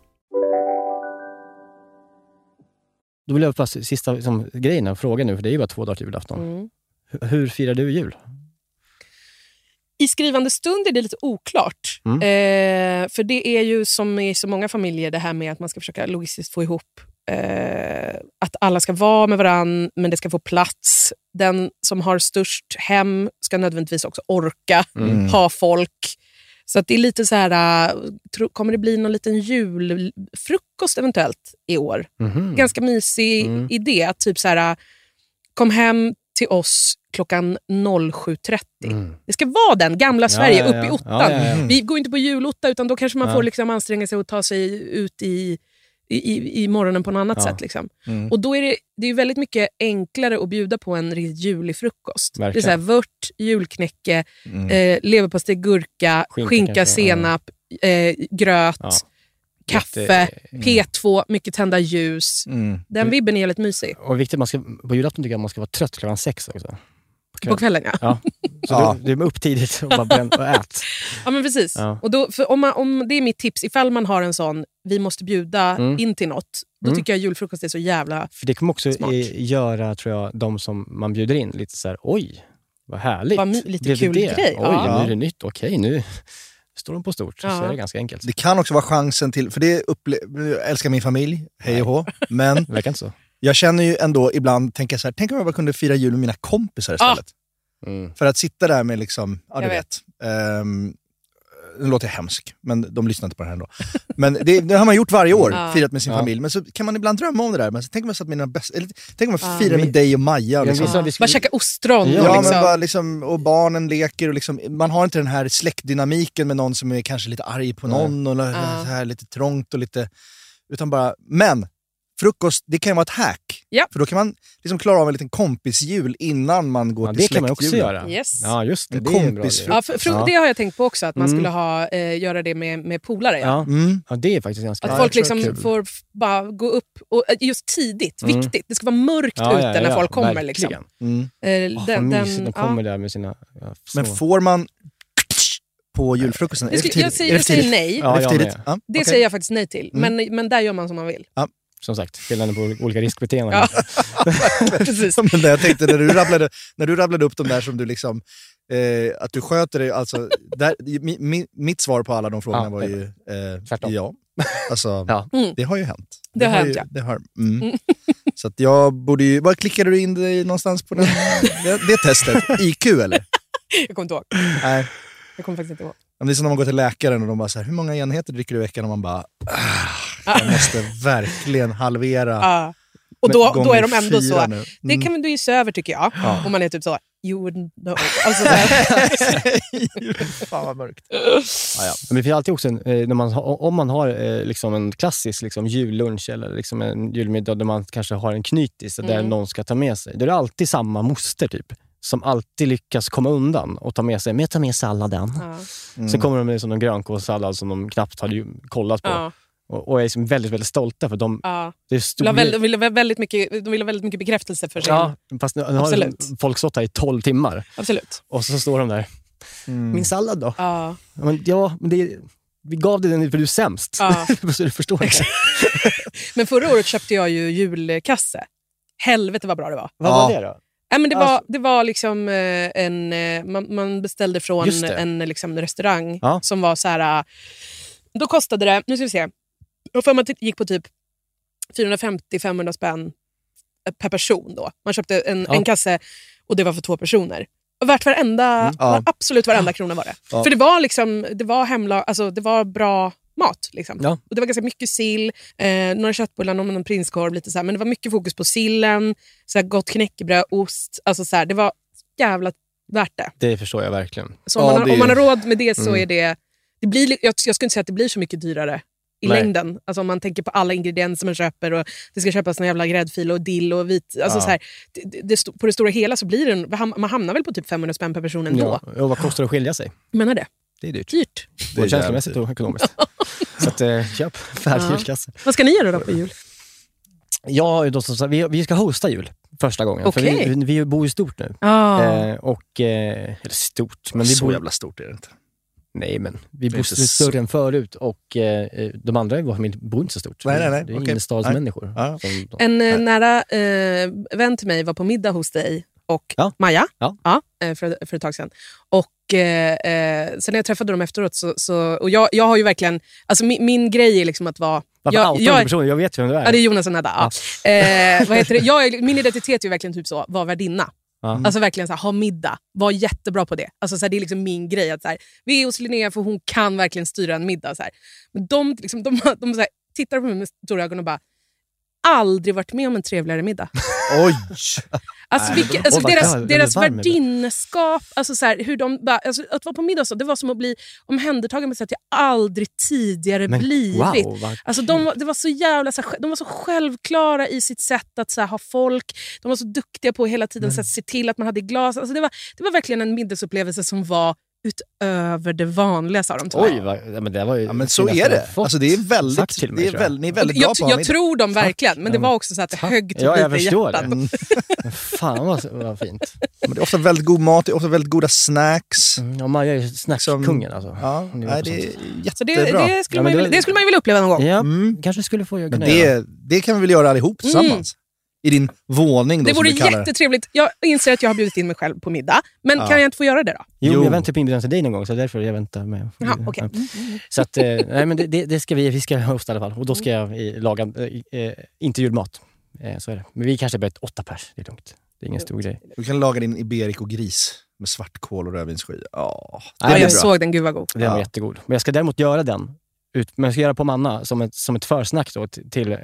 G: Då vill jag passa sista liksom, grejen, här, frågan nu, för det är ju bara två dagar till julafton.
H: Mm.
G: Hur, hur firar du jul?
H: I skrivande stund är det lite oklart.
G: Mm.
H: Eh, för det är ju som i så många familjer det här med att man ska försöka logistiskt få ihop eh, att alla ska vara med varann, men det ska få plats. Den som har störst hem ska nödvändigtvis också orka
G: Mm.
H: ha folk. Så att det är lite så här, äh, tro, kommer det bli någon liten julfrukost eventuellt i år?
Q: Mhm.
H: Ganska mysig
Q: Mm.
H: idé. Att typ så här, äh, kom hem till oss klockan 07.30.
G: Mm.
H: Det ska vara den, gamla
Q: Ja,
H: Sverige,
Q: ja,
H: upp i
Q: ja. Ja,
H: ottan.
Q: ja, ja.
H: Vi går inte på julotta, utan då kanske man
Q: Ja.
H: får liksom anstränga sig och ta sig ut i, i, i, i morgonen på något annat
G: Ja.
H: sätt. Liksom.
G: Mm.
H: Och då är det, det är ju väldigt mycket enklare att bjuda på en riktigt julig frukost. Det är
G: Verkligen.
H: så här, vört, julknäcke,
G: Mm.
H: eh, leverpastej, gurka,
G: Skinka
H: skinka,
G: kanske, ja.
H: senap, eh, gröt,
G: Ja.
H: kaffe,
G: Jätte-
H: P2, mycket tända ljus.
G: Mm.
H: Den vibben är jävligt mysig.
G: Och viktigt, man ska, på julafton tycker jag man ska vara trött klockan sex också.
H: På kvällen, ja.
G: ja. Så
H: Ja.
G: Du, du är upp tidigt och bara bränn och ät.
H: Ja, men precis.
G: Ja.
H: Och då, för om man, om det är mitt tips, ifall man har en sån, vi måste bjuda
G: Mm.
H: in till något, då
G: Mm.
H: tycker jag julfrukost är så jävla...
G: För det kommer också
H: Smart.
G: eh, göra, tror jag, de som man bjuder in lite så här, oj, vad härligt.
H: Vad my- lite
G: Blev det
H: kul
G: det?
H: grej,
G: Oj,
H: ja.
G: nu är det nytt. Okej, nu står de på stort. Så
H: Ja.
G: är det ganska enkelt.
F: Det kan också vara chansen till, för det upple- jag älskar min familj, hej och hå, men
G: Det verkar inte så.
F: jag känner ju ändå ibland, tänker jag så här, tänk om jag bara kunde fira jul med mina kompisar istället.
H: Ah! Mm.
F: För att sitta där med liksom, ja du
G: Jag
F: vet.
G: vet.
F: ehm, nu låter jag hemsk, men de lyssnar inte på det här ändå. Men det, det har man gjort varje år,
G: Ja.
F: firat med sin
H: Ah.
G: Ja.
F: familj. Men så kan man ibland drömma om det där. Men så tänk om jag satt med mina bästa, eller, tänk om
G: Ah.
F: jag
H: Ja.
F: firar med
H: Vi-
F: dig och Maja. Och
H: Ja,
F: liksom.
H: vi sa vi skulle- Bara käka ostron och
F: Ja,
H: liksom-
F: men bara, liksom, och barnen leker. Och liksom, man har inte den här släktdynamiken med någon som är kanske lite arg på
G: Nej.
F: någon. Och
G: Ja.
F: så här, lite trångt och lite... Utan bara, men frukost, det kan ju vara ett hack. För då kan man liksom klara av en liten kompisjul innan man går
G: Ja,
F: till
G: det kan man också
F: släktjulen.
G: göra.
H: Yes.
G: Ja, just det.
F: En
G: det är en bra idé.
H: Ja, för, för, Det har jag tänkt på också, att man
G: Mm.
H: skulle ha, eh, göra det med, med polare. Ja.
G: Ja.
F: Mm,
G: ja, det är faktiskt ganska
H: Att
G: ja,
H: folk
G: jag tror det är
H: liksom
G: kul.
H: får f- bara gå upp, och, eh, just tidigt,
G: Mm.
H: viktigt. Det ska vara mörkt
G: Ja,
H: ute
G: ja,
H: när
G: ja,
H: folk kommer.
G: verkligen.
H: Liksom.
F: Mm.
H: Eh,
G: Åh,
H: den-
G: Ah, vad
H: den-
G: mysigt, de
H: ja.
G: kommer där med sina... Ja,
F: Men
G: små-
F: får man på julfrukosten? Är
H: Det
F: det för
H: skulle, jag
F: tidigt?
H: säger,
F: Är det för
H: jag säger
F: tidigt?
H: nej.
F: Är det för tidigt? Ja,
H: Det
F: okej.
H: säger jag faktiskt nej till.
F: Mm.
H: Men, men där gör man som man vill.
G: Som sagt, skillnaden på olika riskbeteenden.
H: Ja. Precis.
F: Men det jag tänkte när du, rabblade, när du rabblade upp de där som du liksom... Eh, att du sköter dig. Alltså, där, mi, mi, mitt svar på alla de frågorna
G: Ja,
F: var
G: det-
F: ju eh, ja. Alltså,
H: Mm.
F: det har ju hänt.
H: Det har hänt,
F: ju-
H: ja.
F: Det har, mm. Så att jag borde ju... Var klickade du in dig någonstans på den, det, det testet? IQ eller?
H: Jag kommer inte ihåg.
F: Nej.
H: Jag kommer faktiskt inte ihåg.
F: Ja, men Det är som när man går till läkaren och de bara så här, hur många enheter dricker du i veckan? Och man bara, ah, jag måste verkligen halvera.
H: Ja. Och
F: Ah. Men
H: då, då är de
F: gånger
H: ändå
F: fyra
H: så...
F: nu.
H: Det
F: Mm.
H: kan man ju se över tycker jag.
F: Ja.
H: Om man är typ så... You wouldn't know. Alltså, så här.
F: Fan vad mörkt.
G: Ja, ja. Men det finns alltid också en, eh, när man, har- om man har eh, liksom en klassisk liksom jullunch eller liksom en julmiddag där man kanske har en knytis där
R: Mm.
G: någon ska ta med sig. Då är det alltid samma moster typ, som alltid lyckas komma undan och ta med sig, men jag tar med salladen.
R: Mm.
G: Sen kommer de med liksom någon grönkålssallad som de knappt hade ju kollat på.
H: Ja.
G: Och, och är liksom väldigt, väldigt stolta för de,
H: Ja.
G: det är
H: De
G: stor...
H: vill ha väldigt, de vill ha väldigt mycket, de vill ha väldigt mycket bekräftelse för sin...
G: Ja, fast nu, nu har
H: Absolut.
G: liksom folk stått här i 12 timmar
H: Absolut.
G: och så står de där.
F: Mm.
G: Min sallad då?
H: Ja.
G: Ja, Men, ja, men det, vi gav dig den för du är sämst.
H: Ja.
G: så du förstår inte.
H: Men förra året köpte jag ju julkasse. Helvete vad bra det var.
G: Vad var det då?
H: Nej, men det, var,
G: Alltså-
H: det var liksom eh, en... eh, Man, man beställde
G: Just
H: från
G: det.
H: en eh, liksom, restaurang
G: Ja.
H: som var så här... eh, Då kostade det... Nu ska vi se. Jag för mig att det gick på typ 450-500 spänn eh, per person. då. Man köpte en,
Q: Ja.
H: en kasse och det var för två personer. Och värt varenda,
Q: Ja.
H: var, absolut varenda krona var det.
Q: Ja.
H: För det var liksom, det var hemla, alltså det var bra mat. Liksom.
Q: Ja.
H: Och det var ganska mycket sill, eh, några köttbullar, någon, någon prinskorv. Lite så här. Men det var mycket fokus på sillen, så här gott knäckebröd, ost. Alltså så här, det var jävla värt det.
G: Det förstår jag verkligen.
H: Så om, man, har, om man har råd med det så
G: Mm.
H: är det... det blir, li- jag, jag skulle inte säga att det blir så mycket dyrare i
G: Nej.
H: längden. Alltså om man tänker på alla ingredienser man köper och det ska köpas någon jävla gräddfil och dill och vit... Alltså
G: Ja.
H: så här, det, det- det, sto- på det stora hela så blir det... en- ham- Man hamnar väl på typ 500 spänn per person ändå.
G: Ja, och vad kostar det att skilja sig?
H: Menar det.
G: Det är dyrt.
H: Dyrt.
G: Både känslomässigt och ekonomiskt. så att, eh, köp färdig
H: Ja.
G: julkasse.
H: Vad ska ni göra då
G: Eh,
H: på jul?
G: Jag har ju då som sagt, vi, vi ska hosta jul första gången.
H: Okej.
G: För vi, vi bor ju stort nu.
H: Ah.
G: Eh, och, eh, eller stort, men vi
F: Så
G: bor...
F: jävla stort är det inte.
G: Nej, men vi
F: Det är
G: bor
F: inte så-
G: större än förut och eh, de andra i vår familj bor inte så stort.
F: Nej, nej, nej.
G: Det är
F: Okej.
G: innerstadsmänniskor.
F: Nej.
G: som-
H: En eh, nära eh, vän till mig var på middag hos dig och Maja
G: Ja.
H: eh, för, för ett tag sedan. Och, eh, eh, sen när jag träffade dem efteråt, så, så, och jag, jag har ju verkligen... Alltså min, min grej är liksom att vara...
G: Varför
H: jag,
G: outar du
H: jag,
G: personen? Jag vet ju vem du är.
H: Ja, det är Jonas och Nedda. Ja.
G: Ja.
H: Eh, vad heter det? Jag, är- min identitet är ju verkligen typ så, var värdinna.
G: Ja.
H: Alltså verkligen så här, ha middag. Var jättebra på det. Alltså så här, det är liksom min grej. Att så här, vi är hos Linnea för hon kan verkligen styra en middag. Så här. Men de, liksom, de, de så här, tittar på mig med stora ögon och bara, aldrig varit med om en trevligare middag.
M: Oj!
H: Alltså, vilka, alltså deras deras värdinneskap, alltså så här, hur de bara, alltså att vara på middag och så, det var som att bli omhändertagen på ett sätt jag aldrig tidigare
S: Men,
H: blivit.
S: wow, vad
H: alltså de, var- det var så jävla, så här, de var så självklara i sitt sätt att så här, ha folk. De var så duktiga på att hela
M: Mm.
H: tiden så här, se till att man hade glas. Alltså det, var, det var verkligen en middagsupplevelse som var utöver det vanliga, sa de till mig.
G: Oj, vad, ja, men det var ju...
M: men så är det. Alltså, det är väldigt- det är väl- ni är väldigt bra
H: jag,
M: på att ha
H: jag
M: middag.
H: tror dem verkligen, men det
M: Ja,
H: var också så att det högg till
M: Ja, jag
H: lite i
M: förstår
H: hjärtat.
M: det. Mm,
G: Mm. Fan vad, vad fint.
M: Men det är ofta väldigt god mat, det är ofta väldigt goda snacks.
G: Mm, Ja, Maja är ju snackskungen alltså.
M: Ja, nej, det är jättebra.
H: Så det, det, skulle man ju, vilja- det skulle man ju vilja uppleva någon gång.
G: Ja, kanske skulle få göra
M: Mm. Men det, det kan vi väl göra allihop
H: Mm.
M: tillsammans? I din våning då,
H: Det
M: som
H: vore
M: du kallar det.
H: jättetrevligt. Jag inser att jag har bjudit in mig själv på middag, men
G: Ja.
H: kan jag inte få göra det då?
G: Jo,
M: Jo.
G: jag väntar typ på inbjudan till dig någon gång, så därför jag väntar med.
H: Jaha, okej.
G: Så att, eh, nej, men det- det, det ska vi, vi ska hosta i alla fall. Och då ska jag eh, laga, eh, eh, inte julmat. Eh, så är det. Men vi kanske börjar ett åtta pers, det är lugnt. Det är ingen stor grej.
M: Du kan laga din Iberico gris med svartkål och rödvinssky. Ja, det
G: Nej,
M: blir
G: jag
M: bra.
G: såg
H: den, gud vad god.
G: Den var jättegod. Men jag ska däremot göra den, ut, men jag ska göra på manna som ett, som ett försnack då, t- till, eh,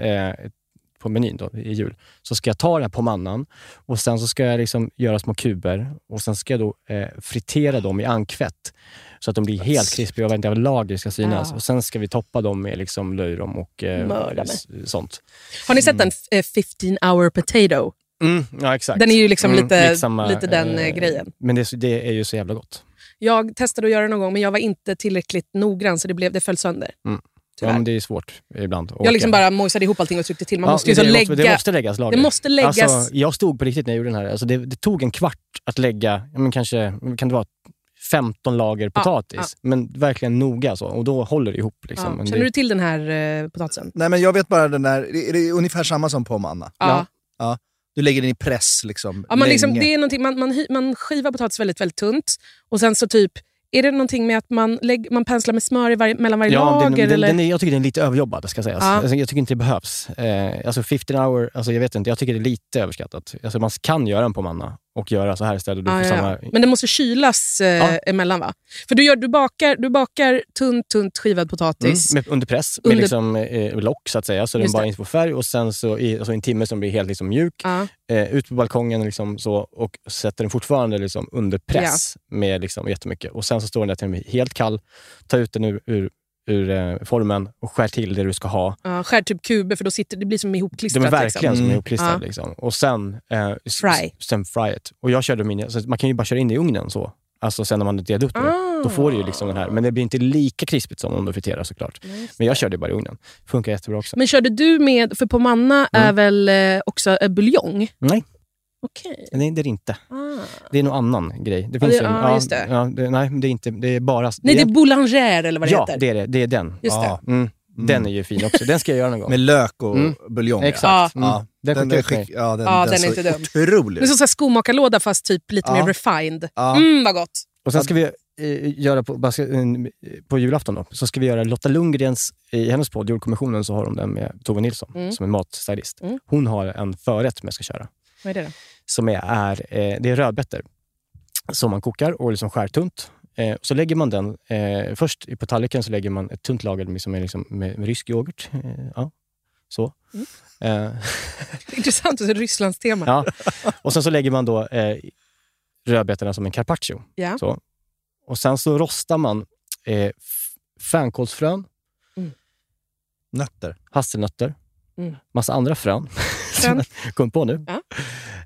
G: på menyn då, i jul. Så ska jag ta den här på mannan och sen så ska jag liksom göra små kuber och sen ska jag då eh, fritera dem i ankfett så att de blir helt krispiga och varenda lager ska synas.
H: Ah.
G: Och sen ska vi toppa dem med liksom löjrom och eh,
H: Mörda mig.
G: s- sånt.
H: Har ni
M: Mm.
H: sett den eh, 15 hour potato?
G: Mm, ja, exakt. Mm,
H: Den är ju liksom lite-
G: samma,
H: lite den, eh, grejen.
G: Men det, är så- det är ju så jävla gott.
H: Jag testade att göra det någon gång, men jag var inte tillräckligt noggrann så det, blev, det föll sönder.
G: Mm.
H: Tyvärr.
G: Ja, men det är ju svårt ibland. att
H: Jag liksom
G: orka.
H: bara mojsade ihop allting och tryckte till. Man
G: Ja,
H: måste ju
G: det,
H: så
G: det
H: lägga...
G: Måste, det måste läggas lager.
H: Det måste läggas...
G: Alltså, jag stod på riktigt när jag gjorde den här. Alltså, det, det tog en kvart att lägga, ja, men kanske, kan det vara 15 lager potatis. Men verkligen noga så. Och då håller det ihop. Liksom.
H: ja.
G: Men
H: Känner
G: det,
H: du till den här eh, potatisen?
M: Nej, men jag vet bara den där, är det ungefär samma som på manna?
H: Ja.
M: ja. Du lägger den i press liksom,
H: Ja, man, liksom,
M: länge.
H: det är någonting, man, man, hy- man skivar potatis väldigt, väldigt tunt och sen så typ, är det någonting med att man, lägg, man penslar med smör i varje, mellan varje
G: Ja,
H: lager?
G: den, den,
H: eller?
G: den är, jag tycker den är lite överjobbad, ska sägas.
H: Ja.
G: Alltså, jag tycker inte det behövs. Eh, alltså 15 hour, alltså, jag vet inte, jag tycker det är lite överskattat. Alltså, man kan göra den på manna och göra så här istället. Du
H: Ja,
G: får
H: ja,
G: samma...
H: ja. Men den måste kylas eh,
G: Ja.
H: emellan va? För du, gör, du, bakar, du bakar tunt, tunt skivad
G: Mm,
H: potatis.
G: med, under press,
H: Under-
G: med liksom, eh, lock så att säga, så den
H: Just
G: bara
H: det.
G: inte får färg. Och sen så i alltså i en timme som blir helt liksom, mjuk.
H: Ja.
G: eh, ut på balkongen liksom så, och sätter den fortfarande liksom under press med liksom jättemycket. Och Sen så står den där till mig helt kall. Ta ut den ur, ur, ur eh, formen och skär till det du ska ha.
H: Ja, skär typ kuber för då sitter, det blir som
G: De
H: ihopklistrat.
G: är verkligen
H: liksom.
G: som ihopklistrade.
H: Ja.
G: Liksom. Och sen, eh, s-
H: Fry.
G: s- sen fry it. Och jag körde min, så man kan ju bara köra in det i ugnen så. Alltså sen när man har delat upp det. Då får du ju liksom den här. Men det blir inte lika krispigt som om du friterar såklart. Men jag körde ju bara i ugnen. Funkar jättebra också.
H: Men körde du med, för på manna är väl eh, också eh, buljong?
G: Mm. Nej,
H: Okej.
G: nej, det är det inte.
H: Ah.
G: Det är någon annan grej. Det
H: Ja,
G: finns
H: det-
G: ju en-
H: ja, just det.
G: Ja, det. Nej, det är, inte, det är bara...
H: Nej, det är
G: egent-
H: boulanger eller vad det
G: ja,
H: heter.
G: det är det. Det är den.
H: Just det.
G: Mm. Den är ju fin också. Den ska jag göra någon gång.
M: Med lök och
G: Mm.
M: buljong. ja.
G: Exakt.
M: Ja.
G: Mm.
M: Den,
G: Den skickar
M: den,
G: ut mig.
M: skick, ja, den, den,
H: Ja, den är
M: såg
H: inte dum.
M: otrolig
H: Det är som så här skomakarlåda fast typ lite
M: Ja.
H: mer refined.
M: Ja.
H: Mm, vad gott.
G: Och sen ska vi eh, göra, på, bara ska, eh, på julafton då, så ska vi göra Lotta Lundgrens, i hennes podd Julkommissionen, så har hon den med Tove Nilsson,
H: Mm.
G: som är matstylist.
H: Mm.
G: Hon har en förrätt som jag ska köra.
H: Vad är det då?
G: som är, är, eh, det är rödbetor som man kokar och liksom skär tunt. Eh, och så lägger man den, eh, först på tallriken så lägger man ett tunt lager liksom med, liksom med, med rysk yoghurt. Eh, ja, så.
H: Mm.
G: Eh,
H: Intressant, det är Rysslands tema.
G: ja. Och sen så lägger man då eh, rödbetorna som en carpaccio.
H: Ja.
G: Så. Och sen så rostar man eh, f- fänkålsfrön,
H: Mm.
M: nötter,
G: hasselnötter,
H: Mm.
G: massa andra frön som jag kom på nu.
H: Ja.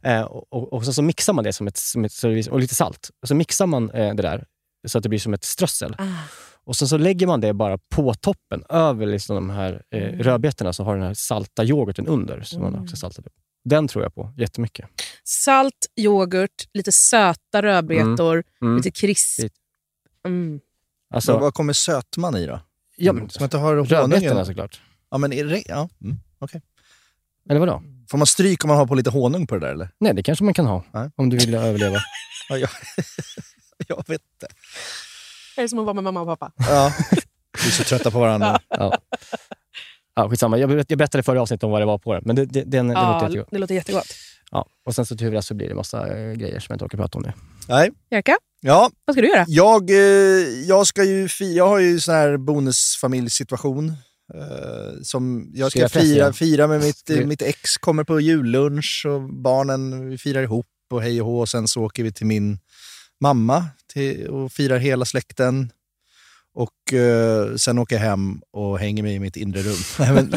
G: Eh, och, och, och sen så mixar man det som ett, som ett service, och lite salt. Och så mixar man eh, det där så att det blir som ett strössel.
H: ah,
G: Och sen så lägger man det bara på toppen, över liksom de här eh,
H: Mm.
G: rödbetorna, så har den här salta yoghurten under. Som man också saltade. Den tror jag på jättemycket.
H: Salt, yoghurt, lite söta rödbetor,
G: Mm. Mm.
H: lite krisp. Mm.
G: Alltså-
M: Vad kommer sötman i då?
G: Ja,
M: Mm, Som inte har honungen?
H: alltså.
G: Rödbetorna såklart.
M: Ja, men är det, ja. Mm. okej.
G: Eller vadå?
M: Får man stryk om man har på lite honung på det där eller?
G: Nej, det kanske man kan ha. Om du vill överleva.
M: Ja, jag, jag vet inte.
H: Det är som att vara med mamma och pappa.
M: Ja. Vi är så trötta på varandra.
G: Ja. Ja, skitsamma. Jag, ber- jag berättade i förra avsnittet om vad det var på den, men det, det, den, den
H: Ja,
G: låter jättegod.
H: det låter jättegott.
G: Ja. Och sen så tyvärr så blir det massa eh, grejer som jag inte orkar prata om nu.
F: Nej.
H: Jerka,
F: Ja.
H: vad ska du göra?
F: Jag, eh, jag, ska ju fi- jag har ju sån här bonusfamiljsituation. Eh, som jag ska
G: Ska jag
F: fira,
G: pressa?
F: fira med mitt,
G: Ska vi-
F: mitt ex, kommer på jullunch och barnen vi firar ihop och hej och hå. Och sen så åker vi till min mamma till, och firar hela släkten. Och eh, sen åker jag hem och hänger mig i mitt inre rum. nej, men,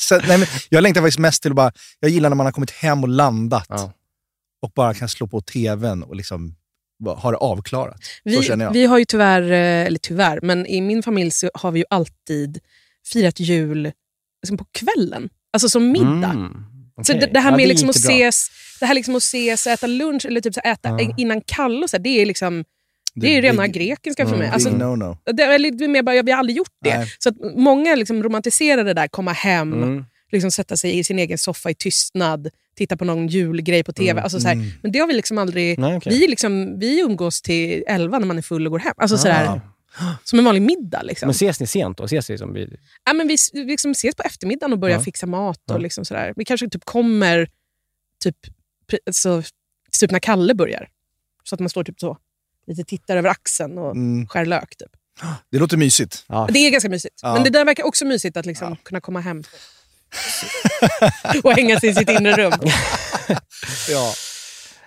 F: sen, nej, men, jag längtar faktiskt mest till att bara, jag gillar när man har kommit hem och landat och bara kan slå på tvn och liksom bara ha det avklarat. så
H: Vi,
F: känner jag.
H: vi har ju tyvärr, eh, eller tyvärr, men i min familj så har vi ju alltid firat jul liksom på kvällen. Alltså som middag.
F: Mm,
G: Mm.
H: Så det, det här med liksom att ses, det här liksom att ses och äta lunch, eller typ så här äta
F: Ja.
H: innan kall, och så här, det är liksom det är ju
F: big-
H: rena grekiska för mig.
F: Mm,
H: Alltså,
F: big no-no.
H: det, eller, det är mer bara, jag, vi har aldrig gjort det.
F: Nej.
H: Så att många liksom romantiserar det där, komma hem,
F: Mm.
H: liksom sätta sig i sin egen soffa i tystnad, titta på någon julgrej på tv.
F: Mm.
H: Alltså, så här,
F: Mm.
H: Men det har vi liksom aldrig...
F: Nej, okej.
H: vi, är liksom, vi umgås till elva när man är full och går hem. Alltså, så
G: Ah.
H: där, som en vanlig middag. Liksom.
G: Men ses ni sent då? Ses ni som vid...
H: Ja, men vi s- vi liksom ses på eftermiddagen och börjar
G: Ja.
H: fixa mat. Och
G: Ja.
H: liksom sådär. Vi kanske typ kommer typ, pre- alltså, typ när Kalle börjar. Så att man står typ så, lite tittar över axeln och
F: Mm.
H: skär lök. Typ.
F: Det låter mysigt.
H: Det är ganska mysigt.
F: Ja.
H: Men det där verkar också mysigt, att liksom kunna komma hem och hänga sig i sitt inre rum.
F: ja.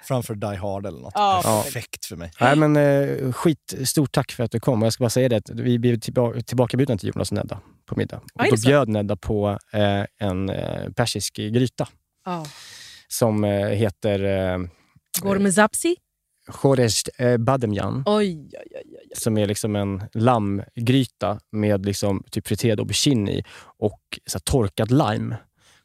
F: Framför Die Hard eller något.
H: Ja.
F: Perfekt för mig.
G: Nej, men eh, skit, stort tack för att du kom. Och Jag ska bara säga det, att vi blev tillba- tillbakabjudna till Jonas och Nedda på middag.
H: är
G: Och
H: det
G: då
H: så?
G: bjöd Nedda på eh, en eh, persisk gryta
H: Ja.
G: som eh, heter eh,
H: Gormezapsi.
G: Khoresht eh, bademjan.
H: Oj, oj, oj. oj.
G: som är liksom en lammgryta med liksom typ friterad aubergine i och så här torkad lime.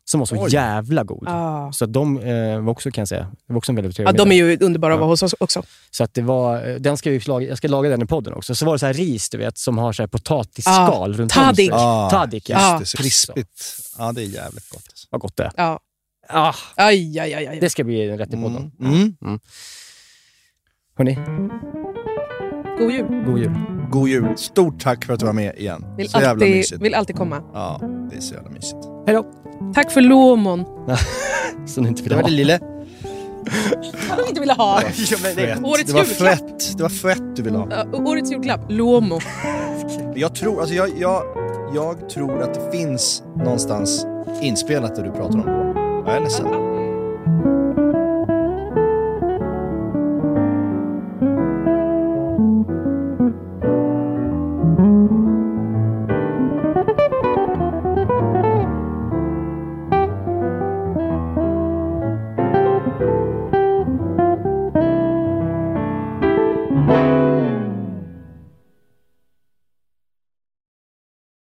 G: Som var så
H: Oj.
G: jävla god.
H: Ah.
G: Så att de eh, var också, kan jag säga, det var också en väldigt trevlig
H: Ja, de är
G: middag.
H: ju underbara att vara hos oss också.
G: Så att det var, eh, den ska jag, ju laga, jag ska laga den i podden också. Så var det så här ris, du vet, som har så här potatisskal
H: Ah,
G: runt
H: tadik.
G: om sig.
H: Ah,
G: Tadik, ja.
H: just det,
F: så
G: krispigt.
F: Ja, det är jävligt gott.
G: Vad gott det är.
H: Ja.
G: Ah,
H: Aj, aj, aj, aj.
G: det ska bli en rätt i podden.
F: Mm.
G: Hörni,
H: God jul.
G: god jul.
F: God jul. Stort tack för att du var med igen.
H: Vill
F: så jävla
H: alltid,
F: mysigt.
H: vill alltid komma.
F: Ja, det är så jävla mysigt.
G: Hej då.
H: Tack för låmon.
G: Som ni inte vill
F: Det var
G: ha.
F: det lille.
H: Som vi inte ville ha. Årets
F: det var
H: julklapp.
F: fett. Det var fett du ville ha.
H: Ja, årets julklapp. Lomo.
F: Jag tror, alltså jag, jag, jag tror att det finns någonstans inspelat det du pratar om. Jag är ledsen.
T: Mm.